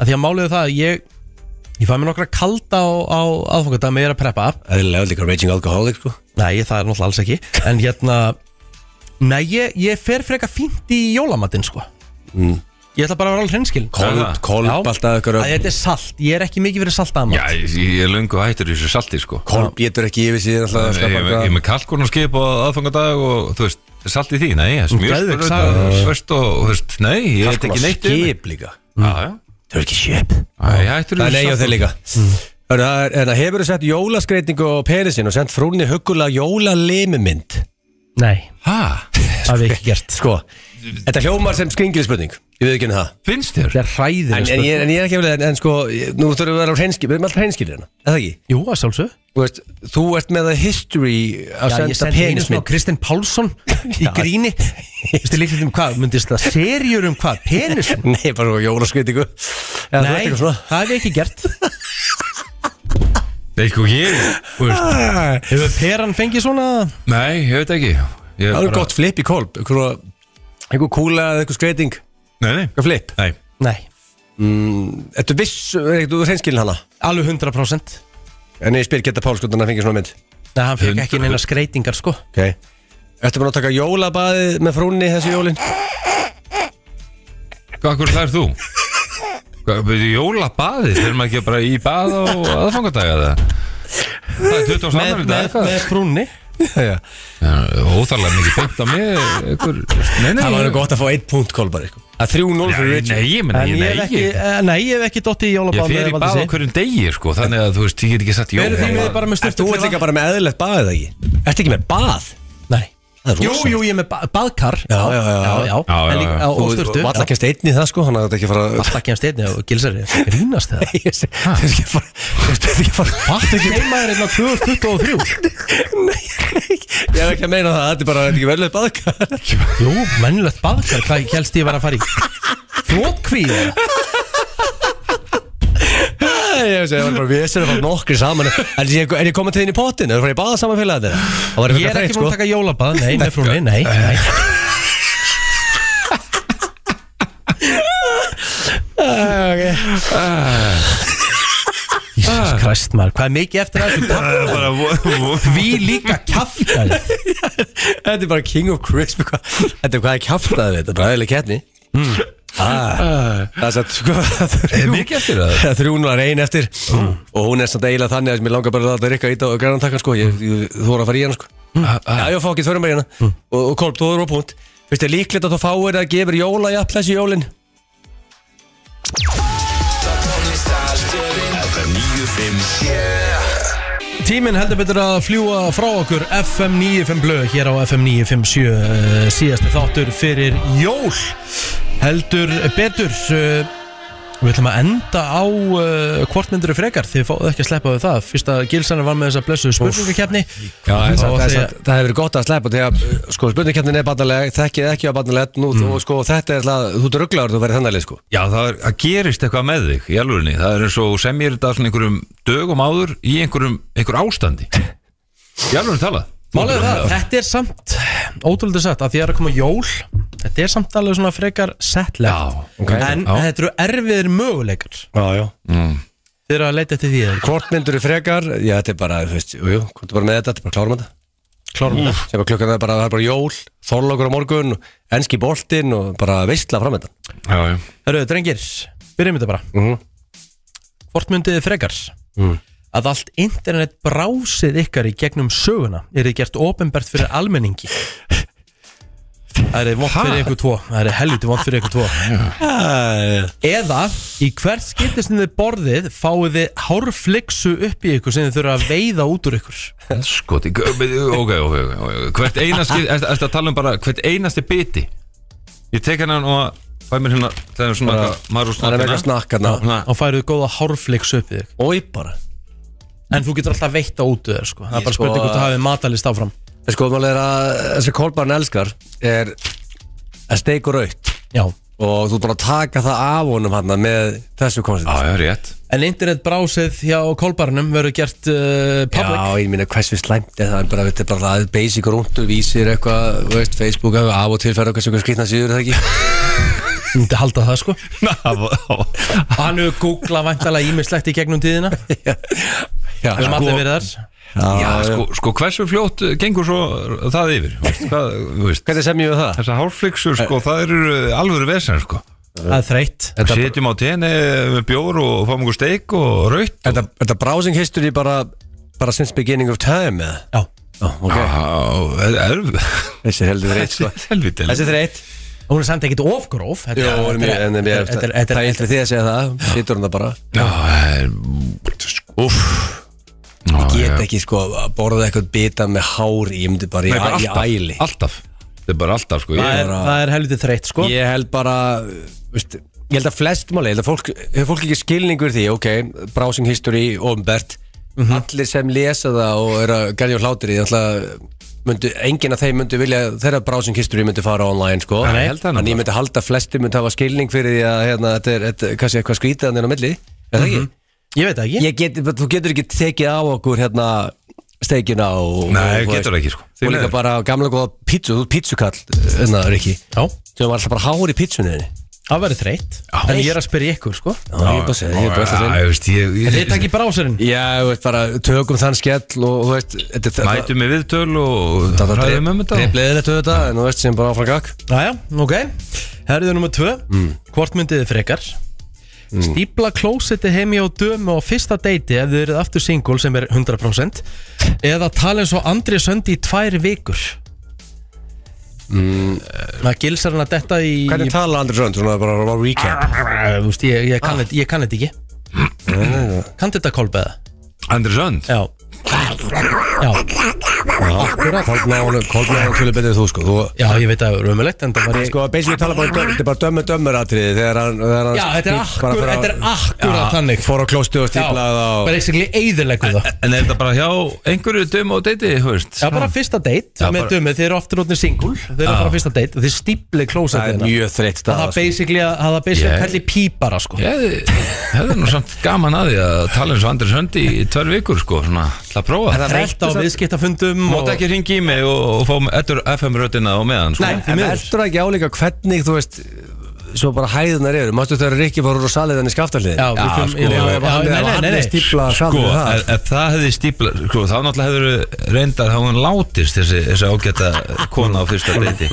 Speaker 1: að Því að málið er það að ég Ég fæ mér nokkra kalda á, á aðfangadag með ég er að preppa
Speaker 2: Eðlilega líka raging alcoholic sko
Speaker 1: Nei, það er náttúrulega alls ekki En hérna Nei, ég, ég fer freka fínt í jólamatinn sko Ég ætla bara að vera alveg hreinskil
Speaker 3: Já,
Speaker 2: Kolb, kolb,
Speaker 1: Já.
Speaker 2: alltaf Mm. ykkur
Speaker 1: Að Þetta er salt, ég er ekki mikið fyrir salt að
Speaker 3: Já, ég, ég er löngu hættur í þessu salti, sko
Speaker 2: Kolb getur ekki yfir síðan alltaf að
Speaker 3: Ég
Speaker 2: skapa
Speaker 3: ég- ég er með kalkunarskip og aðfangadag og, þú veist, salt í því, nei, ég er
Speaker 1: Geðveik
Speaker 3: smjörst
Speaker 1: saga.
Speaker 3: Svörst og, þú veist, nei, ég heit ekki neitt yfir mig.
Speaker 2: sko. Skip líka
Speaker 3: Já, já,
Speaker 2: Það er ekki skip
Speaker 3: Æ, ég hættur í
Speaker 2: Það er
Speaker 3: þessu
Speaker 2: leið á
Speaker 3: salti.
Speaker 2: þeir líka Hörru, það er- En það hefur þú sett jólaskreitingu á penisinn og sendt frúnni huggulega jólalimimynd
Speaker 1: Nei,
Speaker 3: Ha,
Speaker 1: það hef ég ekki gert
Speaker 2: Sko, þetta hljómar sem skringil spurning Ég veit ekki henni það
Speaker 3: finnst þér?
Speaker 1: Þetta er hræðir
Speaker 2: en, en, ég, en ég er ekki að vilja, en, en sko, ég- nú þurfum við að vera á hreinskil Við erum alltaf hreinskilir hérna, eða ekki?
Speaker 1: Jú, að sjálfsög
Speaker 2: Þú veist, þú ert með það history
Speaker 1: Já,
Speaker 2: að
Speaker 1: ég
Speaker 2: senda
Speaker 1: sendi einu svona
Speaker 2: penismynd
Speaker 1: Kristinn Pálsson í gríni Vistu líklega um hvað, myndist það serjur um hvað, penis
Speaker 2: Nei, bara svona jólaskreitingu Eða þú ert
Speaker 1: Nei,
Speaker 2: eitthvað
Speaker 1: það
Speaker 2: svona
Speaker 1: hef ég ekki gert
Speaker 3: Nei, sko, ég, þú veist,
Speaker 2: Ah.
Speaker 1: Hefur peran fengið svona
Speaker 3: nei, ég veit ekki
Speaker 2: Það er
Speaker 3: Ég bara-
Speaker 2: gott flip í kolb Einhver einhver kúla eða einhver skreiting
Speaker 3: Nei, nei,
Speaker 2: Einhver flip
Speaker 3: nei
Speaker 1: Nei,
Speaker 2: Þetta viss, er þú hreinskilin hana
Speaker 1: alveg 100%
Speaker 2: En ég spyr geta Pálskundan að fengja svona mynd
Speaker 1: Nei, hann fekk ekki
Speaker 3: 100%.
Speaker 1: neina skreitingar sko
Speaker 2: Ok Ertu búin að taka jólabaðið með frúnni þessu jólin?
Speaker 3: Hvað, hvernig það er þú? Hvað, byrju, jólabaði, þeir maður ekki bara í bað á aðfangadaga það? Það er 20
Speaker 1: Með,
Speaker 3: saman í dag
Speaker 1: með, með frúnni
Speaker 2: Já,
Speaker 3: Óþarlega mikið beint á mig einhver, Nei, nei,
Speaker 2: það var nú gott að fá eitt punkt kolbar sko. Það er 3-0 fyrir
Speaker 3: Nei,
Speaker 2: Richard
Speaker 3: nei, ég menna,
Speaker 1: En
Speaker 3: ég
Speaker 1: ég hef
Speaker 3: nei
Speaker 1: ekki,
Speaker 3: Ég
Speaker 1: eh, nei, ég hef ekki dottið í
Speaker 3: ég
Speaker 1: jólabáð
Speaker 3: fer í bað á hverjum degi, sko Þannig að, þú veist, ég get ekki sett
Speaker 1: Eru þið
Speaker 3: jólabað
Speaker 1: með bara með
Speaker 2: Ert Þú ert
Speaker 1: styrtu
Speaker 2: líka bara með eðlilegt baðið ekki Ertu ekki með bað?
Speaker 1: Nei, Jú, jú, ég er með ba baðkar
Speaker 2: Já, já, já.
Speaker 1: já, já.
Speaker 3: Já, já,
Speaker 1: En líka-
Speaker 3: já.
Speaker 1: Og, og sturtu
Speaker 2: Valla kemst einn í það sko Þannig að þetta ekki fara
Speaker 1: Alltaf kemst einni og gilsari Grínast það
Speaker 2: Ég sé- Þetta er ekki að fara Þetta er ekki að fara
Speaker 1: Fattu ekki Seimaður er 2023
Speaker 2: Nei, ég hef ekki að meina það Þetta er bara þetta er ekki verðilega baðkar
Speaker 1: Jú, mennulegt baðkar Hvað helst ég var að fara í Þrótkvíð
Speaker 2: Nei, Ég sé, það var bara vesen að fara nokkri saman En ég, en ég komið til þín í pottin Það var ég bara að saman félagið þeirra Það var sko.
Speaker 1: Ég er ekki múin að taka jólabað Nei, með frúni, nei, nei Jesus Christ maður, hvað er mikið eftir af þessu kaffi? Við líka kaffi
Speaker 2: Þetta er bara king of crisp hvað- Þetta er hvað ég kjaftaði þetta Bara eðlileg keppni Ah, Það er satt sko,
Speaker 3: Er mikið eftir það?
Speaker 2: Þrjún var ein eftir Og hún er samt eiginlega þannig að mér langar bara að láta Rikka ít á grænan takkan sko Ég, ég þú voru að fara í hana sko Já, ég fá ekki þörfum bara í hana Og, og Kolb, þú voru á punkt Veistu, er líklegt að þú fáir að gefur jóla jafn þessi jólin
Speaker 1: Tíminn heldur betur að fljúa frá okkur FM 95 blöð hér á FM 957 eh, síðasti þáttur fyrir jól heldur betur eh, við ætlum að enda á uh, hvort myndur frekar þið fáið ekki að sleppa við það fyrst að Gilsanar var með þessa blessu spurningakefni
Speaker 2: Já, það,
Speaker 1: Þá
Speaker 2: það, það,
Speaker 1: ætla
Speaker 2: það,
Speaker 1: ég-
Speaker 2: það hefur verið gott að sleppa þegar uh, sko, spurningkeppnin er barnalega, þekkið ekki á barnalega nú, og sko, þetta er alltaf, þú drugglaður þú verið þannig leið, sko.
Speaker 3: Já, það, er, það gerist eitthvað með þig í alvörinni Það er eins og sem ég er þetta svona einhverjum dögum áður í einhverjum einhver ástandi Í alvörinni talað
Speaker 1: Málið er það, þetta er samt ótrúlega satt að því að er að koma jól þetta er samt alveg svona frekar settlegt
Speaker 3: Já, ok.
Speaker 1: en
Speaker 3: Já.
Speaker 1: þetta eru erfiðir möguleikar
Speaker 2: Já, já.
Speaker 1: þið eru að leita eftir því eða
Speaker 2: Hvort myndur þú frekar, já, þetta er bara, þú veist, jú, jú, komdu bara með þetta, þetta er bara klárum þetta.
Speaker 1: klárum þetta
Speaker 2: Sem bara klukkan það er bara, það er bara jól, þorlokur á morgun, enski boltinn og bara veistla fram þetta.
Speaker 3: Já, já
Speaker 1: Hörru, drengir, byrjum þetta bara
Speaker 2: Mhm.
Speaker 1: Hvort myndið þið frekar
Speaker 2: Mm.
Speaker 1: að allt internet brásið ykkar í gegnum söguna er þið gert ofinbært fyrir almenningi Það er vond fyrir ykkur tvo Það er helviti vond fyrir ykkur tvo Eða í hvert skipti sem þið borðið fáið þið hárfliksu upp í ykkur sem þið þurfa að veiða út úr ykkur
Speaker 3: Skoti, Sko, ok, ok, ok, ok Hvert einasti, ertu ertu að tala um bara hvert einasti biti Ég tek hennan og fæ mér hérna Það er svona maður úr
Speaker 2: Það er með eitthvað
Speaker 3: snakkana
Speaker 2: snakk hérna.
Speaker 3: Svona-
Speaker 1: og færið góða hárfliksu upp í þig
Speaker 2: Ói, bara.
Speaker 1: En þú getur alltaf veitt á út úr þér sko. Það er
Speaker 2: Ég
Speaker 1: bara
Speaker 2: sko-
Speaker 1: spurning hvort þú hafið matalist áfram
Speaker 2: En sko, maður er að, þessi kolbarn elskar er að steikur aukt
Speaker 1: Já
Speaker 2: og þú er bara að taka það af honum hérna með þessu koncept.
Speaker 3: Já, já, rétt
Speaker 1: En internetbrásið hjá kolbarnum verður gert uh, public
Speaker 2: Já, ég minna hversu slæmt er það er bara, þetta er bara það er basic rúndur, vísir eitthvað, þú veist, Facebook eitthvað af og til fer okkar sem eitthvað skrýtna síður er það ekki
Speaker 1: Ég myndi halda það sko
Speaker 3: Ná, vá.
Speaker 1: Hann hefur googlað væntalega ímislegt í gegnum tíðina Við
Speaker 2: Já, sko,
Speaker 1: höfum allir verið þar
Speaker 3: Já, sko, sko hversu fljótt gengur svo það yfir Þú veist, hvað, þú veist
Speaker 2: Hvernig Eh. sem ég við um það?
Speaker 3: Þessar hárflixur, sko, það eru alvöru vesen, sko
Speaker 1: Það er þreytt
Speaker 3: Við sitjum á tenni með bjór og fáum okkur steik og raut
Speaker 2: Þetta, þetta browsing history bara, bara since beginning of time eða?
Speaker 1: Já
Speaker 2: Já, ok,
Speaker 1: Ah.
Speaker 3: Helviti
Speaker 2: þessi er heldur reitt sko Þessi er reitt
Speaker 1: Og Hún er samt ekkit ofgróf Þetta
Speaker 2: Jó,
Speaker 1: er-
Speaker 2: en mér- en mér-
Speaker 1: þetta er- þetta
Speaker 2: það er
Speaker 1: er-
Speaker 2: illt við því að segja það, situr hún það bara
Speaker 3: Uff
Speaker 2: Get ekki sko að borða eitthvað bita með hár í, ég myndi bara
Speaker 3: bara
Speaker 2: í, í
Speaker 3: alltaf,
Speaker 2: æli
Speaker 3: alltaf Þetta er bara alltaf sko
Speaker 1: það
Speaker 3: ég,
Speaker 1: er- það er helviti þreytt sko
Speaker 2: Ég held bara veist, Ég held að flest máli Ég held að fólk, hefur fólk ekki skilningur því Ok, browsing history, ombert
Speaker 3: Mhm.
Speaker 2: Allir sem lesa það og eru að gerja hlátur í Þannig að myndu, enginn af þeim myndu vilja Þeirra browsing history myndu fara online sko.
Speaker 3: Nei, ég held það
Speaker 2: En ég
Speaker 3: nefnilega.
Speaker 2: myndi halda að flesti myndu hafa skilning fyrir því að hérna, Þetta er, þetta, er kannski eitthvað skrítið Þannig á milli, er það
Speaker 3: Mhm.
Speaker 2: ekki?
Speaker 1: Ég veit það ekki
Speaker 2: Ég get, þú getur ekki tekið á okkur hérna steikina og
Speaker 3: Nei,
Speaker 2: og,
Speaker 3: getur
Speaker 2: veist,
Speaker 3: ekki, sko. Því
Speaker 2: og líka
Speaker 3: miður.
Speaker 2: bara gamla góða pítsu, þú ert pítsukall hérna, Rikki,
Speaker 1: Já
Speaker 2: sem var alltaf bara hár í pítsunni þinni
Speaker 1: Það verður þreytt En ég er að spyrja ykkur sko
Speaker 2: Já, ég er bara að segja, ég er bara að segja
Speaker 3: Ég veist ég,
Speaker 1: En
Speaker 3: ég,
Speaker 1: Þið takk í brásirinn
Speaker 2: Já, þú veist bara, tökum þann skell og þú veist, þetta er þetta
Speaker 3: Mætum við viðtöl og
Speaker 2: Það er
Speaker 3: ræðum um þetta
Speaker 2: trefleðilegt auðvitað, en þú veist sem bara áfram gakk
Speaker 1: Jæja, ok Herðið nummer tvö Hvort myndið þið frekar Stípla klósetti heimi á dömu á fyrsta deiti ef þið eruð aftur single sem er 100% eða tala eins og Andri Söndi í tvær vikur mm. Það gilsar hann að detta í
Speaker 2: Hvernig tala Andri Sönd, svona bara á recap
Speaker 1: Þú veist, ég, ég, kann þetta, ég kann þetta ekki Kann þetta kolbeða?
Speaker 3: Andri Sönd
Speaker 1: Já Já,
Speaker 2: Akkurat Kolbnaðan er tölur betur en þú sko Þú
Speaker 1: já, ég veit að raumulegt En það var ég
Speaker 2: Sko, basically tala bara um döm- Þetta er bara dömmu dömmur atriði Þegar hann þegar hann
Speaker 1: Já, þetta er
Speaker 2: bara
Speaker 1: akkur,
Speaker 2: fyrir að-
Speaker 1: þetta er akkurat
Speaker 2: Já,
Speaker 1: þannig
Speaker 2: Fór á klósti og
Speaker 1: Já,
Speaker 2: stíplaði
Speaker 1: bara basically eðileggur það
Speaker 3: En er þetta bara hjá einhverju dömu og deiti, þú veist?
Speaker 1: Já, bara fyrsta date
Speaker 3: Já,
Speaker 1: með
Speaker 3: bara-
Speaker 1: dömið, þeir eru oftur ótnir singul Þeir eru að fara á fyrsta date og þeir stípli klósa
Speaker 2: Það sko. er mjög þreytt
Speaker 1: hérna. Það
Speaker 2: staða
Speaker 1: er basically að það er basically
Speaker 3: Ég-
Speaker 1: að kalli pípara sko
Speaker 3: Ég hefði- hefði nú samt gaman að því að tala eins og Andris Höndi í tvær vikur sko, svona, til að prófa
Speaker 2: það
Speaker 1: Þreytt á viðskiptafundum
Speaker 3: Máta ekki ringi í mig og, og fá ettur FM-röddina á meðan sko.
Speaker 1: Nei, því
Speaker 2: En
Speaker 1: miður
Speaker 2: eldur ekki álíka hvernig, þú veist Svo bara hæðunar eru Mástu þegar Rikki fór úr á salið henni skaftarliðin
Speaker 1: Já, við þurfum-
Speaker 2: sko
Speaker 1: já, já,
Speaker 2: ef
Speaker 1: já,
Speaker 2: hann er-
Speaker 1: nei,
Speaker 2: ef
Speaker 1: nei,
Speaker 2: hann
Speaker 1: nei,
Speaker 2: er
Speaker 1: nei.
Speaker 2: stíplað
Speaker 3: Sko,
Speaker 2: fram við það
Speaker 3: ef, ef það hefði stípla sko, þá náttúrulega hefur reyndar þá hefur hún látist þessi, þessi ágæta kona á fyrsta
Speaker 1: Mm,
Speaker 3: deiti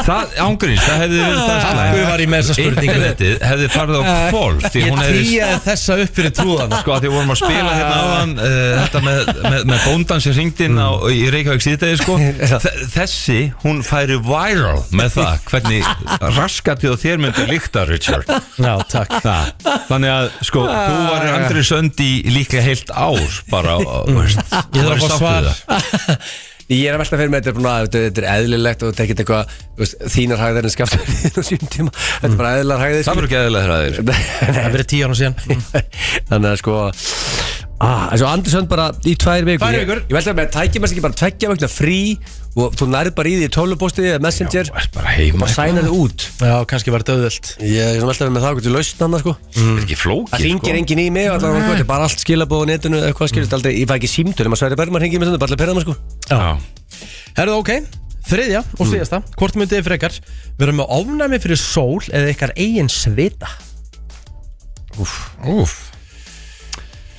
Speaker 3: Það, ángurins, það hefði verið það slæmt.
Speaker 1: Af hverju var ég með þessa spurningu?
Speaker 3: Internetið hefði farið á kvolf því
Speaker 1: Ég
Speaker 3: hún hefði
Speaker 1: týjaði þessa upp fyrir trúðan
Speaker 3: sko að því vorum að spila hérna áðan uh, þetta með, með, með bóndan sem ringdi inn á, í Reykjavík síðdegi sko Þe- þessi, hún færi viral með það, hvernig raskatið og þér myndi líkta Richard
Speaker 1: Já, takk
Speaker 3: það, þannig að sko, þú var Andri Söndi líka heilt ár bara, og, veist,
Speaker 1: Ég þarf að
Speaker 3: þú værir
Speaker 1: fá
Speaker 3: sáttur
Speaker 1: svar.
Speaker 3: við það.
Speaker 2: Ég er að velta fyrir mig, þetta er, búna, þetta, þetta er eðlilegt og þetta er ekkert eitthvað þú veist, þínar hæðir en skaftar á sínum tíma Þetta er bara eðlilegar hæðir
Speaker 3: það verður ekki eðlilega þræðir
Speaker 1: Það er verið tíu ára síðan
Speaker 2: Þannig að sko ah, En svo Andersson bara í tvær vikur
Speaker 1: Tvær vikur.
Speaker 2: Ég, ég velta með að tækja mér ekki bara tveggja vegna frí og þú nærið bara í því í tölupostið eða messenger
Speaker 3: þú ert bara heima
Speaker 2: og sænar þið út
Speaker 1: Já, kannski var þetta auðvöld
Speaker 2: Ég er svona velta með það hvernig lausn hann sko
Speaker 3: það er ekki
Speaker 2: Það
Speaker 3: flókið
Speaker 1: sko.
Speaker 2: ringir enginn í mig og allavega sko, þetta er bara allt skilabóð á netinu eða hvað skilur aldrei, ég fæ ekki símtölum að Sverri Bergman ringir mér þannig, bara til að perra maður sko
Speaker 3: Já.
Speaker 1: Herðu, ok Þriðja og síðasta Hvort myndið þið frekar Verðum með ofnæmi fyrir sól eða ykkar eigin svita
Speaker 3: Úff.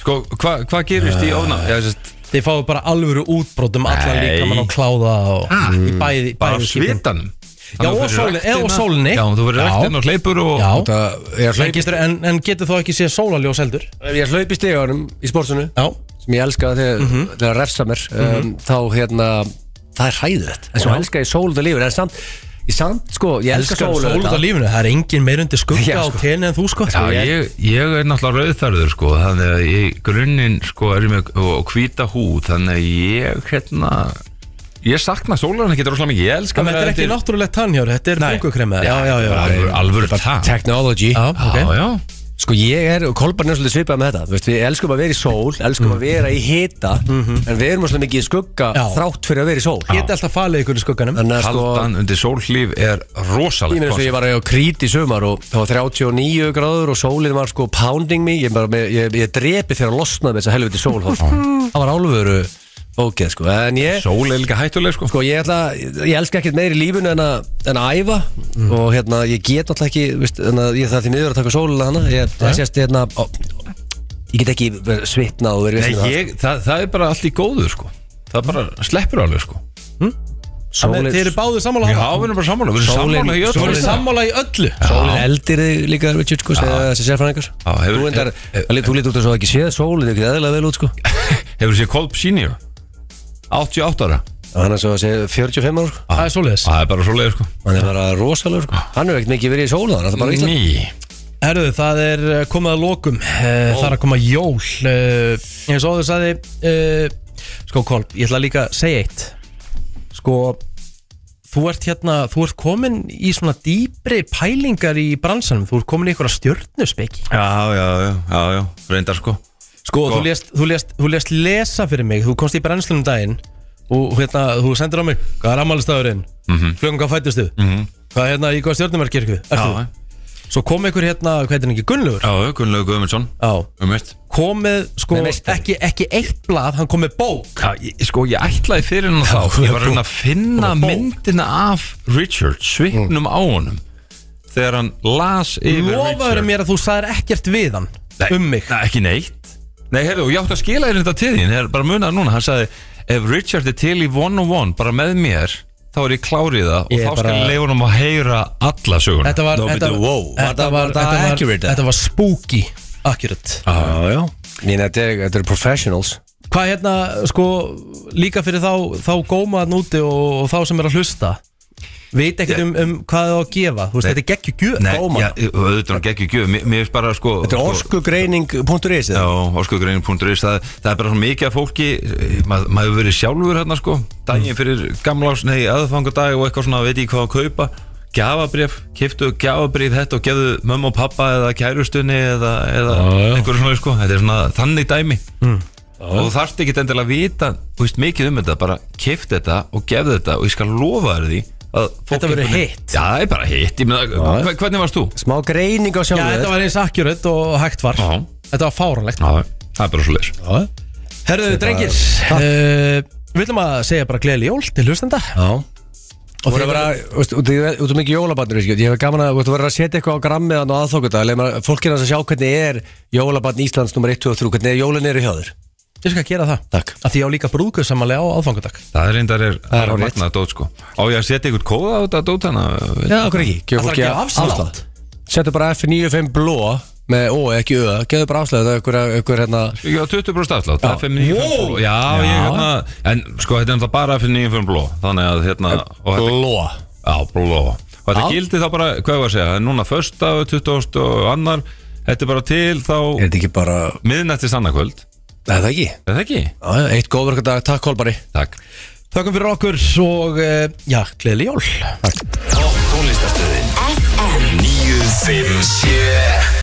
Speaker 3: sko, hvað hva gerist í ofna? Já, sest,
Speaker 1: Þið fáið bara alvöru útbrotum Allan
Speaker 3: Nei.
Speaker 1: líkamann og kláða og
Speaker 3: Ah.
Speaker 1: í bæði, bæði
Speaker 3: bara af svitanum
Speaker 1: Já,
Speaker 3: Þannig að
Speaker 1: og
Speaker 3: þú
Speaker 1: sólinni-
Speaker 3: fyrir
Speaker 1: eða og
Speaker 3: ræktina-
Speaker 1: sólinni.
Speaker 3: Já, þú verður
Speaker 1: Já.
Speaker 3: rektin og hleypur og
Speaker 1: Já
Speaker 2: Það, ég
Speaker 1: En getur, en, en getur þó ekki séð sólaljós heldur
Speaker 2: Ég hlaup í stegunum í sportsunum
Speaker 1: Já
Speaker 2: sem ég elska þegar mm þegar refsa mér um, þá hérna það er hræðilegt en svo elska ég sól út af lífur en samt, ég samt sko ég elska
Speaker 1: Elskar
Speaker 2: sól
Speaker 1: sól út af
Speaker 2: auðvitað.
Speaker 1: lífinu Það er engin meir undir skugga
Speaker 2: Já,
Speaker 1: á
Speaker 2: sko.
Speaker 1: tenni en þú sko
Speaker 3: Já, ég, ég er náttúrulega rauðþarður sko, þannig að ég grunninn sko er ég með og hvíta húð, þannig að ég hérna, ég sakna sólarinn ekki rosalega mikið, ég elska
Speaker 1: En þetta er ekki náttúrulegt tannhjör Þetta er bungukremið Já, já, já
Speaker 3: alvöru, alvöru tann
Speaker 2: technology
Speaker 1: Já, ok
Speaker 3: Já, já,
Speaker 2: sko ég er og Kolbarn er svolítið svipað með þetta Þú veist, við elskum að vera í sól elskum að vera í hita en við erum svolítið mikið í skugga
Speaker 1: Já.
Speaker 2: þrátt fyrir að vera í sól
Speaker 1: Ég get alltaf falið ykkur í skugganum
Speaker 2: þannig að sko
Speaker 3: kaldan undir sólhlíf er
Speaker 2: Ég
Speaker 3: rosalega
Speaker 2: meina svo ég var á krít í sumar og það var 39 gráður og sólinn var sko pounding mig, ég, bara, með- ég, ég drepi þegar að losnaði með þessa helviti sól þá, sko. það var álveru bókið sko en ég,
Speaker 3: Sól er líka hættuleg sko,
Speaker 2: sko ég ætla, ég elska ekkert meir í lífunu en að, en að æfa og hérna ég get náttúrulega ekki, veist, en að ég það er því miður að taka sólina hana, ég, það sést hérna, ó, ég get ekki verið svitnað og verið
Speaker 3: Nei,
Speaker 2: vesen um
Speaker 3: ég, það, það er bara allt í góðu sko, það bara sleppur alveg sko
Speaker 2: það.
Speaker 1: Þannig að Þið eru
Speaker 2: sólinn,
Speaker 1: báðu sammála
Speaker 3: Já,
Speaker 1: þarna?
Speaker 3: við erum bara sammála, við erum
Speaker 2: Sólin-
Speaker 3: sammála í
Speaker 1: Þú eru
Speaker 3: öllu
Speaker 1: sammála í öllu
Speaker 2: sólinn eldir þig líka Richard sko, segja þessi sérfræðingar
Speaker 3: Já, hefur-
Speaker 2: þú endar,
Speaker 3: hef-
Speaker 2: þú lítur út að svo ekki séð sólinn, þið er ekki eðlilega vel út sko
Speaker 3: Hefur séð Kolb Senior, 88 ára,
Speaker 2: Hann er svo að segja 45 ára sko.
Speaker 1: Það er svoleiðis
Speaker 3: það er bara svoleið sko
Speaker 2: Hann er bara rosalegur sko. Hann er ekkert mikið verið í sóla Hann er bara í Ísland
Speaker 3: Ný,
Speaker 1: Herðu, það er eh, komið að lokum Eh, Það er að koma jól Eh, Eins og áður sagði eh, Sko Kolb, ég ætla líka að segja eitt Sko Þú ert hérna, þú ert komin í svona dýpri pælingar í bransanum Þú ert komin í einhverja stjörnuspeki
Speaker 3: Já, já, já, já, já, reyndar sko
Speaker 1: Sko, þú lést, þú, lést, þú lést lesa fyrir mig Þú komst í brennslunum um daginn Og hérna, þú sendir á mig Hvað er ammálistafurinn? Mm -hmm. Klugum hvað fættustu? Mm -hmm. Hvað er hérna í hvað stjórnumarkirkju?
Speaker 3: Já,
Speaker 1: Svo kom einhver hérna, hvað er hérna ekki Gunnlaugur?
Speaker 3: já, Gunnlaug Guðmundsson
Speaker 1: Já
Speaker 3: Um eitt
Speaker 1: Kom með, sko,
Speaker 2: Með meistari.
Speaker 1: ekki, ekki eitt blað Hann kom með bók
Speaker 3: Já, ég, sko, ég ætlaði fyrir hennar þá Ég var að reyna að finna myndina af Richard Svipnum á honum Þegar hann las yfir
Speaker 1: Lofaður
Speaker 3: Richard
Speaker 1: mér að þú sagðir ekkert við hann
Speaker 3: Nei,
Speaker 1: Um mig
Speaker 3: Nei, ekki neitt Nei, heyrðu, og ég átti að skila þér þetta til þín Ég er bara að muna það núna, hann sagði Ef Richard er til í one on one, bara með mér Þá er ég klárið það
Speaker 1: Ég er
Speaker 3: Og þá skal
Speaker 1: bara-
Speaker 3: ég leifa honum að heyra alla söguna
Speaker 1: Þetta var,
Speaker 2: Nó,
Speaker 1: þetta,
Speaker 2: bíddu, wow. Var
Speaker 1: þetta
Speaker 2: það-
Speaker 1: var,
Speaker 2: var það
Speaker 1: þetta var,
Speaker 2: accurate, eða?
Speaker 1: þetta var spooky Accurate
Speaker 2: Já, já Mín, þetta er- þetta eru professionals
Speaker 1: Hvað hérna, sko, líka fyrir þá, þá gómaðan úti og, og þá sem er að hlusta veit ekkert um, um hvað það á að gefa Þú veist,
Speaker 3: Nei.
Speaker 1: þetta er geggjur gjöf
Speaker 3: Nei,
Speaker 1: dómara.
Speaker 3: já, auðvitað hann geggjur gjöf Mér mér finnst bara sko
Speaker 2: Þetta er orskugreining.is
Speaker 3: Já, orskugreinin.is það, það er bara svona mikið af fólki eh, mað- maður hefur verið sjálfur hérna sko daginn fyrir gamlás, nei, aðfangadag og eitthvað svona, veit ég hvað að kaupa gjafabrif, kiftu gjafabrif þetta og gefðu mömmu og pappa eða kærustunni eða, eða
Speaker 9: Já, já.
Speaker 3: einhverju svona sko þetta er svona þannig dæmi og þú þarft ekki endilega að vita þú veist mikið um þetta, bara kift þetta og gefðu þetta og ég skal lofa þér því að fólk
Speaker 1: Þetta verður
Speaker 3: einhvern veginn-
Speaker 1: hitt.
Speaker 3: Já, það er bara hitt, ég meina, hve- hvernig varst þú?
Speaker 2: Smá greining
Speaker 1: Já,
Speaker 2: á
Speaker 1: þetta
Speaker 2: sjálfur
Speaker 1: var eins akkurat og hægt var
Speaker 3: Já.
Speaker 1: Þetta var fáranlegt
Speaker 3: Já, það er bara svo leir
Speaker 1: Herðu, drengir uh, Við viljum að segja bara gleðli jól til hlustenda
Speaker 2: Já Og
Speaker 1: þeir
Speaker 2: það var, veist, út í- út um ekki jólabarnir, ég hef gaman að, þú verður að setja eitthvað á grammið þannig á aðþókuta, leið maður, fólk er að sjá hvernig er jólabarn Íslands nummer 1, 2 og 3, hvernig er jólin eru hjá þér.
Speaker 1: Ég skal gera það
Speaker 2: Takk.
Speaker 1: Af Því ég á líka brúðgöð samanlega á aðfangadag
Speaker 3: Það er reyndar er
Speaker 2: Það er
Speaker 3: bara
Speaker 2: hárrétt.
Speaker 3: magnað dót sko Á ég að setja ykkur kóða á þetta dót hana
Speaker 2: Já, okkur ekki,
Speaker 1: Það
Speaker 2: gefur
Speaker 1: þarf að
Speaker 2: fólki
Speaker 1: gefa afslátt.
Speaker 2: Settu bara F95 bló með ó, ekki ö, gefðu bara afslátt eða ykkur, ykkur hérna
Speaker 3: Ég á 20% afslátt það er 595
Speaker 2: Wow.
Speaker 3: bló. Já, ég hérna En sko, þetta er náttúrulega bara 595 bló Þannig að hérna og þetta,
Speaker 2: bló.
Speaker 3: Já, bló Og þetta gildi þá bara, hvað ég var að segja það er Núna fösta, 20 og annar Þetta er bara til þá
Speaker 2: Er þetta ekki bara,
Speaker 3: miðnættis annarkvöld
Speaker 2: Nei, það ekki?
Speaker 3: Er það ekki?
Speaker 2: Já, já, eitt góður okkur dag, takk Kolbari.
Speaker 3: Takk
Speaker 1: Þökkum fyrir okkur og uh, já, gleðli jól
Speaker 10: FM 957